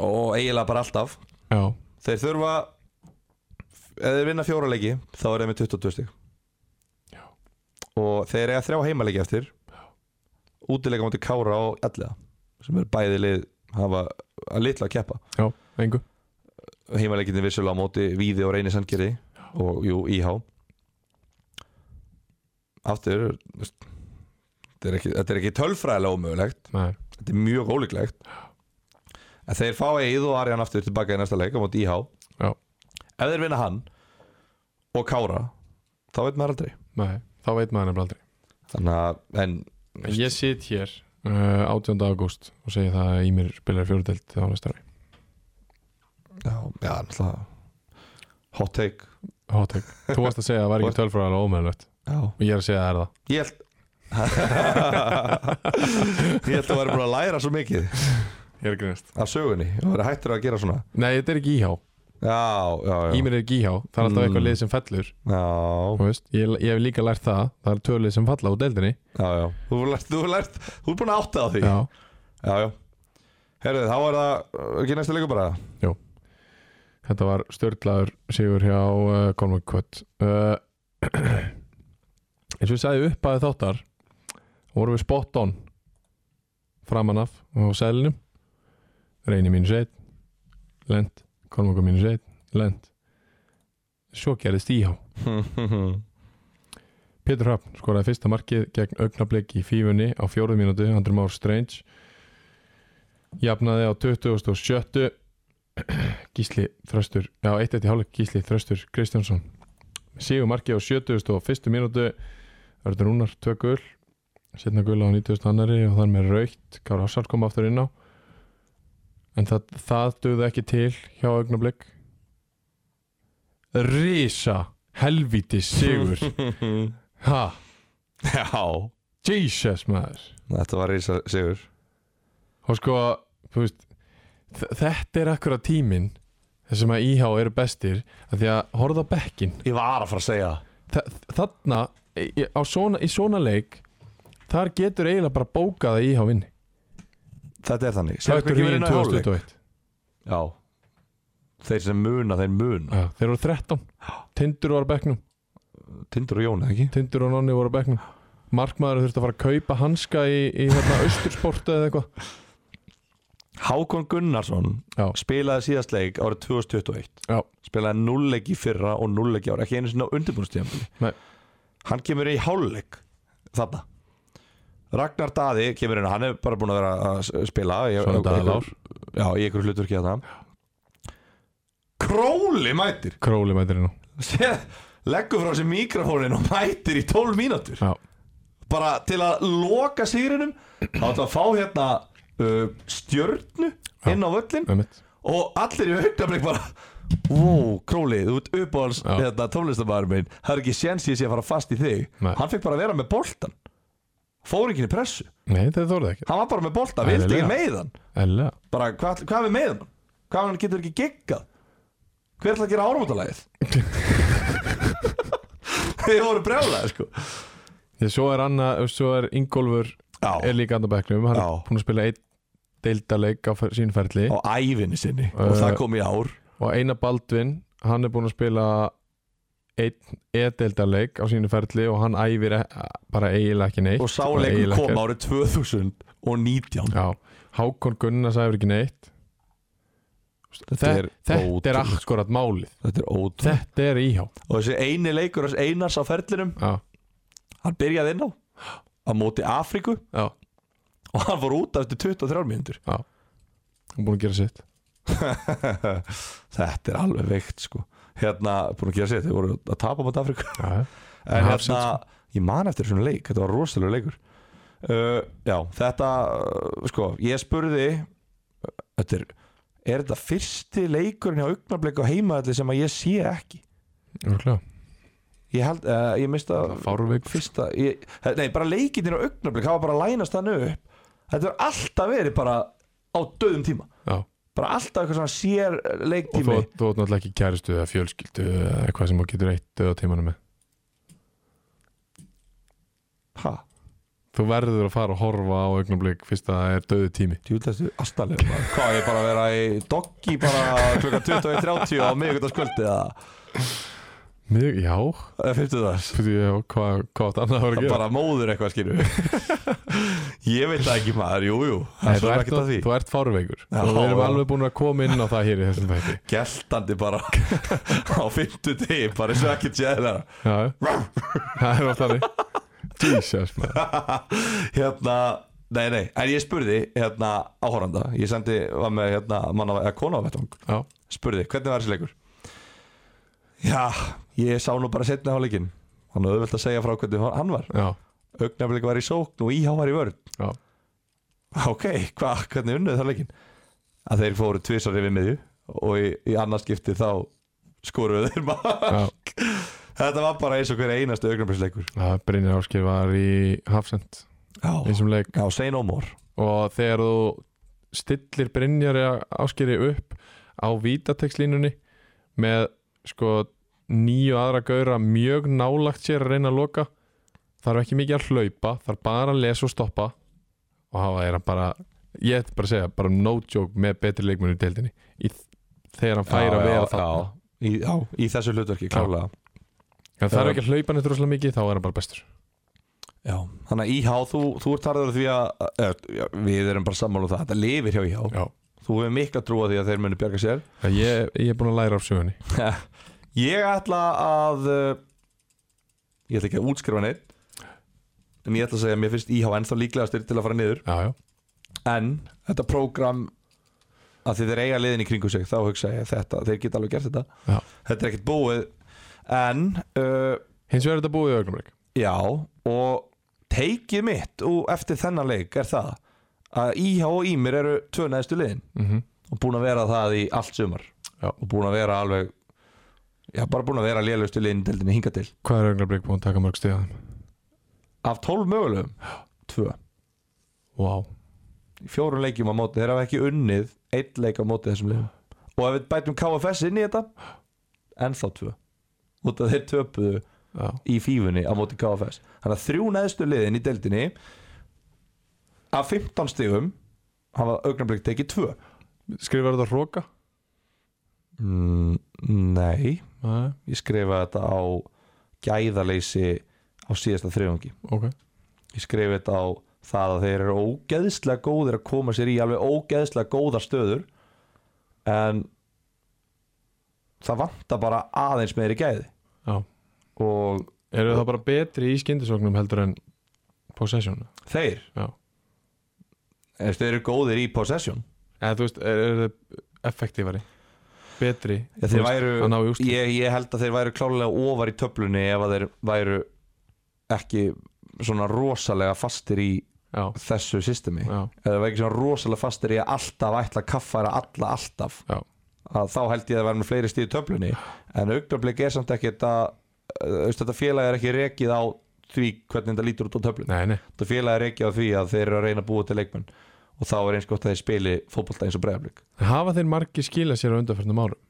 S2: Og eiginlega bara alltaf
S1: Já,
S2: Þeir þurfa Ef þeir vinna fjóra leiki Þá er þeir með 22 stig
S1: Já.
S2: Og þeir eiga þrjá heimaleiki eftir Útileika mútið Kára og Ellega Sem eru bæði lið Hafa að litla að keppa
S1: já, engu
S2: Heimaleikinn er vissulega á móti Víði og Reyni Sandgerði Og jú, Íhá Aftur þú veist, Þetta er ekki, þetta er ekki tölfræðilega ómögulegt
S1: Nei,
S2: þetta er mjög ólíklegt en þeir fá Eið og Arjan aftur tilbaka í næsta leik á móti IH
S1: Já.
S2: ef þeir vinna hann og Kára þá veit maður aldrei
S1: nei, þá veit maður nefnilega aldrei
S2: þannig að en
S1: En Ég sit hér uh, 18. ágúst og segi það að Ímir spilar fjórdelt á næsta ári
S2: já, já náttúrulega hot take
S1: Hátök. Þú varst að segja að það var ekki tölfræðilega ómennlegt
S2: já.
S1: og ég er að segja að það er það
S2: ég held ég held að vera búin að læra svo mikið
S1: Ég er að grínast
S2: af sögunni og vera hættur að gera svona
S1: Nei, þetta er ekki íhá
S2: já, já, já
S1: Ímir er ekki íhá, það er alltaf
S2: Mm.
S1: eitthvað lið sem fellur
S2: já,
S1: Þú veist, ég, ég hef líka lært það það er tölið sem falla úr deildinni
S2: já, já þú hefur lært, þú hefur lært þú er búin að átta á því
S1: Já,
S2: já, já. herðu þá er það er ekki næsta leiku bara
S1: þetta var störtlaður sigur hjá uh, Conway Kvöt uh, eins og ég sagði upp að þáttar vorum við spot on framan af á selinum reyni mínus 1 lent, Conway mínus 1 lent svo gerðist íhá Pétur Hrafn skoraði fyrsta markið gegn augnablik í fífunni á fjóruð mínútu, Andri Már Strange jafnaði á 27. Gísli Þröstur já, eitt eitt í hálfleik Gísli Þröstur Kristjánsson Sigur markið á 71. mínútu Örður Rúnar, tvö gull setna gull á 90. annari og þar með raukt Kára Hassar kom aftur inn á en það, það duði ekki til hjá augnablik Rísa helvíti sigur Ha,
S2: Já
S1: Jesus maður
S2: Þetta var reysa sigur
S1: Og sko, þú veist þ- Þetta er akkurat tíminn þar sem að IH eru bestir að Því að horfða á bekkin
S2: Ég var að fara að segja
S1: Þa, Þarna, í, í- á svona, í svona leik Þar getur eiginlega bara bókað að IH vinni
S2: Þetta er þannig
S1: Höttur
S2: Sérðu hver kemur
S1: hýðin
S2: inn á hálfleik?
S1: 2021
S2: Já Þeir sem muna, þeir muna
S1: Já, Þeir voru 13 Tindur var á bekknum,
S2: Tindur og Jón, eða ekki?
S1: Tindur og Nonni voru á bekknum Markmaður þurfti að fara að kaupa hanska í, í hérna austursporta eða eitthvað
S2: Hákon Gunnarsson
S1: Já.
S2: spilaði síðast leik árið 2021
S1: Já.
S2: Spilaði nullleik í fyrra og nullleik í ára Ekki einu sinni á undirbúinnstíðanbili
S1: Nei.
S2: Hann kemur í hálfleik Þarna Ragnar Daði kemur inn Hann er bara búin að vera að spila í-
S1: Svona dagalár
S2: Já, í ykkur hluturki að það Króli mætir
S1: Króli mætir hérna
S2: Sér- leggur frá sér mikrofónin og mætir í 12 mínútur
S1: Já,
S2: bara til að loka sýrinum þá ætla að fá hérna uh, stjörnu inn á völlin
S1: með mitt
S2: og allir í augnablik bara wow, Króli, þú ert uppáhalds
S1: Já.
S2: hérna, tónlistamæður minn, það er ekki séns ég sé að fara fast í þig,
S1: Nei.
S2: hann fekk bara að vera með boltan fór ekki í pressu
S1: Nei, þetta þorði ekki
S2: hann var bara með boltan, vildi
S1: Eðlilega.
S2: ekki meiðan
S1: Ella
S2: bara hvað, hvað við meiðan hann? hvað hann getur ekki giggað hver ætla að gera áramótalagið þeir voru brjálega sko
S1: Ég, svo er Anna, svo er Ingólfur
S2: já,
S1: er líka andan bekknum, hann
S2: Já.
S1: er búinn að spila einn deildaleik á fer- sínu ferli
S2: á ævinni sinni og
S1: Eh.
S2: það kom í ár
S1: og Einar Baldvin, hann er búinn að spila einn e-deildaleik á sínu ferli og hann æfir e bara eiginlega ekki neitt
S2: og
S1: eiginlega
S2: sáleikur kom
S1: ekkert.
S2: árið 2019
S1: Já, Hákon Gunnars æfir ekki neitt Þetta er, þetta er
S2: ótrúlegt.
S1: akkurat málið
S2: þetta er ótrúlegt
S1: Þetta er íhá
S2: og þessi eini leikur hans einars á ferlinum
S1: Já,
S2: hann byrjaði inn á á móti Afríku
S1: já,
S2: og hann fór út eftir 23 mínútur
S1: hann er búinn að gera sitt
S2: þetta er alveg veikt sko hérna, búin að gera sér, þeir voru að tapa mot Afríku
S1: Já,
S2: en
S1: Hafsins,
S2: hérna, ég man eftir svona leik þetta var rosalega leikur uh, já, þetta uh, sko, ég spurði uh, þetta er, er þetta fyrsti leikurinn hjá augnablik á heimaðalli sem að ég sé ekki
S1: örgulega
S2: ég held, uh, ég mista
S1: Fárveik
S2: fyrsta, ég, nei, bara leikinn á augnablik, hafa bara lænast þannig upp þetta er alltaf verið bara á döðum tíma
S1: Já,
S2: bara alltaf eitthvað svona sér uh,
S1: og
S2: leiktími
S1: þú, þú átt náttúrulega ekki kæristu eða fjölskyldu eða eitthvað sem þú getur eitt döða tímanum með
S2: ha,
S1: þú verður að fara að horfa á augnablík fyrst að það er döðu tími
S2: djúðlæstu astalega maður. hvað ég bara að vera í doggi bara klukka 21.30 á miðugutaskvöldi eða
S1: Mjög, já,
S2: eða 50 þess
S1: fyrir ég og hvað hva átt annað að vera að
S2: það
S1: gera
S2: bara móður eitthvað skilju ég veit það ekki maður, jújú jú.
S1: Nei,
S2: það
S1: þú,
S2: er
S1: ert,
S2: ekki að því
S1: þú ert fárveikur
S2: Já,
S1: og við erum
S2: já.
S1: alveg búin að koma inn á það hér í þessum þætti
S2: geltandi bara á 50 degi bara eins og ekki tjæðlega
S1: Já, það er alltaf þannig Jesus maður
S2: hérna, nei nei, en ég spurði hérna áhoranda, ég sendi var með hérna manna, eða kona á vettvang
S1: Já,
S2: spurði, hvernig var þessi leikur? Já, ég sá nú bara setna á leikinn, hann er auðvelt að segja frá hvernig hann var,
S1: já,
S2: augnablik var í sókn og íhá var í vörn
S1: já,
S2: ok, hva, hvernig unnuðu það leikinn? að þeir fóru tvisar yfir miðju og í, í annarskipti þá skoruðu þeir maður
S1: já.
S2: þetta var bara eins og hver einastu augnabliksleikur
S1: Það Brynjar Áskir var í Hafsend
S2: já,
S1: eins og leik
S2: já, say no more
S1: og þegar þú stillir Brynjar Áskiri upp á vítatekslínunni með sko nýju aðra gauðra mjög nálagt sér að reyna að loka þarf ekki mikið að hlaupa þarf bara að lesa og stoppa og hafa er hann bara ég ætti bara að segja, bara no joke með betri leikmenn í deildinni í, þegar hann fær að vera það
S2: já, í, já, í þessu hlutverki, klálega
S1: en þarf ekki að hlaupa neitt rosalega mikið þá er hann bara bestur
S2: já. þannig að íhá, þú, þú ert harður á því að eh, já, við erum bara sammála um það, þetta lifir hjá íhá
S1: Já.
S2: þú hefur mikla trú á því að þeir munu bjarga sér
S1: ég, ég er búin að læra af sögunni
S2: ég ætla að eh, ég ætla ekki að útskrifa neitt en ég ætla að segja að mér finnst íhá ennþá líklegastir til að fara niður
S1: já, já.
S2: en þetta prógram að þið þeir eiga liðin í kringum sig þá hugsa ég þetta, þeir geta alveg gert þetta
S1: Já.
S2: þetta er ekkert búið en uh,
S1: hins vegar er þetta búið í augnumleik
S2: já og teikið mitt og eftir þennan leik er það að IH og Ímir eru tvö neðstu liðin
S1: mm
S2: og búin að vera það í allt sumar
S1: Já.
S2: og búin að vera alveg já, bara búin að vera lélustu liðin deildinni hinga til
S1: hvað er augnumleik búin að taka mörg stíða þeim?
S2: af 12 mögulegum, tvö
S1: Wow.
S2: í fjórun leikjum á móti, þeir hafa ekki unnið einn leik á móti þessum liðum og ef við bætum KFS inn í þetta ennþá tvö út að þeir töpuðu
S1: Já.
S2: í fífunni á móti KFS þannig að þrjú neðstu liðin í deildinni af 15 stigum hafa augnablik tekið tvö
S1: Skrifar þetta hróka?
S2: mm, nei
S1: Nei,
S2: ég skrifa þetta á gæðaleysi á síðasta þriðungi
S1: ok
S2: ég skrifa þetta á það að þeir eru ógeðslega góðir að koma sér í alveg ógeðslega góðar stöður en það vantar bara aðeins meiri gæði
S1: Já.
S2: og
S1: Eru það bara betri í skyndisóknum heldur en possession?
S2: þeir
S1: Já.
S2: Eða, þeir eru góðir í possession
S1: Eða þú veist, eru er það effektífari? Betri?
S2: Já,
S1: Þú
S2: þeir
S1: veist,
S2: væru,
S1: að ná í úrslit.
S2: ég, ég held að þeir væru klálega ofar í töflunni ef að þeir væru ekki svona rosalega fastir í
S1: Já,
S2: þessu systemi
S1: já,
S2: eða það var ekki svona rosalega fastir í að alltaf ætla að kaffæra alla alltaf
S1: Já.
S2: að þá held ég að vera með fleiri stíð í töflunni en augnablik er samt ekkert að eh, veist, þetta félag er ekki rekið á því hvernig þetta lítur út á töflunni
S1: nei, nei
S2: þetta félag er rekið á því að þeir eru að reyna að búa til leikmenn og þá er eins gott að þeir spili fótbolta eins og bregðarblik
S1: Hafa þeir margi skila sér á undanförnum árum?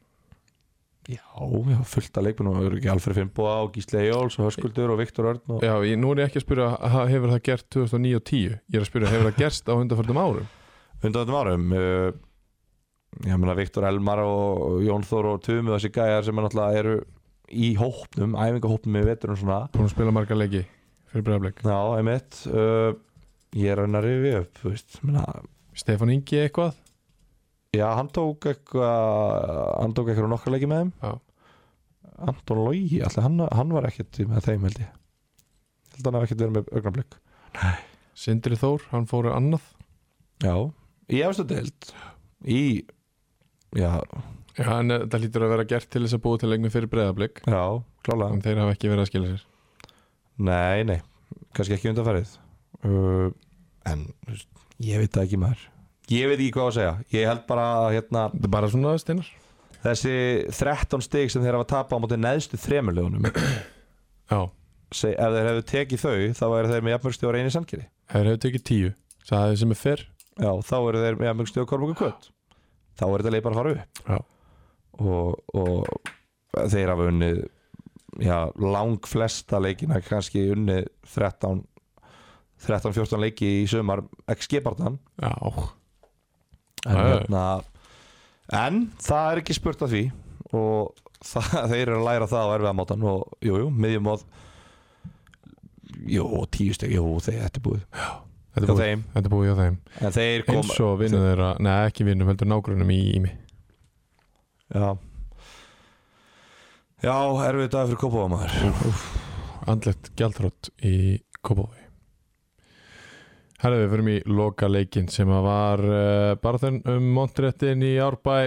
S2: já, já, fullt af leikmenn og eru ekki Alfred Fimboa og Gísli Jóls og Höskuldur og Viktor Örn og...
S1: Já, ég, nú er ég ekki að spyrja, ha- hefur það gert 2009 og 10? Ég er að spyrja, hefur það gerst á undanförnum árum?
S2: undan þetta varum uh, eh, ég meina Viktor Elmar og Jón Þór og Tumi og þessi gæjar sem er náttúrulega eru í hópnum, æfingahópnum með veturum svona
S1: Búin að spila marga leiki fyrir bregðarleik
S2: já, einmitt uh, ég er að reyna að rifi upp þú veist, meina,
S1: Stefán Ingi eitthvað?
S2: já, hann tók eitthvað hann tók eitthvað nokkar leiki með þeim
S1: Já.
S2: Anton Lógi, alltaf hann, hann var ekkert í- með þeim held ég Ég held að hann hef ekkert verið með augnablik
S1: Sindri Þór, hann fóru annað
S2: já, í efstu deild í, já,
S1: Já, en eh, þetta hlýtur að vera gert til þess að búa til leikmi fyrir bregðarleik
S2: já, klálega
S1: en þeir hafa ekki verið að skila sér
S2: Nei, nei, kannski ekki undanfærið uh, En þú veist, ég veit það ekki maður Ég veit ekki hvað að segja Ég held bara að hérna,
S1: Þetta er bara svona steinar
S2: þessi 13 stig sem þeir hafa tapað á móti neðstu þremurlegunum
S1: Já,
S2: seg- Ef þeir hefðu tekið þau þá eru þeir með jafnmörgstu á reyni samkýri
S1: þeir hefðu tekið tíu Sæði sem er fyrr
S2: Já, þá eru þeir með jafnmörgstu á kormungu kvöld þá er þetta leið bara að fara upp
S1: Já.
S2: og, og þeir hafa unnið já, lang flesta leikina kannski unnið 13 13-14 leiki í sumar XG-barnan
S1: Já,
S2: en,
S1: Já, já.
S2: hérna, en það er ekki spurt að því og það, þeir eru að læra það á erfiðamátan og jú, jú, miðjumóð jú, tíu steg, jú, þeir þetta er búið
S1: þetta er
S2: hjá
S1: búið,
S2: þeim,
S1: þetta er búið hjá þeim
S2: en þeir
S1: eins
S2: koma
S1: og vinnum þeirra, neða ekki vinnum heldur nágrunum í ími
S2: já já, erfið dag fyrir kopaða maður
S1: andlegt gjaldrótt í Kópavogi Herðu, við förum í loka leikin sem að var uh, barðun um montréttin í Árbæ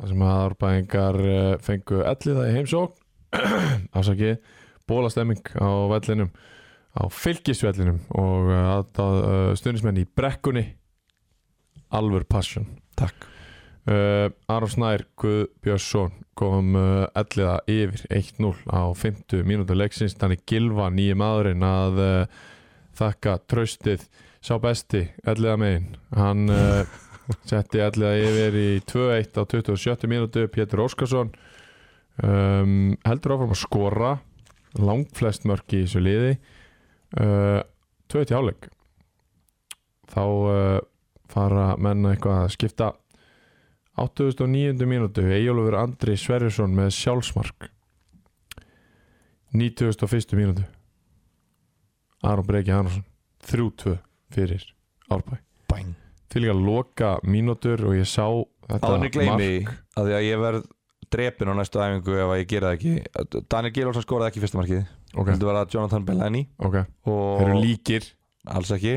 S1: þar sem að Árbæingar uh, fengu elliða í heimsókn afsakið, bólastemming á vellinum á fylgisvellinum og uh, uh, stundismenn í brekkunni alvör passion
S2: takk
S1: Uh, Aron Snær Guðbjörnsson kom uh, elliða yfir 1-0 á 50 mínútur leiksins þannig gilfa nýjum maðurinn að uh, þakka tröstið sá besti elliða megin hann uh, setti elliða yfir í 2-1 á 27 mínútu Pétur Óskarsson um, heldur áfram að skora langflest mörk í þessu liði uh, 2-1 áleik þá uh, fara menna eitthvað að skipta 89. mínútu Eyjólfur Andri Sverjusson með sjálfsmark 91. mínútu Aron Breki Hannarsson 3-2 fyrir Árbæ
S2: bæn
S1: til að loka mínútur og ég sá þetta
S2: Áður en ég gleymi að því að ég verð drepin á næstu æfingu ef að ég gera það ekki Daniel Gilvarsson skoraði ekki fyrsta markið
S1: ok,
S2: þetta var að Jonathan Bellani
S1: ok, þeir eru
S2: og
S1: líkir
S2: alls ekki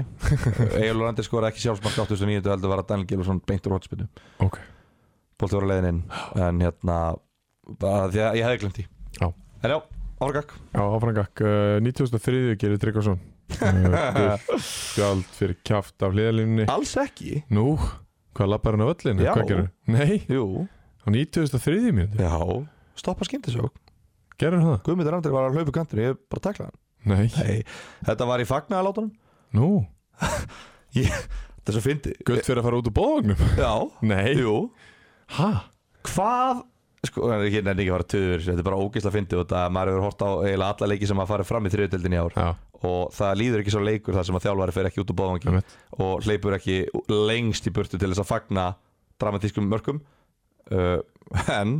S2: Egilur Andri skoraði ekki sjálfsmark 89 heldur var að Daniel Gilvarsson beint úr hotspinnu
S1: ok,
S2: bólti voru leiðin inn en hérna bara því að ég hefði glemt því
S1: Já.
S2: en já, árgakk
S1: já áframgakk uh, 93. gerir Tryggvason uh, guld fyrir kjaft af hliðalínunni
S2: alls ekki
S1: nú, hvað lappar hann á öllinu?
S2: Já.
S1: Nei,
S2: jú
S1: á 93. mínútu
S2: já stoppa skindisjók
S1: gerur hann það?
S2: Guðmundur Andri var að hlaupa kantin ég bara taklaði hann
S1: Nei,
S2: nei þetta var í fagnaðalátunum
S1: nú
S2: þetta er svo fyndi
S1: Gutt fyrir að fara út úr bóðvagnum?
S2: já
S1: Nei
S2: jú
S1: Hæ?
S2: hvað sko, ég nefnir ekki að fara töður þetta er bara ógeðslega fyndið og þetta maður hefur hort á eiginlega alla leiki sem að fara fram í þriðutöldin í ár
S1: Já,
S2: og það líður ekki svo leikur þar sem að þjálfari fer ekki út úr bóðvangi
S1: einmitt
S2: og hleypur ekki lengst í burtu til þess að fagna dramatískum mörkum uh, en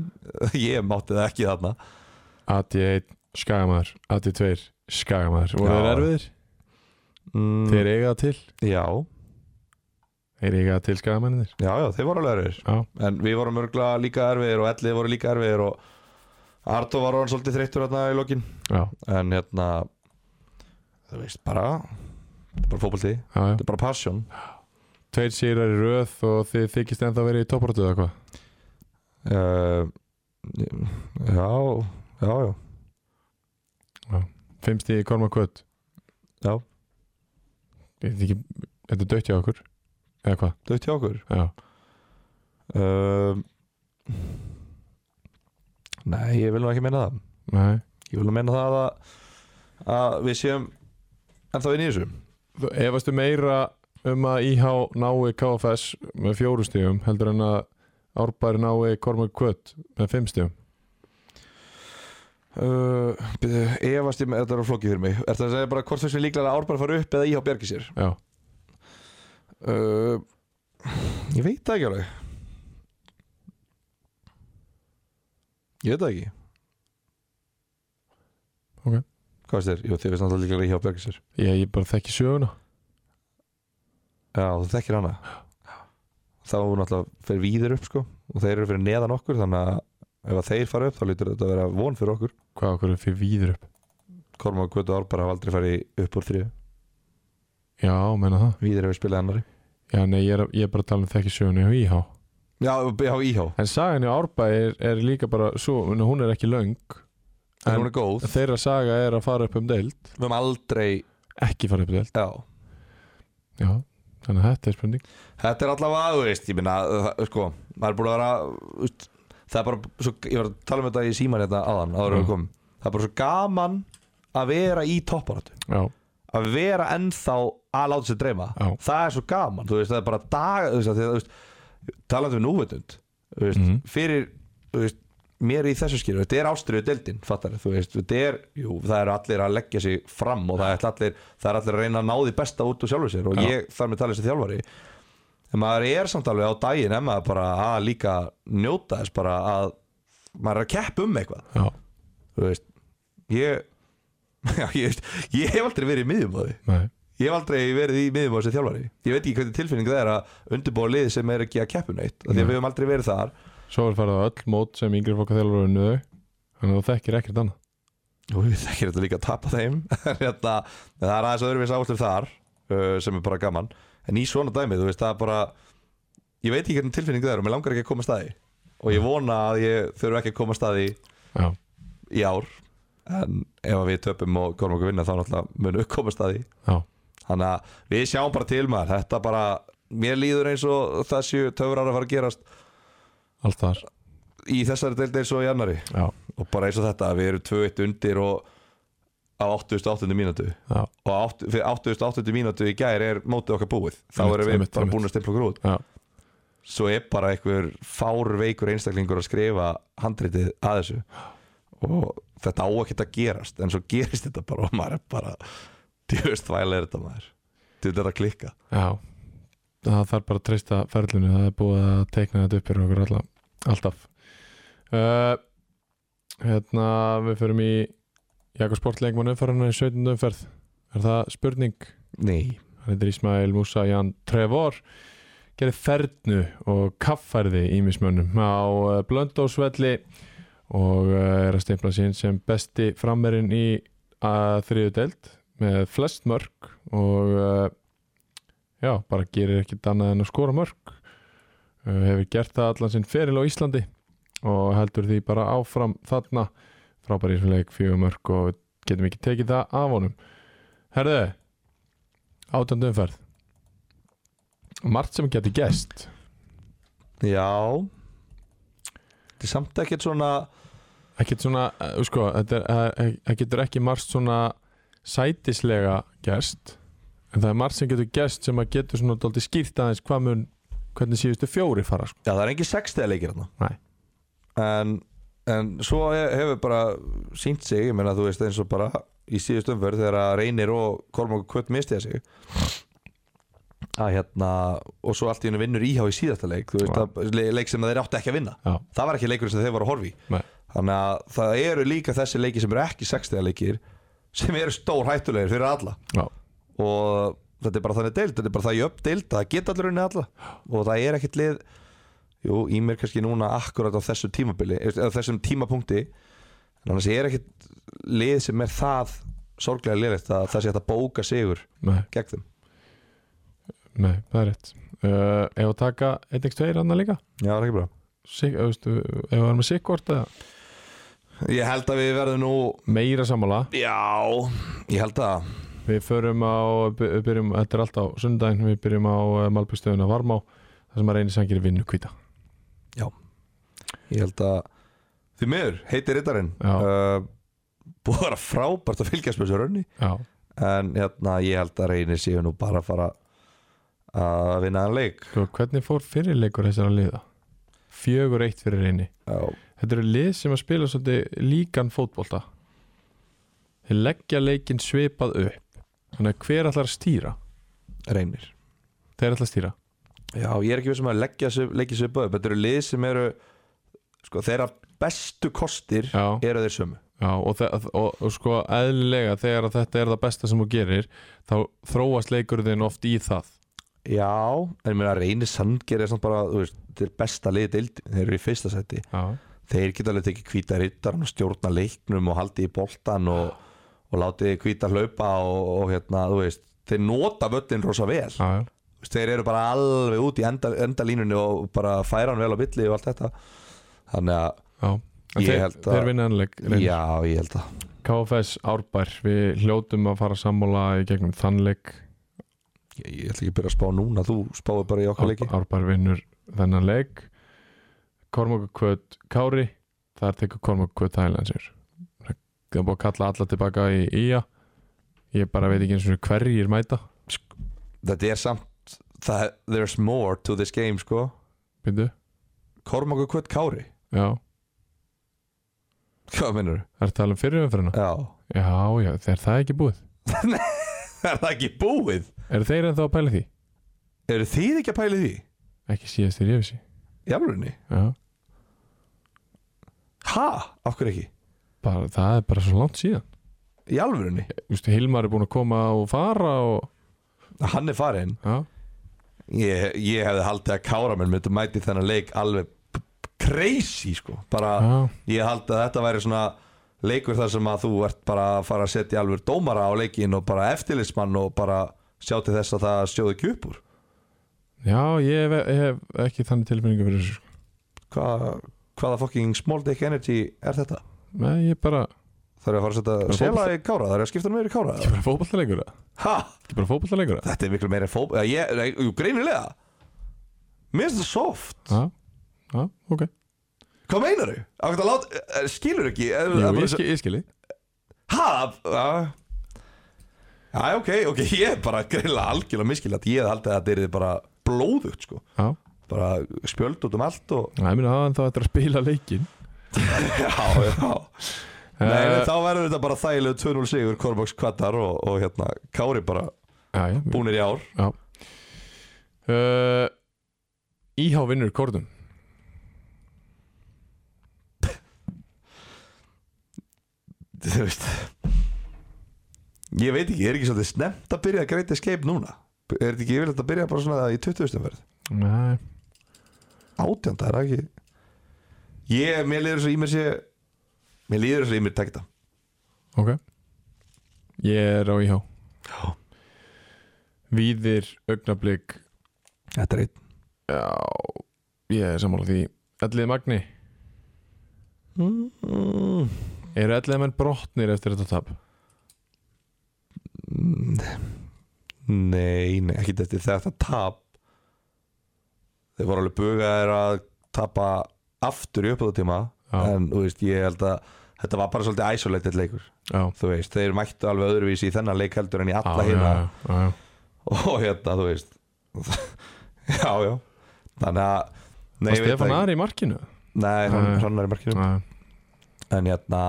S2: ég mátti það ekki þarna
S1: AD1, skagamæður AD2, skagamæður Voru
S2: Já.
S1: þeir erfiðir?
S2: mm,
S1: Þeir eiga það til
S2: já,
S1: Þeir eiga það til skagamæninir
S2: já, já, þeir voru alveg erfiðir
S1: Já,
S2: en við vorum örgla líka erfiðir og ellið voru líka erfiðir og Arto var orðan svolítið þreyttur þarna í lokin
S1: já,
S2: en hérna þú veist bara þetta er bara fótbolti,
S1: já, já.
S2: þetta er bara passion
S1: Tveir sýrar í röð og þið þykist ennþá verið í topparötu eða hvað
S2: uh, já já, já,
S1: Fimm stíði korma kvöt
S2: Já.
S1: Ég veit ekki, þetta er dött hjá okkur Eða hvað,
S2: dött hjá okkur
S1: já
S2: uh, nei, ég vil nú ekki meina það
S1: Nei,
S2: ég vil nú meina það að, að við séum ennþá inn í þessu
S1: Þú efastu meira um að IH nái KFS með fjóru stíðum heldur en að Árbær nái Kormak Kvöt með fimm stíðum
S2: uh, byrju, efast ég með þetta er flókið fyrir mig er það að segja bara hvort þess við líklega að árbæra fara upp eða íhá bjargi sér
S1: Já,
S2: uh, ég veit það ekki alveg ég veit það ekki
S1: Ok.
S2: hvað veist þér? Jú, þið veist náttúrulega líklega íhá bjargi sér
S1: ég, ég bara þekki söguna
S2: Já, þú þekkir hana Þá náttúrulega fer víðir upp sko og þeir eru fyrir neðan okkur þannig að ef að þeir fara upp þá lítur þetta að vera von fyrir okkur
S1: hvað okkur er fyrir víður upp
S2: Korma og Kvötu Árbara hafa aldrei farið upp úr þrjú
S1: Já, menna það
S2: Víðir hefur spilað annari
S1: Já, nei, ég er, ég er bara að tala um þekki söguna hjá IH
S2: Já, já íhá,
S1: En sagan í Árbæ er, er líka bara svo, en hún er ekki löng
S2: en
S1: En-
S2: hún er góð Við
S1: Þeirra saga er að fara upp um deild
S2: höfum aldrei,
S1: Ekki fara upp um deild
S2: já
S1: Já, þannig að þetta er spurning
S2: Þetta er allavega, þú veist, ég minna sko, maður er búin að vera þú veist, það er bara, svo, ég var að tala um þetta í síman þetta áðan, áður en
S1: Mm.
S2: við komum það er bara svo gaman að vera í topparötu
S1: Já,
S2: að vera ennþá að láta sér dreyma
S1: Já.
S2: það er svo gaman, þú veist, það er bara dag þú veist, að, þú veist, talandi um núvöndund þú veist,
S1: Mhm.
S2: fyrir þú veist, mér í þessu skilu, þetta er ástriðu deildin fattar, þú veist, þetta er, jú, það eru allir að leggja sig fram og það er allir það er allir að reyna að ná því besta út úr sjálfu sér og
S1: Já.
S2: ég þarf með talið sem þjálfari en maður er samt alveg á daginn en maður bara að líka njóta þess bara að maður er að keppa um eitthvað
S1: Já,
S2: þú veist, ég já, ég, veist, ég hef aldrei verið í miðjumóði
S1: nei,
S2: Ég hef aldrei verið í miðjumóð sem þjálfari Ég veit ekki hvernig tilfinning það er að undirbúa lið sem er ekki að keppu neitt af Því að
S1: Nei.
S2: við hefum aldrei verið þar
S1: svo er farið á öll mót sem yngri fólk að þjálfur unnu þau Þannig að þú þekkir ekkert annað
S2: og við þekkir þetta líka að tapa þeim þetta, en það er aðeins öðruvís áslur þar uh, sem er bara gaman en í svona dæmi, þú veist, það er bara ég veit ekki hvernig tilfinning það er og mér langar ekki að koma að staði og ég vona að ég þurfa ekki að koma að staði
S1: Já,
S2: í ár en ef að við töpum og komum okkur vinna þá náttúrulega mun upp koma að staði
S1: já,
S2: þannig að við sjáum bara til maður þetta bara, mér líður eins og það séu töfrar að fara að gerast
S1: allt þar
S2: í þessari deild eins og í annari
S1: Já,
S2: og bara eins og þetta, við erum 2-1 undir og á 88. mínútu
S1: já,
S2: og átt- fyrir 88. mínútu í gær er mótið okkar búið þá
S1: Einmitt,
S2: erum við
S1: einmitt,
S2: bara
S1: einmitt.
S2: búin að stimpla okkur út
S1: já,
S2: svo er bara einhver fárveikur einstaklingur að skrifa handritið að þessu og þetta á ekkert að gerast en svo gerist þetta bara og maður er bara djöfust þvægilega er þetta maður djöfust er að klikka
S1: já Það þarf bara að treysta ferlinu Það er búið að teikna þetta upp fyrir okkur alla, alltaf uh, Hérna, við förum í Jakob Sportleikmann umferðinu í 17. umferð Er það spurning?
S2: Nei,
S1: Hann heitir Ismail Musa Jan Trevor gerði fernu og kaffærði ímismönnum á eh, Blöndósvelli og eh, er að stimpla sín sem besti frammerin í þriðu deild með flest mörg og eh, já, bara gerir ekkit annað en að skora mörg hefur gert það allan sinn feril á Íslandi og heldur því bara áfram þarna frábæri leik fjögur mörg og við getum ekki tekið það af honum Herðu, átjöndu umferð margt sem getur gæst
S2: já þetta er samt ekkert svona
S1: ekkert svona, eh, sko þetta er- það er- það getur ekki margt svona sætislega gæst en það er margt sem getur gæst sem að getur svona dálítið skýrt aðeins hvað mun hvernig síðustu fjóri fara sko.
S2: já, það er engin sextega leikir hann
S1: Nei.
S2: en, en svo he- hefur bara sínt sig, ég meina þú veist eins og bara í síðust umför þegar að reynir og Kormáku Kvöld mistiða sig að hérna og svo allt í hennu vinnur íhá í síðasta leik þú veist,
S1: Já.
S2: að, le- leik sem þeir áttu ekki að vinna
S1: já,
S2: það var ekki leikur sem þeir voru að horfa í
S1: Nei.
S2: þannig að það eru líka þessi leiki sem eru ekki sextega leikir sem eru stór hættulegir fyrir alla
S1: já,
S2: og þetta er bara þannig deild þetta er bara það í upp deild, það geta allir unni alla og það er ekkert lið jú, í mér kannski núna akkurat á þessu tímabili eða þessum tímapunkti en annars er ekkert lið sem er það sorglega liðlegt að það sé hægt að bóka sigur
S1: nei,
S2: gegn þeim
S1: nei, það er rétt uh, ef að taka 1x2 annar líka
S2: Já, það er ekki bra
S1: Sig, eh, veistu, ef að vera með sikkort eða
S2: Ég held að við verðum nú
S1: meira sammála
S2: Já, ég held að
S1: Við förum á, by- byrjum, þetta er allt á sundaginn, við byrjum á Malbjörnstöðuna Varmá, þar sem að reynir sangir vinnu kvíta.
S2: ég held að því miður, heiti Rittarinn
S1: Já.
S2: uh, búið að vera frábært að fylgjast með þessu raunni
S1: Já,
S2: en hérna, ég held að reynir séu nú bara að fara að vinna hann leik
S1: sko, hvernig fór fyrirleikur þessara liða? Fjögur eitt fyrir reyni.
S2: Já,
S1: Þetta eru lið sem að spila svolítið líkan fótbolta. Þeir leggja leikinn svipað upp. Þannig að hver ætlar að stýra?
S2: reynir
S1: Þeir ætlar að stýra.
S2: Já, ég er ekki vissum að leggja sig, leggja sig upp öðum Þetta eru lið sem eru sko, þeirra bestu kostir
S1: Já,
S2: eru þeir sömu
S1: já og, þe- og, og, og sko eðlilega þegar að þetta er það besta sem þú gerir, þá þróast leikurðin oft í það.
S2: Já, en ég meina reynir sandgerði samt bara, þú veist, þeir besta lið deild, þeir eru í fyrsta seti
S1: Já,
S2: Þeir geta alveg tekið hvíta rittarinn og stjórna leiknum og haldið í boltan og, og látið hvíta hlaupa og, og hérna, þú veist, þeir nota völlin rosa vel
S1: já, já.
S2: Þú veist, þeir eru bara alveg út í enda, endalínunni og bara færa hann vel á billi og allt þetta þannig að,
S1: já. En
S2: Ég
S1: Þeir,
S2: held að-
S1: þeir vinna ennleik reynir.
S2: já, ég held að
S1: KFS Árbær, við hljótum að fara að sammála í gegnum þannleik
S2: ég, ég ætla ekki að byrja að spá núna, þú spáir bara í okkar leiki
S1: Árbær vinnur þennan leik Kormokur Kvöt Kári þar tekur Kormokur Kvöt Thailandsir það er búið að kalla alla tilbaka í IA ég bara veit ekki eins og hverjir mæta
S2: þetta er samt, það, there's more to this game sko
S1: býtu,
S2: Kormakur Kvöt Kári
S1: já
S2: Hvað minnur þú?
S1: Það er að tala um fyrirumferðina
S2: Já
S1: Já, já, er það ekki búið?
S2: Er það ekki búið?
S1: Er þeir ennþá að pæla í því?
S2: Eru þið ekki að pæla í því?
S1: Ekki síðast þegar ég vissi
S2: Jafnlunni
S1: Já,
S2: Ha? Af hverju ekki?
S1: bara, það er bara svo langt síðan
S2: Í alvörunni?
S1: Vistu, Hilmar er búinn að koma og fara og
S2: Hann er farinn
S1: Já,
S2: Ég, ég hefði haldið að kára mér myndi mæti þennan leik alveg p- p- crazy sko bara
S1: já,
S2: ég haldið að þetta væri svona leikur þar sem að þú ert bara að fara að setja alveg dómara á leikin og bara eftirlitsmann og bara sjá til þess að það sjóði ekki upp úr
S1: já ég, hef, ég hef ekki þannig tilfinningu fyrir þessu sko.
S2: Hva, hvaða fucking small dick energy er þetta?
S1: Nei, ég er bara
S2: Það er að fara að setja
S1: Bara
S2: sela í kára, það er að skipta hann meður í kára
S1: Ekki bara fótballalegur eða?
S2: ha,
S1: Ekki bara fótballalegur eða?
S2: þetta er miklu meira fób eða ég, nei, jú, greinilega mér finnst það soft
S1: Já, já, ok
S2: hvað meinar þau? eh, skilur ekki er,
S1: Jú,
S2: er bara-
S1: ég, skil, ég skilji
S2: Ha? Já, já ok, ok, ég er bara greinlega algjörlega miskilegt Ég held að þetta er bara blóðugt sko
S1: Já,
S2: Bara spjöld út um allt og
S1: það er minna aðan þá eftir að spila leikin
S2: Já, já Nei,
S1: Eh.
S2: uh, þá verður þetta bara þægilegu 2-0 sigur Kormáks kvattar og, og hérna Kári bara
S1: Já, já,
S2: búnir í ár
S1: Uh, Íhá vinnur Kórnum
S2: Þú veist Ég veit ekki, er ekki svolítið snemmt að byrja að greita skeip núna Er þetta ekki yfirleitt að byrja bara svona í 20. verð
S1: Nei,
S2: átjönda er það ekki ég, mér líður svo í mér sé mér líður svo í mér takta
S1: ok Ég er á Íhá
S2: Já.
S1: Víðir, augnablík
S2: þetta er einn
S1: Já, ég er sammála því Ellið Magni,
S2: mm,
S1: eru ellið menn brotnir eftir þetta tap?
S2: mm, nei, nei, ekki eftir þetta tap þeir voru alveg bugaðir að tapa aftur í uppöðutíma
S1: Já,
S2: en þú veist, ég held að þetta var bara svolítið isolated leikur
S1: já,
S2: þú veist, þeir mættu alveg öðruvísi í þennan leik heldur en í alla
S1: já, já,
S2: hérna
S1: já, já.
S2: og hérna, þú veist já, já þannig að nei,
S1: Var
S2: ég veit það
S1: Stefán
S2: ekki.
S1: Ari í markinu?
S2: Nei, hann,
S1: Nei.
S2: hann er í markinu
S1: Já,
S2: en hérna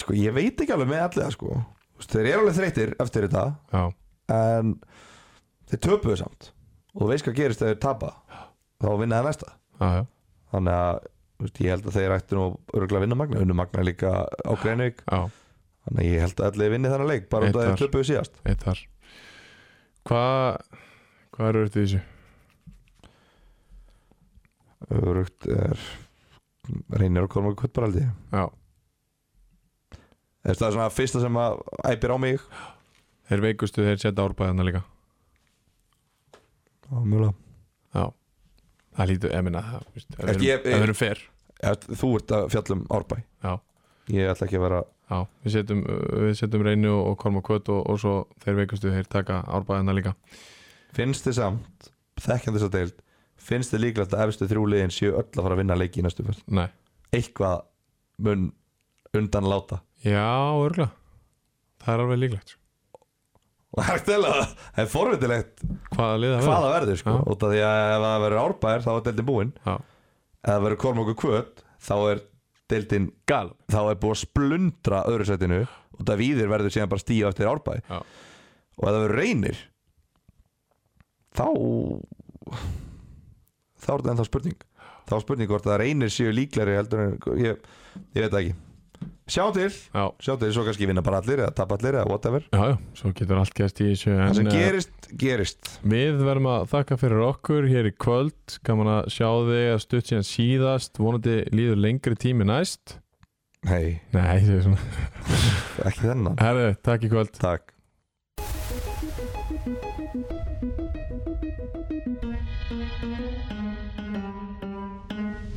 S2: sko ég veit ekki alveg með allir það sko Þú veist, þeir eru alveg þreytir eftir þetta
S1: já,
S2: en þeir töpuðu samt og þú veist hvað gerist þegar þeir tapa þá vinna það næsta
S1: já, já,
S2: þannig að þú veist, ég held að þeir ættu nú örgulega að vinna magna, unnu magna líka á Greinvík
S1: já,
S2: þannig að ég held að allir vinni þannig leik bara út af
S1: Eitt
S2: þeir
S1: þar.
S2: töpuðu síðast
S1: eitt þar Hvað, hvað eru þetta í þessu?
S2: örugt er reynir og korma kvöld bara aldrei
S1: Já,
S2: það er svona fyrsta sem að æpir á mig
S1: þeir veikustu þeir setja árbæðana líka
S2: á mjögulega
S1: Já Það lítur, ég minna það þú veist, ef
S2: Ekki,
S1: við
S2: ég-
S1: erum- ef við erum fer
S2: Ef þú ert að fjalla um Árbæ
S1: Já.
S2: Ég ætla ekki að vera
S1: Já, við setjum, við setjum reynu og, og korma kvöt og, og svo þeir veikustu þeir taka árbæðina líka
S2: Finnst þið samt, þekkjandi þess að deild Finnst þið líklegt að efstu þrjú liðin séu öll að fara að vinna leiki í næstu fyrst
S1: Nei,
S2: Eitthvað mun undan láta
S1: já, örgla Það er alveg líklegt sko.
S2: Og það er ekki deilega það Það er forvitilegt
S1: Hvaða liða
S2: hvaða verður sko
S1: Já.
S2: Út af því að ef það verður Árbæðir þá er deildin búin
S1: Já.
S2: Ef það verður Kormokur Kvöt þá er deildin
S1: Gal
S2: þá er búið að splundra öðru setinu og það víðir verður síðan bara stíu eftir árbæ
S1: Já.
S2: og ef það verður reynir þá þá er þetta ennþá spurning þá er spurning hvort að reynir séu líklari heldur en ég, ég veit það ekki sjá til,
S1: Já,
S2: sjá til, svo kannski vinna bara allir eða tapa allir eða whatever
S1: já, já, svo getur allt gæst í þessu
S2: það
S1: en,
S2: sem
S1: eh,
S2: gerist, gerist
S1: Við verðum að þakka fyrir okkur hér í kvöld Gaman að sjá þig að stutt síðan síðast Vonandi líður lengri tími næst
S2: hei,
S1: Nei, það er svona
S2: ekki þennan
S1: Herðu, takk í kvöld
S2: takk
S3: Thank you.